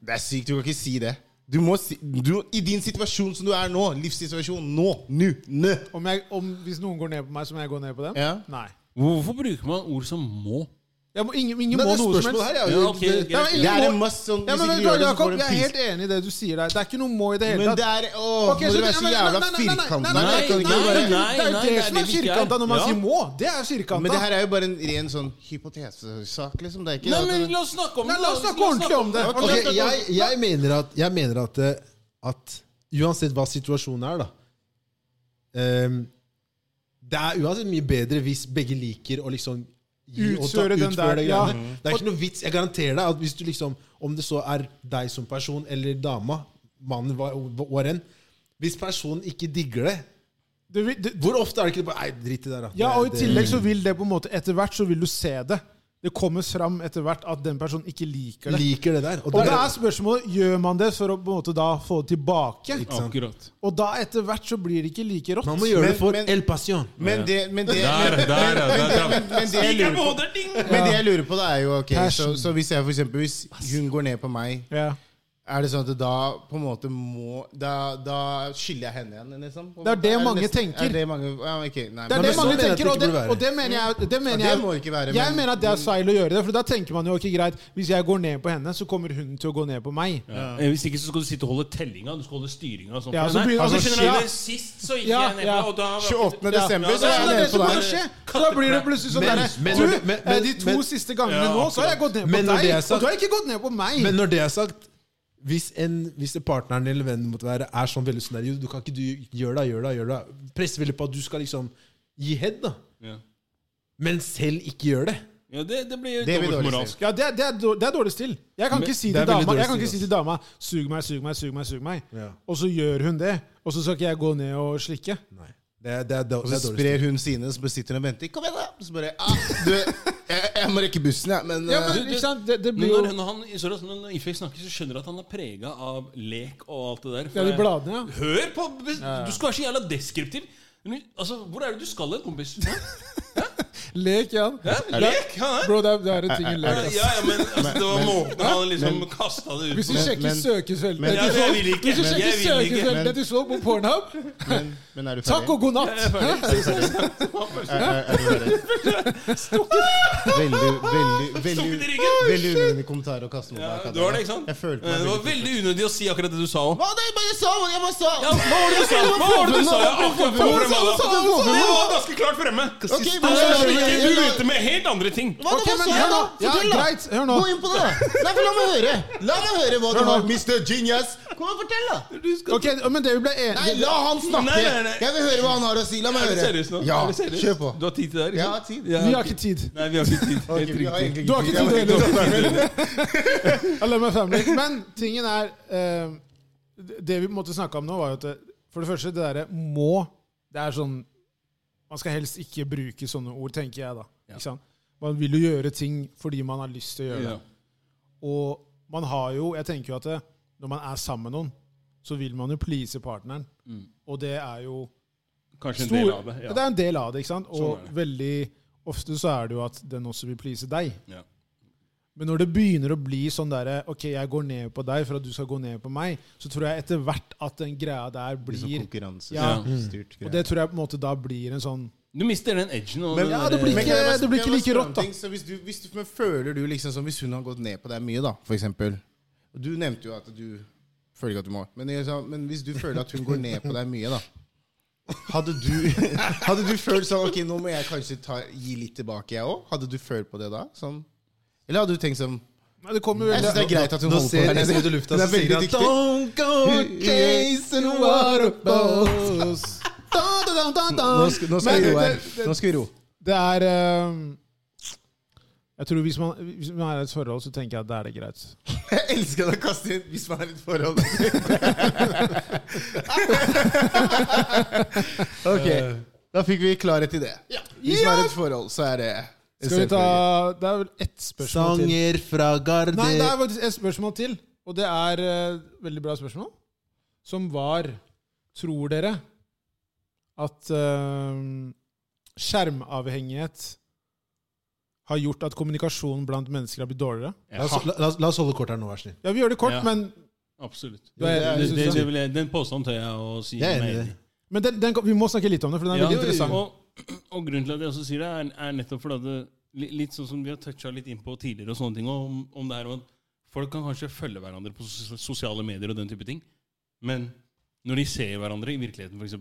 [SPEAKER 3] Det er sykt, du kan ikke si det. Du må si, du, I din situasjon som du er nå, livssituasjon nå, nå, nå
[SPEAKER 4] Om jeg, om, hvis noen går ned på meg, så må jeg gå ned på dem?
[SPEAKER 3] Ja.
[SPEAKER 4] Nei.
[SPEAKER 2] Hvorfor bruker man ord som 'må'?
[SPEAKER 4] Jeg må, ingen ingen
[SPEAKER 1] Nei, det
[SPEAKER 4] må noe som
[SPEAKER 1] spørsmålet
[SPEAKER 4] helst.
[SPEAKER 1] her er
[SPEAKER 2] Ja,
[SPEAKER 1] jo
[SPEAKER 2] ok,
[SPEAKER 1] det-
[SPEAKER 2] greit.
[SPEAKER 4] ingen
[SPEAKER 3] Det er
[SPEAKER 4] må-
[SPEAKER 3] en must sånn
[SPEAKER 4] Ja,
[SPEAKER 3] Hvis ikke
[SPEAKER 4] men, men,
[SPEAKER 3] du gjør det, så
[SPEAKER 4] Jakob,
[SPEAKER 3] går det
[SPEAKER 4] jeg
[SPEAKER 3] en
[SPEAKER 4] er helt enig i det du sier der. Det er ikke noe må i det hele
[SPEAKER 3] Men
[SPEAKER 4] tatt.
[SPEAKER 3] det er Åh,
[SPEAKER 4] Ok,
[SPEAKER 3] må
[SPEAKER 4] så
[SPEAKER 3] dere
[SPEAKER 4] det-
[SPEAKER 3] være så
[SPEAKER 4] nei, nei,
[SPEAKER 3] jævla
[SPEAKER 4] nei, nei, nei, nei.
[SPEAKER 3] firkanta?
[SPEAKER 4] Nei,
[SPEAKER 3] Dere kan
[SPEAKER 2] nei,
[SPEAKER 3] ikke
[SPEAKER 2] nei,
[SPEAKER 3] være-
[SPEAKER 2] nei.
[SPEAKER 4] det er jo
[SPEAKER 2] det er
[SPEAKER 4] det, som
[SPEAKER 2] det
[SPEAKER 4] er
[SPEAKER 2] vi ikke er.
[SPEAKER 4] firkanta når man
[SPEAKER 2] Ja.
[SPEAKER 4] sier må. Det er firkanta.
[SPEAKER 3] Men det her er jo bare en ren sånn hypotesesak, liksom. Det er ikke
[SPEAKER 2] Nei, men la oss snakke om
[SPEAKER 4] Nei, la oss snakke ordentlig om det.
[SPEAKER 1] Ok, jeg, jeg mener at, jeg mener at, eh, at uansett hva situasjonen er, da ehm, Det er uansett mye bedre hvis begge liker å liksom gi og ta-
[SPEAKER 4] Utføre den der,
[SPEAKER 1] det
[SPEAKER 4] ja.
[SPEAKER 1] greiene. Det er ikke noe vits. Jeg garanterer deg at hvis du liksom Om det så er deg som person eller dama, mannen hva hva enn Hvis personen ikke digger det
[SPEAKER 4] Du vil- du-
[SPEAKER 1] Hvor ofte er det ikke det bare Nei, drit i det, der, da.
[SPEAKER 4] ja, og i
[SPEAKER 1] Det-
[SPEAKER 4] tillegg så vil det på en måte Etter hvert så vil du se det. Det Det kommer fram etter hvert at den personen ikke liker det.
[SPEAKER 1] Liker det der.
[SPEAKER 4] Og det er spørsmålet gjør man det for å på en måte da få det tilbake.
[SPEAKER 1] Ikke sant?
[SPEAKER 2] Akkurat.
[SPEAKER 4] Og da etter hvert så blir det ikke like rått.
[SPEAKER 1] Man må gjøre det for
[SPEAKER 3] Men- men-
[SPEAKER 1] El Pasión.
[SPEAKER 3] Men det, men det,
[SPEAKER 2] Der, der, ja, der traff den.
[SPEAKER 3] men det jeg lurer på Men det jeg lurer på, da er jo ok, så,
[SPEAKER 4] Passion.
[SPEAKER 3] så hvis jeg for eksempel Hvis hun går ned på meg,
[SPEAKER 4] Ja.
[SPEAKER 3] er det sånn at da på en måte må Da, da skylder jeg henne igjen, liksom?
[SPEAKER 4] Det er det mange
[SPEAKER 3] nesten-
[SPEAKER 4] tenker.
[SPEAKER 3] Er det mange, ja, ok, nei,
[SPEAKER 4] Det er
[SPEAKER 3] men-
[SPEAKER 4] det
[SPEAKER 1] men sånn
[SPEAKER 4] mange
[SPEAKER 1] mener jeg at det
[SPEAKER 4] tenker,
[SPEAKER 1] ikke
[SPEAKER 4] og det,
[SPEAKER 1] burde være.
[SPEAKER 4] og det mener jeg, det mener
[SPEAKER 3] Ja, det
[SPEAKER 4] jeg
[SPEAKER 3] må ikke være,
[SPEAKER 4] Jeg
[SPEAKER 3] men-
[SPEAKER 4] mener at det
[SPEAKER 1] Mm.
[SPEAKER 4] er feil å gjøre det, for da tenker man jo ok, greit, hvis jeg går ned på henne, så kommer hun til å gå ned på meg.
[SPEAKER 2] Eh, Hvis ikke så skal du sitte og holde tellinga. Du skal holde styringa. Sånn.
[SPEAKER 4] Ja,
[SPEAKER 2] For
[SPEAKER 4] så
[SPEAKER 2] den her-
[SPEAKER 4] begynner-
[SPEAKER 2] altså,
[SPEAKER 4] altså,
[SPEAKER 2] skjønner du,
[SPEAKER 4] ja.
[SPEAKER 2] det? Sist så gikk
[SPEAKER 4] Ja,
[SPEAKER 2] jeg ned
[SPEAKER 4] ja.
[SPEAKER 2] på og da var-
[SPEAKER 3] 28.
[SPEAKER 4] Ja.
[SPEAKER 3] desember,
[SPEAKER 4] Ja,
[SPEAKER 3] så er jeg
[SPEAKER 4] det er det
[SPEAKER 3] nede
[SPEAKER 4] som
[SPEAKER 3] på
[SPEAKER 4] kommer
[SPEAKER 3] deg.
[SPEAKER 4] å skje. Så da blir det plutselig sånn
[SPEAKER 1] Men-
[SPEAKER 4] derre
[SPEAKER 1] men-
[SPEAKER 4] Du,
[SPEAKER 1] men- men-
[SPEAKER 4] eh, de to
[SPEAKER 1] men-
[SPEAKER 4] siste gangene
[SPEAKER 2] Ja,
[SPEAKER 4] nå, så har jeg gått ned på
[SPEAKER 1] Men når
[SPEAKER 4] deg,
[SPEAKER 1] det er sagt-
[SPEAKER 4] og du har ikke gått ned på meg.
[SPEAKER 1] Men når det er sagt hvis, en, hvis det partneren eller vennen måtte være er sånn veldig sånn der, jo, du kan ikke du gjøre det, gjør det, gjør det. Presser veldig på at du skal liksom gi head, da.
[SPEAKER 2] Ja.
[SPEAKER 1] Men selv ikke gjør det.
[SPEAKER 2] Ja, det, det blir
[SPEAKER 3] Det blir
[SPEAKER 2] dobbelt
[SPEAKER 3] dårlig
[SPEAKER 2] moralsk.
[SPEAKER 4] Ja, det er, det, er, dår- det er dårlig stil. Jeg kan ikke si
[SPEAKER 1] det
[SPEAKER 4] til
[SPEAKER 1] er veldig
[SPEAKER 4] dama, jeg
[SPEAKER 1] dårlig
[SPEAKER 4] kan ikke si
[SPEAKER 1] stil,
[SPEAKER 4] til dama Sug meg, sug meg, sug meg, sug meg.
[SPEAKER 1] Ja.
[SPEAKER 4] Og så gjør hun det. Og så skal ikke jeg gå ned og slikke.
[SPEAKER 1] Nei. Det er, det er, det er,
[SPEAKER 3] Og så
[SPEAKER 1] det er dårlig
[SPEAKER 3] sprer
[SPEAKER 1] stil.
[SPEAKER 3] hun sine, så bare sitter hun og venter. Kom igjen, da! Så bare ah, Du, jeg, jeg må rekke bussen, jeg. Men,
[SPEAKER 4] Ja, men
[SPEAKER 3] eh,
[SPEAKER 4] ikke sant? Det, det
[SPEAKER 2] Men
[SPEAKER 4] blir jo
[SPEAKER 2] når, når han sorry, altså, når Ifek snakker, så skjønner du at han er prega av lek og alt det der.
[SPEAKER 4] Ja, de bladene, ja.
[SPEAKER 2] Hør på! Du skal være så jævla deskriptiv. Men, altså, Hvor er det du skal hen, kompis?
[SPEAKER 4] Lek, ja.
[SPEAKER 2] Hæ? Lek? Ja, hæ?
[SPEAKER 4] Bro, det er, det er en ting i lek. ass.
[SPEAKER 2] ja, ja, men altså, det var måten han liksom kasta det ut
[SPEAKER 4] Hvis du
[SPEAKER 2] på.
[SPEAKER 4] sjekker
[SPEAKER 3] men-
[SPEAKER 4] søkefeltet
[SPEAKER 3] men-
[SPEAKER 4] du
[SPEAKER 2] Ja,
[SPEAKER 4] så-
[SPEAKER 2] jeg vil ikke.
[SPEAKER 4] Hvis du
[SPEAKER 2] Jeg
[SPEAKER 4] sjekker
[SPEAKER 2] vil ikke.
[SPEAKER 4] søkefeltet du så på Pornhub
[SPEAKER 3] men, men er du
[SPEAKER 4] Takk
[SPEAKER 3] ferdig?
[SPEAKER 4] og god natt!
[SPEAKER 3] Er, er, er du ferdig? Veldig, veldig,
[SPEAKER 2] Stukket i
[SPEAKER 3] veldig
[SPEAKER 2] ryggen.
[SPEAKER 3] Veldig unødvendig kommentar å kaste mot
[SPEAKER 2] Ja,
[SPEAKER 3] meg. Katar.
[SPEAKER 2] du har det, ikke sant?
[SPEAKER 3] Jeg følte
[SPEAKER 2] Eh,
[SPEAKER 3] meg
[SPEAKER 2] det var
[SPEAKER 3] veldig
[SPEAKER 2] veldig unødig å si akkurat det du sa òg.
[SPEAKER 3] Hva det er bare sa, jeg bare sa!
[SPEAKER 2] Ja, hva var det du sa? Hva var det du sa? Ja, akkurat på
[SPEAKER 3] Hva sa du, sa du, sa du?
[SPEAKER 2] fremme. Det var ganske klart fremme.
[SPEAKER 3] Ok,
[SPEAKER 2] Du
[SPEAKER 3] hva sa du?
[SPEAKER 2] ikke du ute med helt andre ting.
[SPEAKER 3] Hva
[SPEAKER 4] Ok,
[SPEAKER 3] det, hva
[SPEAKER 4] men
[SPEAKER 3] sa
[SPEAKER 4] hør
[SPEAKER 3] jeg da?
[SPEAKER 4] nå. Ja,
[SPEAKER 3] Fortell, da!
[SPEAKER 4] greit, hør nå.
[SPEAKER 3] Gå inn på det, da! Nei, for la meg høre! La meg høre hva du
[SPEAKER 4] nå.
[SPEAKER 3] har, Mr. Genius! Kom og fortell, da!
[SPEAKER 4] Ok, men det vi ble enige
[SPEAKER 3] Nei, la han snakke!
[SPEAKER 2] Nei, nei, nei.
[SPEAKER 3] Jeg vil høre hva han har å si. La meg
[SPEAKER 2] Er du
[SPEAKER 3] høre.
[SPEAKER 2] seriøs nå?
[SPEAKER 3] Ja,
[SPEAKER 2] Er du seriøs?
[SPEAKER 3] kjør på.
[SPEAKER 2] Du har tid til det her? ikke
[SPEAKER 3] Jeg
[SPEAKER 2] sant?
[SPEAKER 3] har tid.
[SPEAKER 2] Ja,
[SPEAKER 4] Vi har
[SPEAKER 2] ok.
[SPEAKER 4] ikke tid.
[SPEAKER 2] Nei, vi har ikke tid.
[SPEAKER 3] Ok,
[SPEAKER 2] Helt
[SPEAKER 3] vi har
[SPEAKER 2] riktig.
[SPEAKER 3] egentlig
[SPEAKER 4] Du har ikke
[SPEAKER 3] tid. Jeg
[SPEAKER 4] tid
[SPEAKER 3] har
[SPEAKER 4] heller.
[SPEAKER 3] ikke tid.
[SPEAKER 4] Jeg lar meg family. Men tingen er eh, Det vi måtte snakke om nå, var jo at det, for det første, det derre må Det er sånn Man skal helst ikke bruke sånne ord, tenker jeg, da. Ikke sant? Man vil jo gjøre ting fordi man har lyst til å gjøre det.
[SPEAKER 2] Ja.
[SPEAKER 4] Og man har jo Jeg tenker jo at det, når man er sammen med noen, så vil man jo please partneren. Og det er jo
[SPEAKER 2] Kanskje en
[SPEAKER 4] stor,
[SPEAKER 2] del av det.
[SPEAKER 4] det
[SPEAKER 2] Mm. Ja.
[SPEAKER 4] er en del av det, ikke sant? Og
[SPEAKER 2] Sånn er det.
[SPEAKER 4] veldig ofte så er det jo at den også vil please deg.
[SPEAKER 2] Ja.
[SPEAKER 4] Men når det begynner å bli sånn derre OK, jeg går ned på deg for at du skal gå ned på meg, så tror jeg etter hvert at den greia der
[SPEAKER 3] Blir sånn
[SPEAKER 4] blir Ja.
[SPEAKER 3] konkurransestyrt
[SPEAKER 4] Og
[SPEAKER 3] greie.
[SPEAKER 4] det tror jeg på en måte da blir en sånn
[SPEAKER 2] Du mister den edgen. Og
[SPEAKER 3] Men-
[SPEAKER 2] den
[SPEAKER 4] Ja, det
[SPEAKER 2] der-
[SPEAKER 4] blir
[SPEAKER 3] Men kan jeg bare-
[SPEAKER 4] ikke, det blir
[SPEAKER 3] kan jeg
[SPEAKER 4] ikke like
[SPEAKER 3] bare
[SPEAKER 4] rått,
[SPEAKER 3] spørre
[SPEAKER 4] da.
[SPEAKER 3] om ting? Så hvis du, hvis du, men føler du liksom sånn Hvis hun har gått ned på deg mye, da, for eksempel og Du nevnte jo at du føler ikke at du må men, jeg sa, men hvis du føler at hun går ned på deg mye, da hadde du, hadde du følt sånn Ok, nå må jeg kanskje ta, gi litt tilbake, jeg òg? Hadde du følt på det da? Sånn? Eller hadde du tenkt sånn
[SPEAKER 4] Nei, Det kommer
[SPEAKER 3] Jeg
[SPEAKER 4] jo
[SPEAKER 3] syns det er greit at hun
[SPEAKER 1] Nå
[SPEAKER 3] holder på
[SPEAKER 1] ser
[SPEAKER 3] her
[SPEAKER 1] jeg
[SPEAKER 3] nede.
[SPEAKER 1] ut i lufta,
[SPEAKER 3] Hun
[SPEAKER 1] så
[SPEAKER 3] er
[SPEAKER 1] sier
[SPEAKER 3] veldig
[SPEAKER 1] han
[SPEAKER 3] dyktig.
[SPEAKER 1] Don't go chasing waterfalls.
[SPEAKER 3] Nå skal, nå skal
[SPEAKER 4] Men
[SPEAKER 3] vi ro
[SPEAKER 4] det-
[SPEAKER 3] her. Nå skal vi ro.
[SPEAKER 4] Det er ehm, Jeg tror hvis man, hvis man er i et forhold, så tenker jeg at da er det greit.
[SPEAKER 3] Jeg elsker å kaste inn hvis man er i et forhold. ok,
[SPEAKER 4] Eh,
[SPEAKER 3] da fikk vi klarhet i det. Hvis man er i et forhold, så er det
[SPEAKER 4] Skal vi ta Det er vel ett spørsmål til.
[SPEAKER 1] Sanger fra Garde
[SPEAKER 4] Nei, det er faktisk et spørsmål til. Og det er eh, veldig bra spørsmål. Som var Tror dere at eh, skjermavhengighet har gjort at kommunikasjonen blant mennesker har blitt dårligere?
[SPEAKER 1] La oss, la, la, oss- la oss holde kort her nå, vær snill.
[SPEAKER 4] Ja, vi gjør det kort,
[SPEAKER 2] Ja.
[SPEAKER 4] men,
[SPEAKER 2] Absolutt.
[SPEAKER 4] Du er enig,
[SPEAKER 2] Det, det,
[SPEAKER 4] synes
[SPEAKER 2] det
[SPEAKER 4] jeg.
[SPEAKER 2] vil jeg, den påstanden tør jeg å si.
[SPEAKER 1] Jeg er
[SPEAKER 2] meg
[SPEAKER 1] enig i det.
[SPEAKER 4] men den, den, vi må snakke litt om det, for den er
[SPEAKER 2] Ja,
[SPEAKER 4] veldig interessant.
[SPEAKER 2] Og, og grunnen til at jeg også sier det, er, er nettopp fordi at det- li- litt sånn som vi har toucha litt inn på tidligere, og sånne ting, og om, om det her om at folk kan kanskje følge hverandre på sos- sosiale medier og den type ting, men når de ser hverandre i virkeligheten, f.eks.,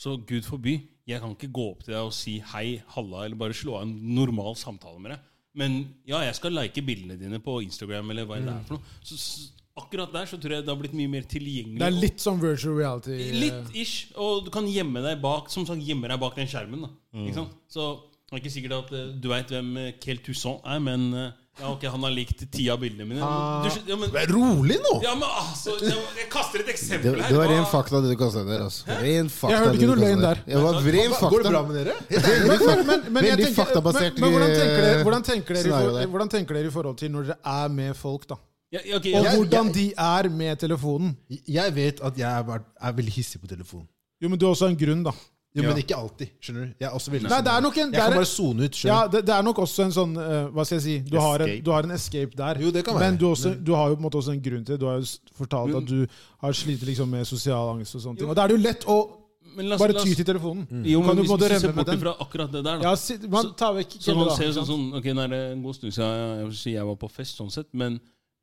[SPEAKER 2] så gud forby, jeg kan ikke gå opp til deg og si hei, halla, eller bare slå av en normal samtale med deg. Men ja, jeg skal like bildene dine på Instagram, eller hva det er for noe. Så, s- akkurat der så tror jeg det har blitt mye mer tilgjengelig.
[SPEAKER 4] Det er
[SPEAKER 2] og-
[SPEAKER 4] litt sånn virtual reality. eh,
[SPEAKER 2] Litt ish. Og du kan gjemme deg bak Som sagt, gjemme deg bak
[SPEAKER 4] Mm.
[SPEAKER 2] den skjermen. Da. Ikke sant? Så det er ikke sikkert at eh, du veit hvem eh, Kel Toussaint er, men eh, Ja, ok, Han har likt ti av bildene mine.
[SPEAKER 4] Ah.
[SPEAKER 2] Men, du, skjø- ja, men,
[SPEAKER 1] Vær rolig nå!
[SPEAKER 2] ja, men altså jeg, jeg kaster et
[SPEAKER 3] Det,
[SPEAKER 2] eksempel her.
[SPEAKER 3] det var ren
[SPEAKER 2] Hva-
[SPEAKER 3] fakta det du kasta der. altså. Ren fakta
[SPEAKER 4] Jeg hørte
[SPEAKER 3] det
[SPEAKER 4] ikke
[SPEAKER 3] du
[SPEAKER 4] noe
[SPEAKER 3] kastet
[SPEAKER 4] løgn der.
[SPEAKER 3] Det var ren fakta.
[SPEAKER 1] Går det bra med dere?
[SPEAKER 4] Men, men, men, men, jeg
[SPEAKER 3] Veldig
[SPEAKER 4] tenker-
[SPEAKER 3] faktabasert,
[SPEAKER 4] men, men hvordan, tenker dere,
[SPEAKER 3] eh,
[SPEAKER 4] hvordan, tenker dere i
[SPEAKER 3] scenario
[SPEAKER 4] for,
[SPEAKER 3] der.
[SPEAKER 4] hvordan tenker dere i forhold til når dere er med folk, da?
[SPEAKER 2] Ja, ja, ok, ja.
[SPEAKER 4] Og
[SPEAKER 1] Jeg-
[SPEAKER 4] hvordan
[SPEAKER 1] jeg-
[SPEAKER 4] de er med telefonen.
[SPEAKER 1] Jeg vet at jeg er, vært- er veldig hissig på telefon.
[SPEAKER 4] Jo, men du har også en grunn, da.
[SPEAKER 1] Jo, Men ikke alltid. skjønner du? Jeg er også veldig
[SPEAKER 4] Nei, det er nok en,
[SPEAKER 1] Jeg
[SPEAKER 4] det
[SPEAKER 1] kan
[SPEAKER 4] er,
[SPEAKER 1] bare sone ut.
[SPEAKER 4] ja,
[SPEAKER 1] skjønner du?
[SPEAKER 4] det, det er nok også en sånn eh, Hva skal jeg si? Du har en,
[SPEAKER 3] Escape.
[SPEAKER 4] du har en escape der.
[SPEAKER 1] Jo, det kan
[SPEAKER 4] men
[SPEAKER 1] være.
[SPEAKER 4] du, også, du har jo på en måte også en grunn til det. Du har jo s- fortalt at du har slitt liksom med sosial angst og sånne ting. Og da er det jo lett å
[SPEAKER 2] Men la oss-
[SPEAKER 4] bare
[SPEAKER 2] la oss-
[SPEAKER 4] ty til telefonen.
[SPEAKER 2] Jo,
[SPEAKER 4] Kan
[SPEAKER 2] men hvis
[SPEAKER 4] du på en måte
[SPEAKER 2] hvis du ser
[SPEAKER 4] rømme
[SPEAKER 2] bort
[SPEAKER 4] med den?
[SPEAKER 2] fra akkurat det der, da.
[SPEAKER 4] Ja, si, man
[SPEAKER 2] Så-
[SPEAKER 4] tar vekk
[SPEAKER 2] Så
[SPEAKER 4] kjølet,
[SPEAKER 2] man
[SPEAKER 4] da,
[SPEAKER 2] ser jo
[SPEAKER 4] ikke
[SPEAKER 2] sånn,
[SPEAKER 4] sant?
[SPEAKER 2] sånn Ok, nå er det en god stund siden jeg, jeg, vil si jeg var på fest, sånn sett. Men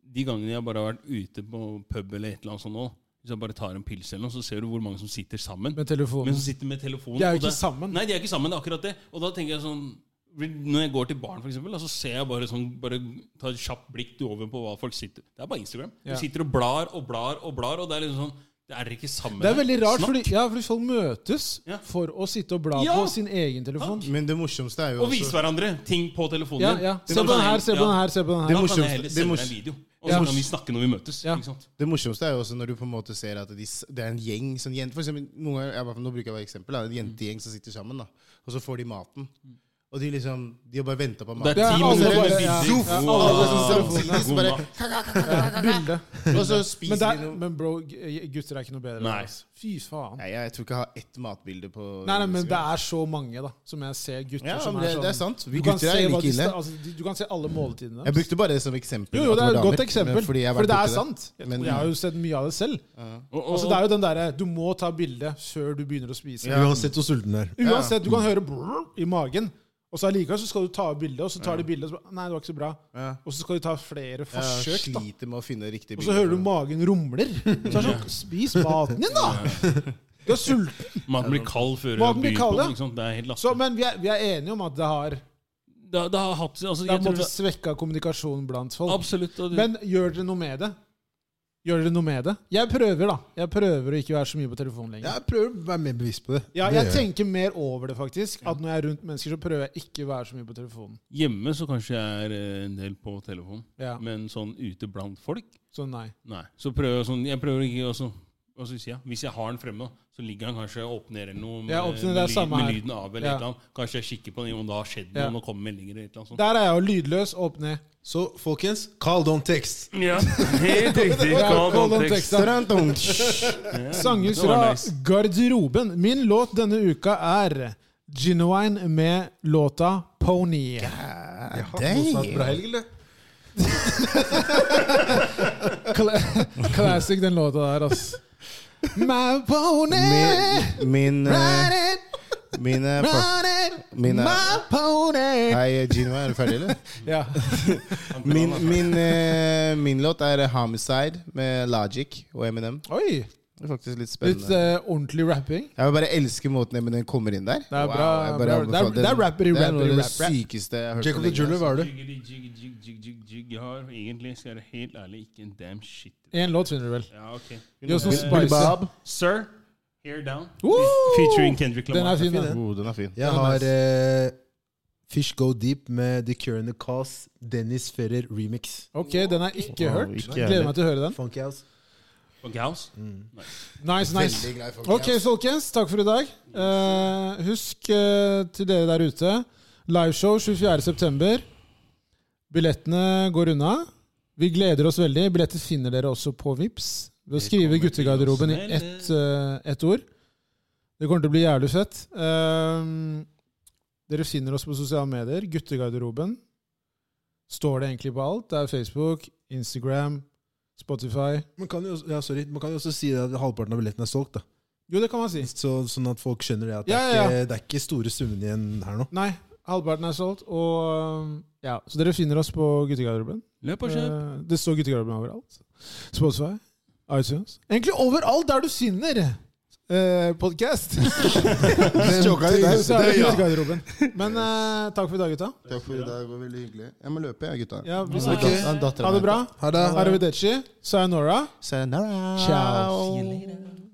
[SPEAKER 2] de gangene jeg bare har vært ute på pub eller et eller annet sånt nå, hvis jeg bare tar en pils eller noe, så ser du hvor mange som sitter sammen.
[SPEAKER 4] Med
[SPEAKER 2] Men
[SPEAKER 4] telefonen.
[SPEAKER 2] som sitter med telefonen.
[SPEAKER 4] De er jo
[SPEAKER 2] og
[SPEAKER 4] ikke
[SPEAKER 2] det-
[SPEAKER 4] sammen.
[SPEAKER 2] Nei, de er ikke sammen. Det er akkurat det. Og da tenker jeg sånn Når jeg går til baren, for eksempel, da, så ser jeg bare sånn Bare ta et kjapt blikk du over på hva folk sitter Det er bare Instagram.
[SPEAKER 4] Ja.
[SPEAKER 2] Du sitter og blar og blar og blar, og det er liksom sånn Det er ikke sammen.
[SPEAKER 4] Det er veldig rart,
[SPEAKER 2] Snakk.
[SPEAKER 4] fordi, ja, fordi folk møtes
[SPEAKER 2] Ja.
[SPEAKER 4] for å sitte og bla
[SPEAKER 2] Ja.
[SPEAKER 4] på sin egen telefon.
[SPEAKER 3] Men det morsomste er jo
[SPEAKER 2] Og vise hverandre ting på telefonen.
[SPEAKER 4] Ja,
[SPEAKER 2] din.
[SPEAKER 4] ja.
[SPEAKER 2] Det
[SPEAKER 4] Se
[SPEAKER 2] kan
[SPEAKER 4] på den her,
[SPEAKER 2] jeg-
[SPEAKER 4] se på
[SPEAKER 2] ja.
[SPEAKER 4] den her, se på den
[SPEAKER 2] Da
[SPEAKER 4] her.
[SPEAKER 3] Det-
[SPEAKER 2] kan jeg
[SPEAKER 3] morsomste-
[SPEAKER 2] heller
[SPEAKER 3] det
[SPEAKER 2] sende deg en
[SPEAKER 3] mors-
[SPEAKER 2] video, og
[SPEAKER 4] Ja.
[SPEAKER 2] så kan vi snakke når vi møtes.
[SPEAKER 4] Ja.
[SPEAKER 2] Ikke sant?
[SPEAKER 3] Det morsomste er jo også når du på en måte ser at de, s- det er en gjeng sånn jente, for eksempel, noen ganger, jeg, bare- Nå bruker jeg bare eksempel. Da,
[SPEAKER 4] Mm.
[SPEAKER 3] en jentegjeng som sitter sammen, da, og så får de maten. Og de liksom De har bare venta på
[SPEAKER 2] Det
[SPEAKER 3] maten.
[SPEAKER 2] er ti
[SPEAKER 4] alle
[SPEAKER 2] minutter
[SPEAKER 4] bare-
[SPEAKER 2] med
[SPEAKER 4] ja.
[SPEAKER 2] bilder.
[SPEAKER 4] Ja, alle
[SPEAKER 2] Wow.
[SPEAKER 4] bare sånn
[SPEAKER 3] Samtidig så bare
[SPEAKER 4] Bilde.
[SPEAKER 3] Og så
[SPEAKER 4] Men,
[SPEAKER 3] spiser
[SPEAKER 4] det
[SPEAKER 3] de
[SPEAKER 4] er,
[SPEAKER 3] noe
[SPEAKER 4] men bro, g- gutter er ikke noe bedre.
[SPEAKER 2] Nei.
[SPEAKER 4] altså. Fy faen.
[SPEAKER 3] Nei, jeg tror ikke jeg har ett matbilde på
[SPEAKER 4] Nei, nei, men det er så mange da som jeg ser gutter
[SPEAKER 3] Ja,
[SPEAKER 4] som
[SPEAKER 3] men
[SPEAKER 4] er
[SPEAKER 3] det,
[SPEAKER 4] sånn
[SPEAKER 3] det er sant. Vi
[SPEAKER 4] Du kan
[SPEAKER 3] gutter
[SPEAKER 4] se
[SPEAKER 3] er
[SPEAKER 4] hva
[SPEAKER 3] like
[SPEAKER 4] de sta-
[SPEAKER 3] ille.
[SPEAKER 4] Altså, de- du kan se alle måltidene.
[SPEAKER 3] Jeg brukte bare det som eksempel.
[SPEAKER 4] jo, jo,
[SPEAKER 3] at
[SPEAKER 4] det er
[SPEAKER 3] var
[SPEAKER 4] et godt
[SPEAKER 3] damer,
[SPEAKER 4] eksempel.
[SPEAKER 3] men Fordi jeg har
[SPEAKER 4] for
[SPEAKER 3] vært
[SPEAKER 4] det er
[SPEAKER 3] ute der.
[SPEAKER 4] sant.
[SPEAKER 3] Men-
[SPEAKER 4] jeg har jo sett mye av det selv.
[SPEAKER 2] Og- og-
[SPEAKER 4] Altså, det er jo den derre Du må ta bilde før du begynner å spise.
[SPEAKER 1] Uansett hvor sulten du er.
[SPEAKER 4] Uansett, du kan høre brrr i magen. Og så allikevel så skal du ta bilde, og så tar de bilde, og så bare, Nei, det var ikke så bra.
[SPEAKER 3] Ja.
[SPEAKER 4] Og så skal du ta flere
[SPEAKER 3] Jeg
[SPEAKER 4] forsøk, da.
[SPEAKER 3] sliter med å finne riktig
[SPEAKER 4] Og
[SPEAKER 3] bilde.
[SPEAKER 4] så hører du magen rumler. Så er det sånn Spis maten din, da! Du er sulten.
[SPEAKER 2] Maten blir kald før
[SPEAKER 4] Maten
[SPEAKER 2] du
[SPEAKER 4] blir
[SPEAKER 2] byr
[SPEAKER 4] kald,
[SPEAKER 2] på
[SPEAKER 4] ja.
[SPEAKER 2] den. ikke sant? Det er helt
[SPEAKER 4] Så,
[SPEAKER 2] latterlig.
[SPEAKER 4] men vi er, vi er enige om at det har Det
[SPEAKER 2] Det, det har hatt altså,
[SPEAKER 4] har
[SPEAKER 2] jeg
[SPEAKER 4] på en
[SPEAKER 2] tror
[SPEAKER 4] måte
[SPEAKER 2] det,
[SPEAKER 4] svekka kommunikasjonen blant folk.
[SPEAKER 2] Absolutt. Og det,
[SPEAKER 4] Men gjør dere noe med det? Gjør dere noe med det? Jeg prøver, da. Jeg prøver å ikke være så mye på telefonen lenger.
[SPEAKER 1] Jeg prøver å være mer bevisst på det.
[SPEAKER 4] Ja,
[SPEAKER 1] Det
[SPEAKER 4] jeg
[SPEAKER 1] gjør
[SPEAKER 4] tenker mer over det, faktisk. At når jeg er rundt mennesker, så prøver jeg ikke å være så mye på telefonen.
[SPEAKER 2] hjemme så kanskje jeg er eh, en del på telefon,
[SPEAKER 4] Ja,
[SPEAKER 2] men sånn ute blant folk
[SPEAKER 4] Så nei.
[SPEAKER 2] Nei. Så prøver jeg sånn Jeg prøver ikke også hva skal jeg si, ja? Hvis jeg har den fremme, da, så ligger han kanskje opp ned eller noe med,
[SPEAKER 4] Ja, opp ned, det er
[SPEAKER 2] med, lyd,
[SPEAKER 4] samme
[SPEAKER 2] med
[SPEAKER 4] her.
[SPEAKER 2] lyden av eller
[SPEAKER 4] Ja.
[SPEAKER 2] et eller annet. Kanskje jeg kikker på den, om det har skjedd noe,
[SPEAKER 4] Ja.
[SPEAKER 2] om det kommer meldinger eller et eller annet sånt.
[SPEAKER 4] Der er jeg jo lydløs. Opp ned.
[SPEAKER 1] Så folkens, call don't text.
[SPEAKER 2] Ja, helt riktig. Kall
[SPEAKER 4] Hold den
[SPEAKER 2] kontekst.
[SPEAKER 4] teksten.
[SPEAKER 3] Tarantong.
[SPEAKER 4] Sanges
[SPEAKER 2] Det var
[SPEAKER 4] fra
[SPEAKER 2] nice.
[SPEAKER 4] garderoben. Min låt denne uka er Genuine med låta Pony.
[SPEAKER 1] Bra
[SPEAKER 3] Damn.
[SPEAKER 1] helg, eller?
[SPEAKER 4] Cla classic, den låta der, ass. My pony!
[SPEAKER 3] Min, min, eh,
[SPEAKER 4] Ride it,
[SPEAKER 3] min, eh, fa-
[SPEAKER 4] ride it,
[SPEAKER 3] min, eh,
[SPEAKER 4] my pony!
[SPEAKER 3] Hei, Gino, er du ferdig, eller?
[SPEAKER 4] Ja.
[SPEAKER 3] Min, min, eh, min låt er Homicide med Logic og Eminem.
[SPEAKER 4] Oi!
[SPEAKER 3] Det er faktisk litt
[SPEAKER 4] Litt
[SPEAKER 3] spennende.
[SPEAKER 4] eh, ordentlig rapping.
[SPEAKER 3] Jeg vil bare elsker måten Eminem kommer inn der.
[SPEAKER 4] er
[SPEAKER 3] Wow,
[SPEAKER 4] bra,
[SPEAKER 3] jeg
[SPEAKER 4] bra.
[SPEAKER 3] bare
[SPEAKER 4] Det er-
[SPEAKER 3] anbefaler-
[SPEAKER 4] det er rappery,
[SPEAKER 3] Det er noe av det
[SPEAKER 4] rappery, rap, rap.
[SPEAKER 3] sykeste jeg har hørt.
[SPEAKER 1] Jacob
[SPEAKER 3] på
[SPEAKER 1] the
[SPEAKER 3] lenge,
[SPEAKER 1] Jeweler,
[SPEAKER 3] altså.
[SPEAKER 1] hva er du?
[SPEAKER 2] Jiggity, jiggity, jigg, jigg, jigg, jigg. Jeg har egentlig, skal jeg være helt ærlig, ikke en damn shit.
[SPEAKER 4] Én låt finner du vel.
[SPEAKER 2] Ja, ok.
[SPEAKER 4] Gi oss noe
[SPEAKER 2] Eh,
[SPEAKER 4] spicy.
[SPEAKER 3] Bob.
[SPEAKER 2] Sir, Hair Down,
[SPEAKER 4] Woo!
[SPEAKER 2] featuring Kendrick
[SPEAKER 4] Den
[SPEAKER 2] Lamar.
[SPEAKER 4] er fin, den.
[SPEAKER 3] Oh, den er fin.
[SPEAKER 1] Jeg har eh, Fish Go Deep med The Cure and the Cause, Dennis Ferrer remix.
[SPEAKER 4] Ok, den har jeg ikke
[SPEAKER 3] Wow,
[SPEAKER 4] hørt.
[SPEAKER 3] ikke
[SPEAKER 4] Gleder
[SPEAKER 3] heller.
[SPEAKER 4] meg til å høre den.
[SPEAKER 1] Funky house.
[SPEAKER 2] Og Gauss.
[SPEAKER 4] Nice, nice.
[SPEAKER 3] Veldig glad i folk.
[SPEAKER 4] Ok, folkens. Takk for i dag. Eh, husk eh, til dere der ute. Liveshow 24.9. Billettene går unna. Vi gleder oss veldig. Billetter finner dere også på Vips ved å skrive
[SPEAKER 2] kommer til
[SPEAKER 4] guttegarderoben i
[SPEAKER 2] å smelle.
[SPEAKER 4] ett, eh, ett ord. Det kommer til å bli jævlig fett. Eh, dere finner oss på sosiale medier. Guttegarderoben står det egentlig på alt. Det er Facebook, Instagram, Spotify.
[SPEAKER 1] Man kan, jo, også- ja, sorry. man kan jo også si det at halvparten av billettene er solgt. da.
[SPEAKER 4] Jo, det kan man si.
[SPEAKER 1] Så, sånn at folk skjønner det at det,
[SPEAKER 4] Ja,
[SPEAKER 1] er
[SPEAKER 4] ja, ja.
[SPEAKER 1] Ikke, det er ikke store summene igjen her nå.
[SPEAKER 4] Nei, halvparten er solgt. Og um, ja, Så dere finner oss på guttegarderoben.
[SPEAKER 2] Løp og kjøp.
[SPEAKER 4] Eh, Det står guttegarderoben overalt. Spotify, iTunes Egentlig overalt der du finner eh, podkast!
[SPEAKER 3] Choka i dag.
[SPEAKER 4] så er det guttegarderoben. Men eh, takk for i dag, gutta.
[SPEAKER 3] Takk for i dag, det var veldig hyggelig. Jeg må løpe, jeg, gutta.
[SPEAKER 4] Ja, vi
[SPEAKER 3] Det er
[SPEAKER 4] snakkes.
[SPEAKER 3] dat- det er datteren
[SPEAKER 4] Ha
[SPEAKER 3] min.
[SPEAKER 4] det bra.
[SPEAKER 1] Ha det.
[SPEAKER 4] Arrivederci. Sayonara.
[SPEAKER 3] Sayonara.
[SPEAKER 4] Ciao.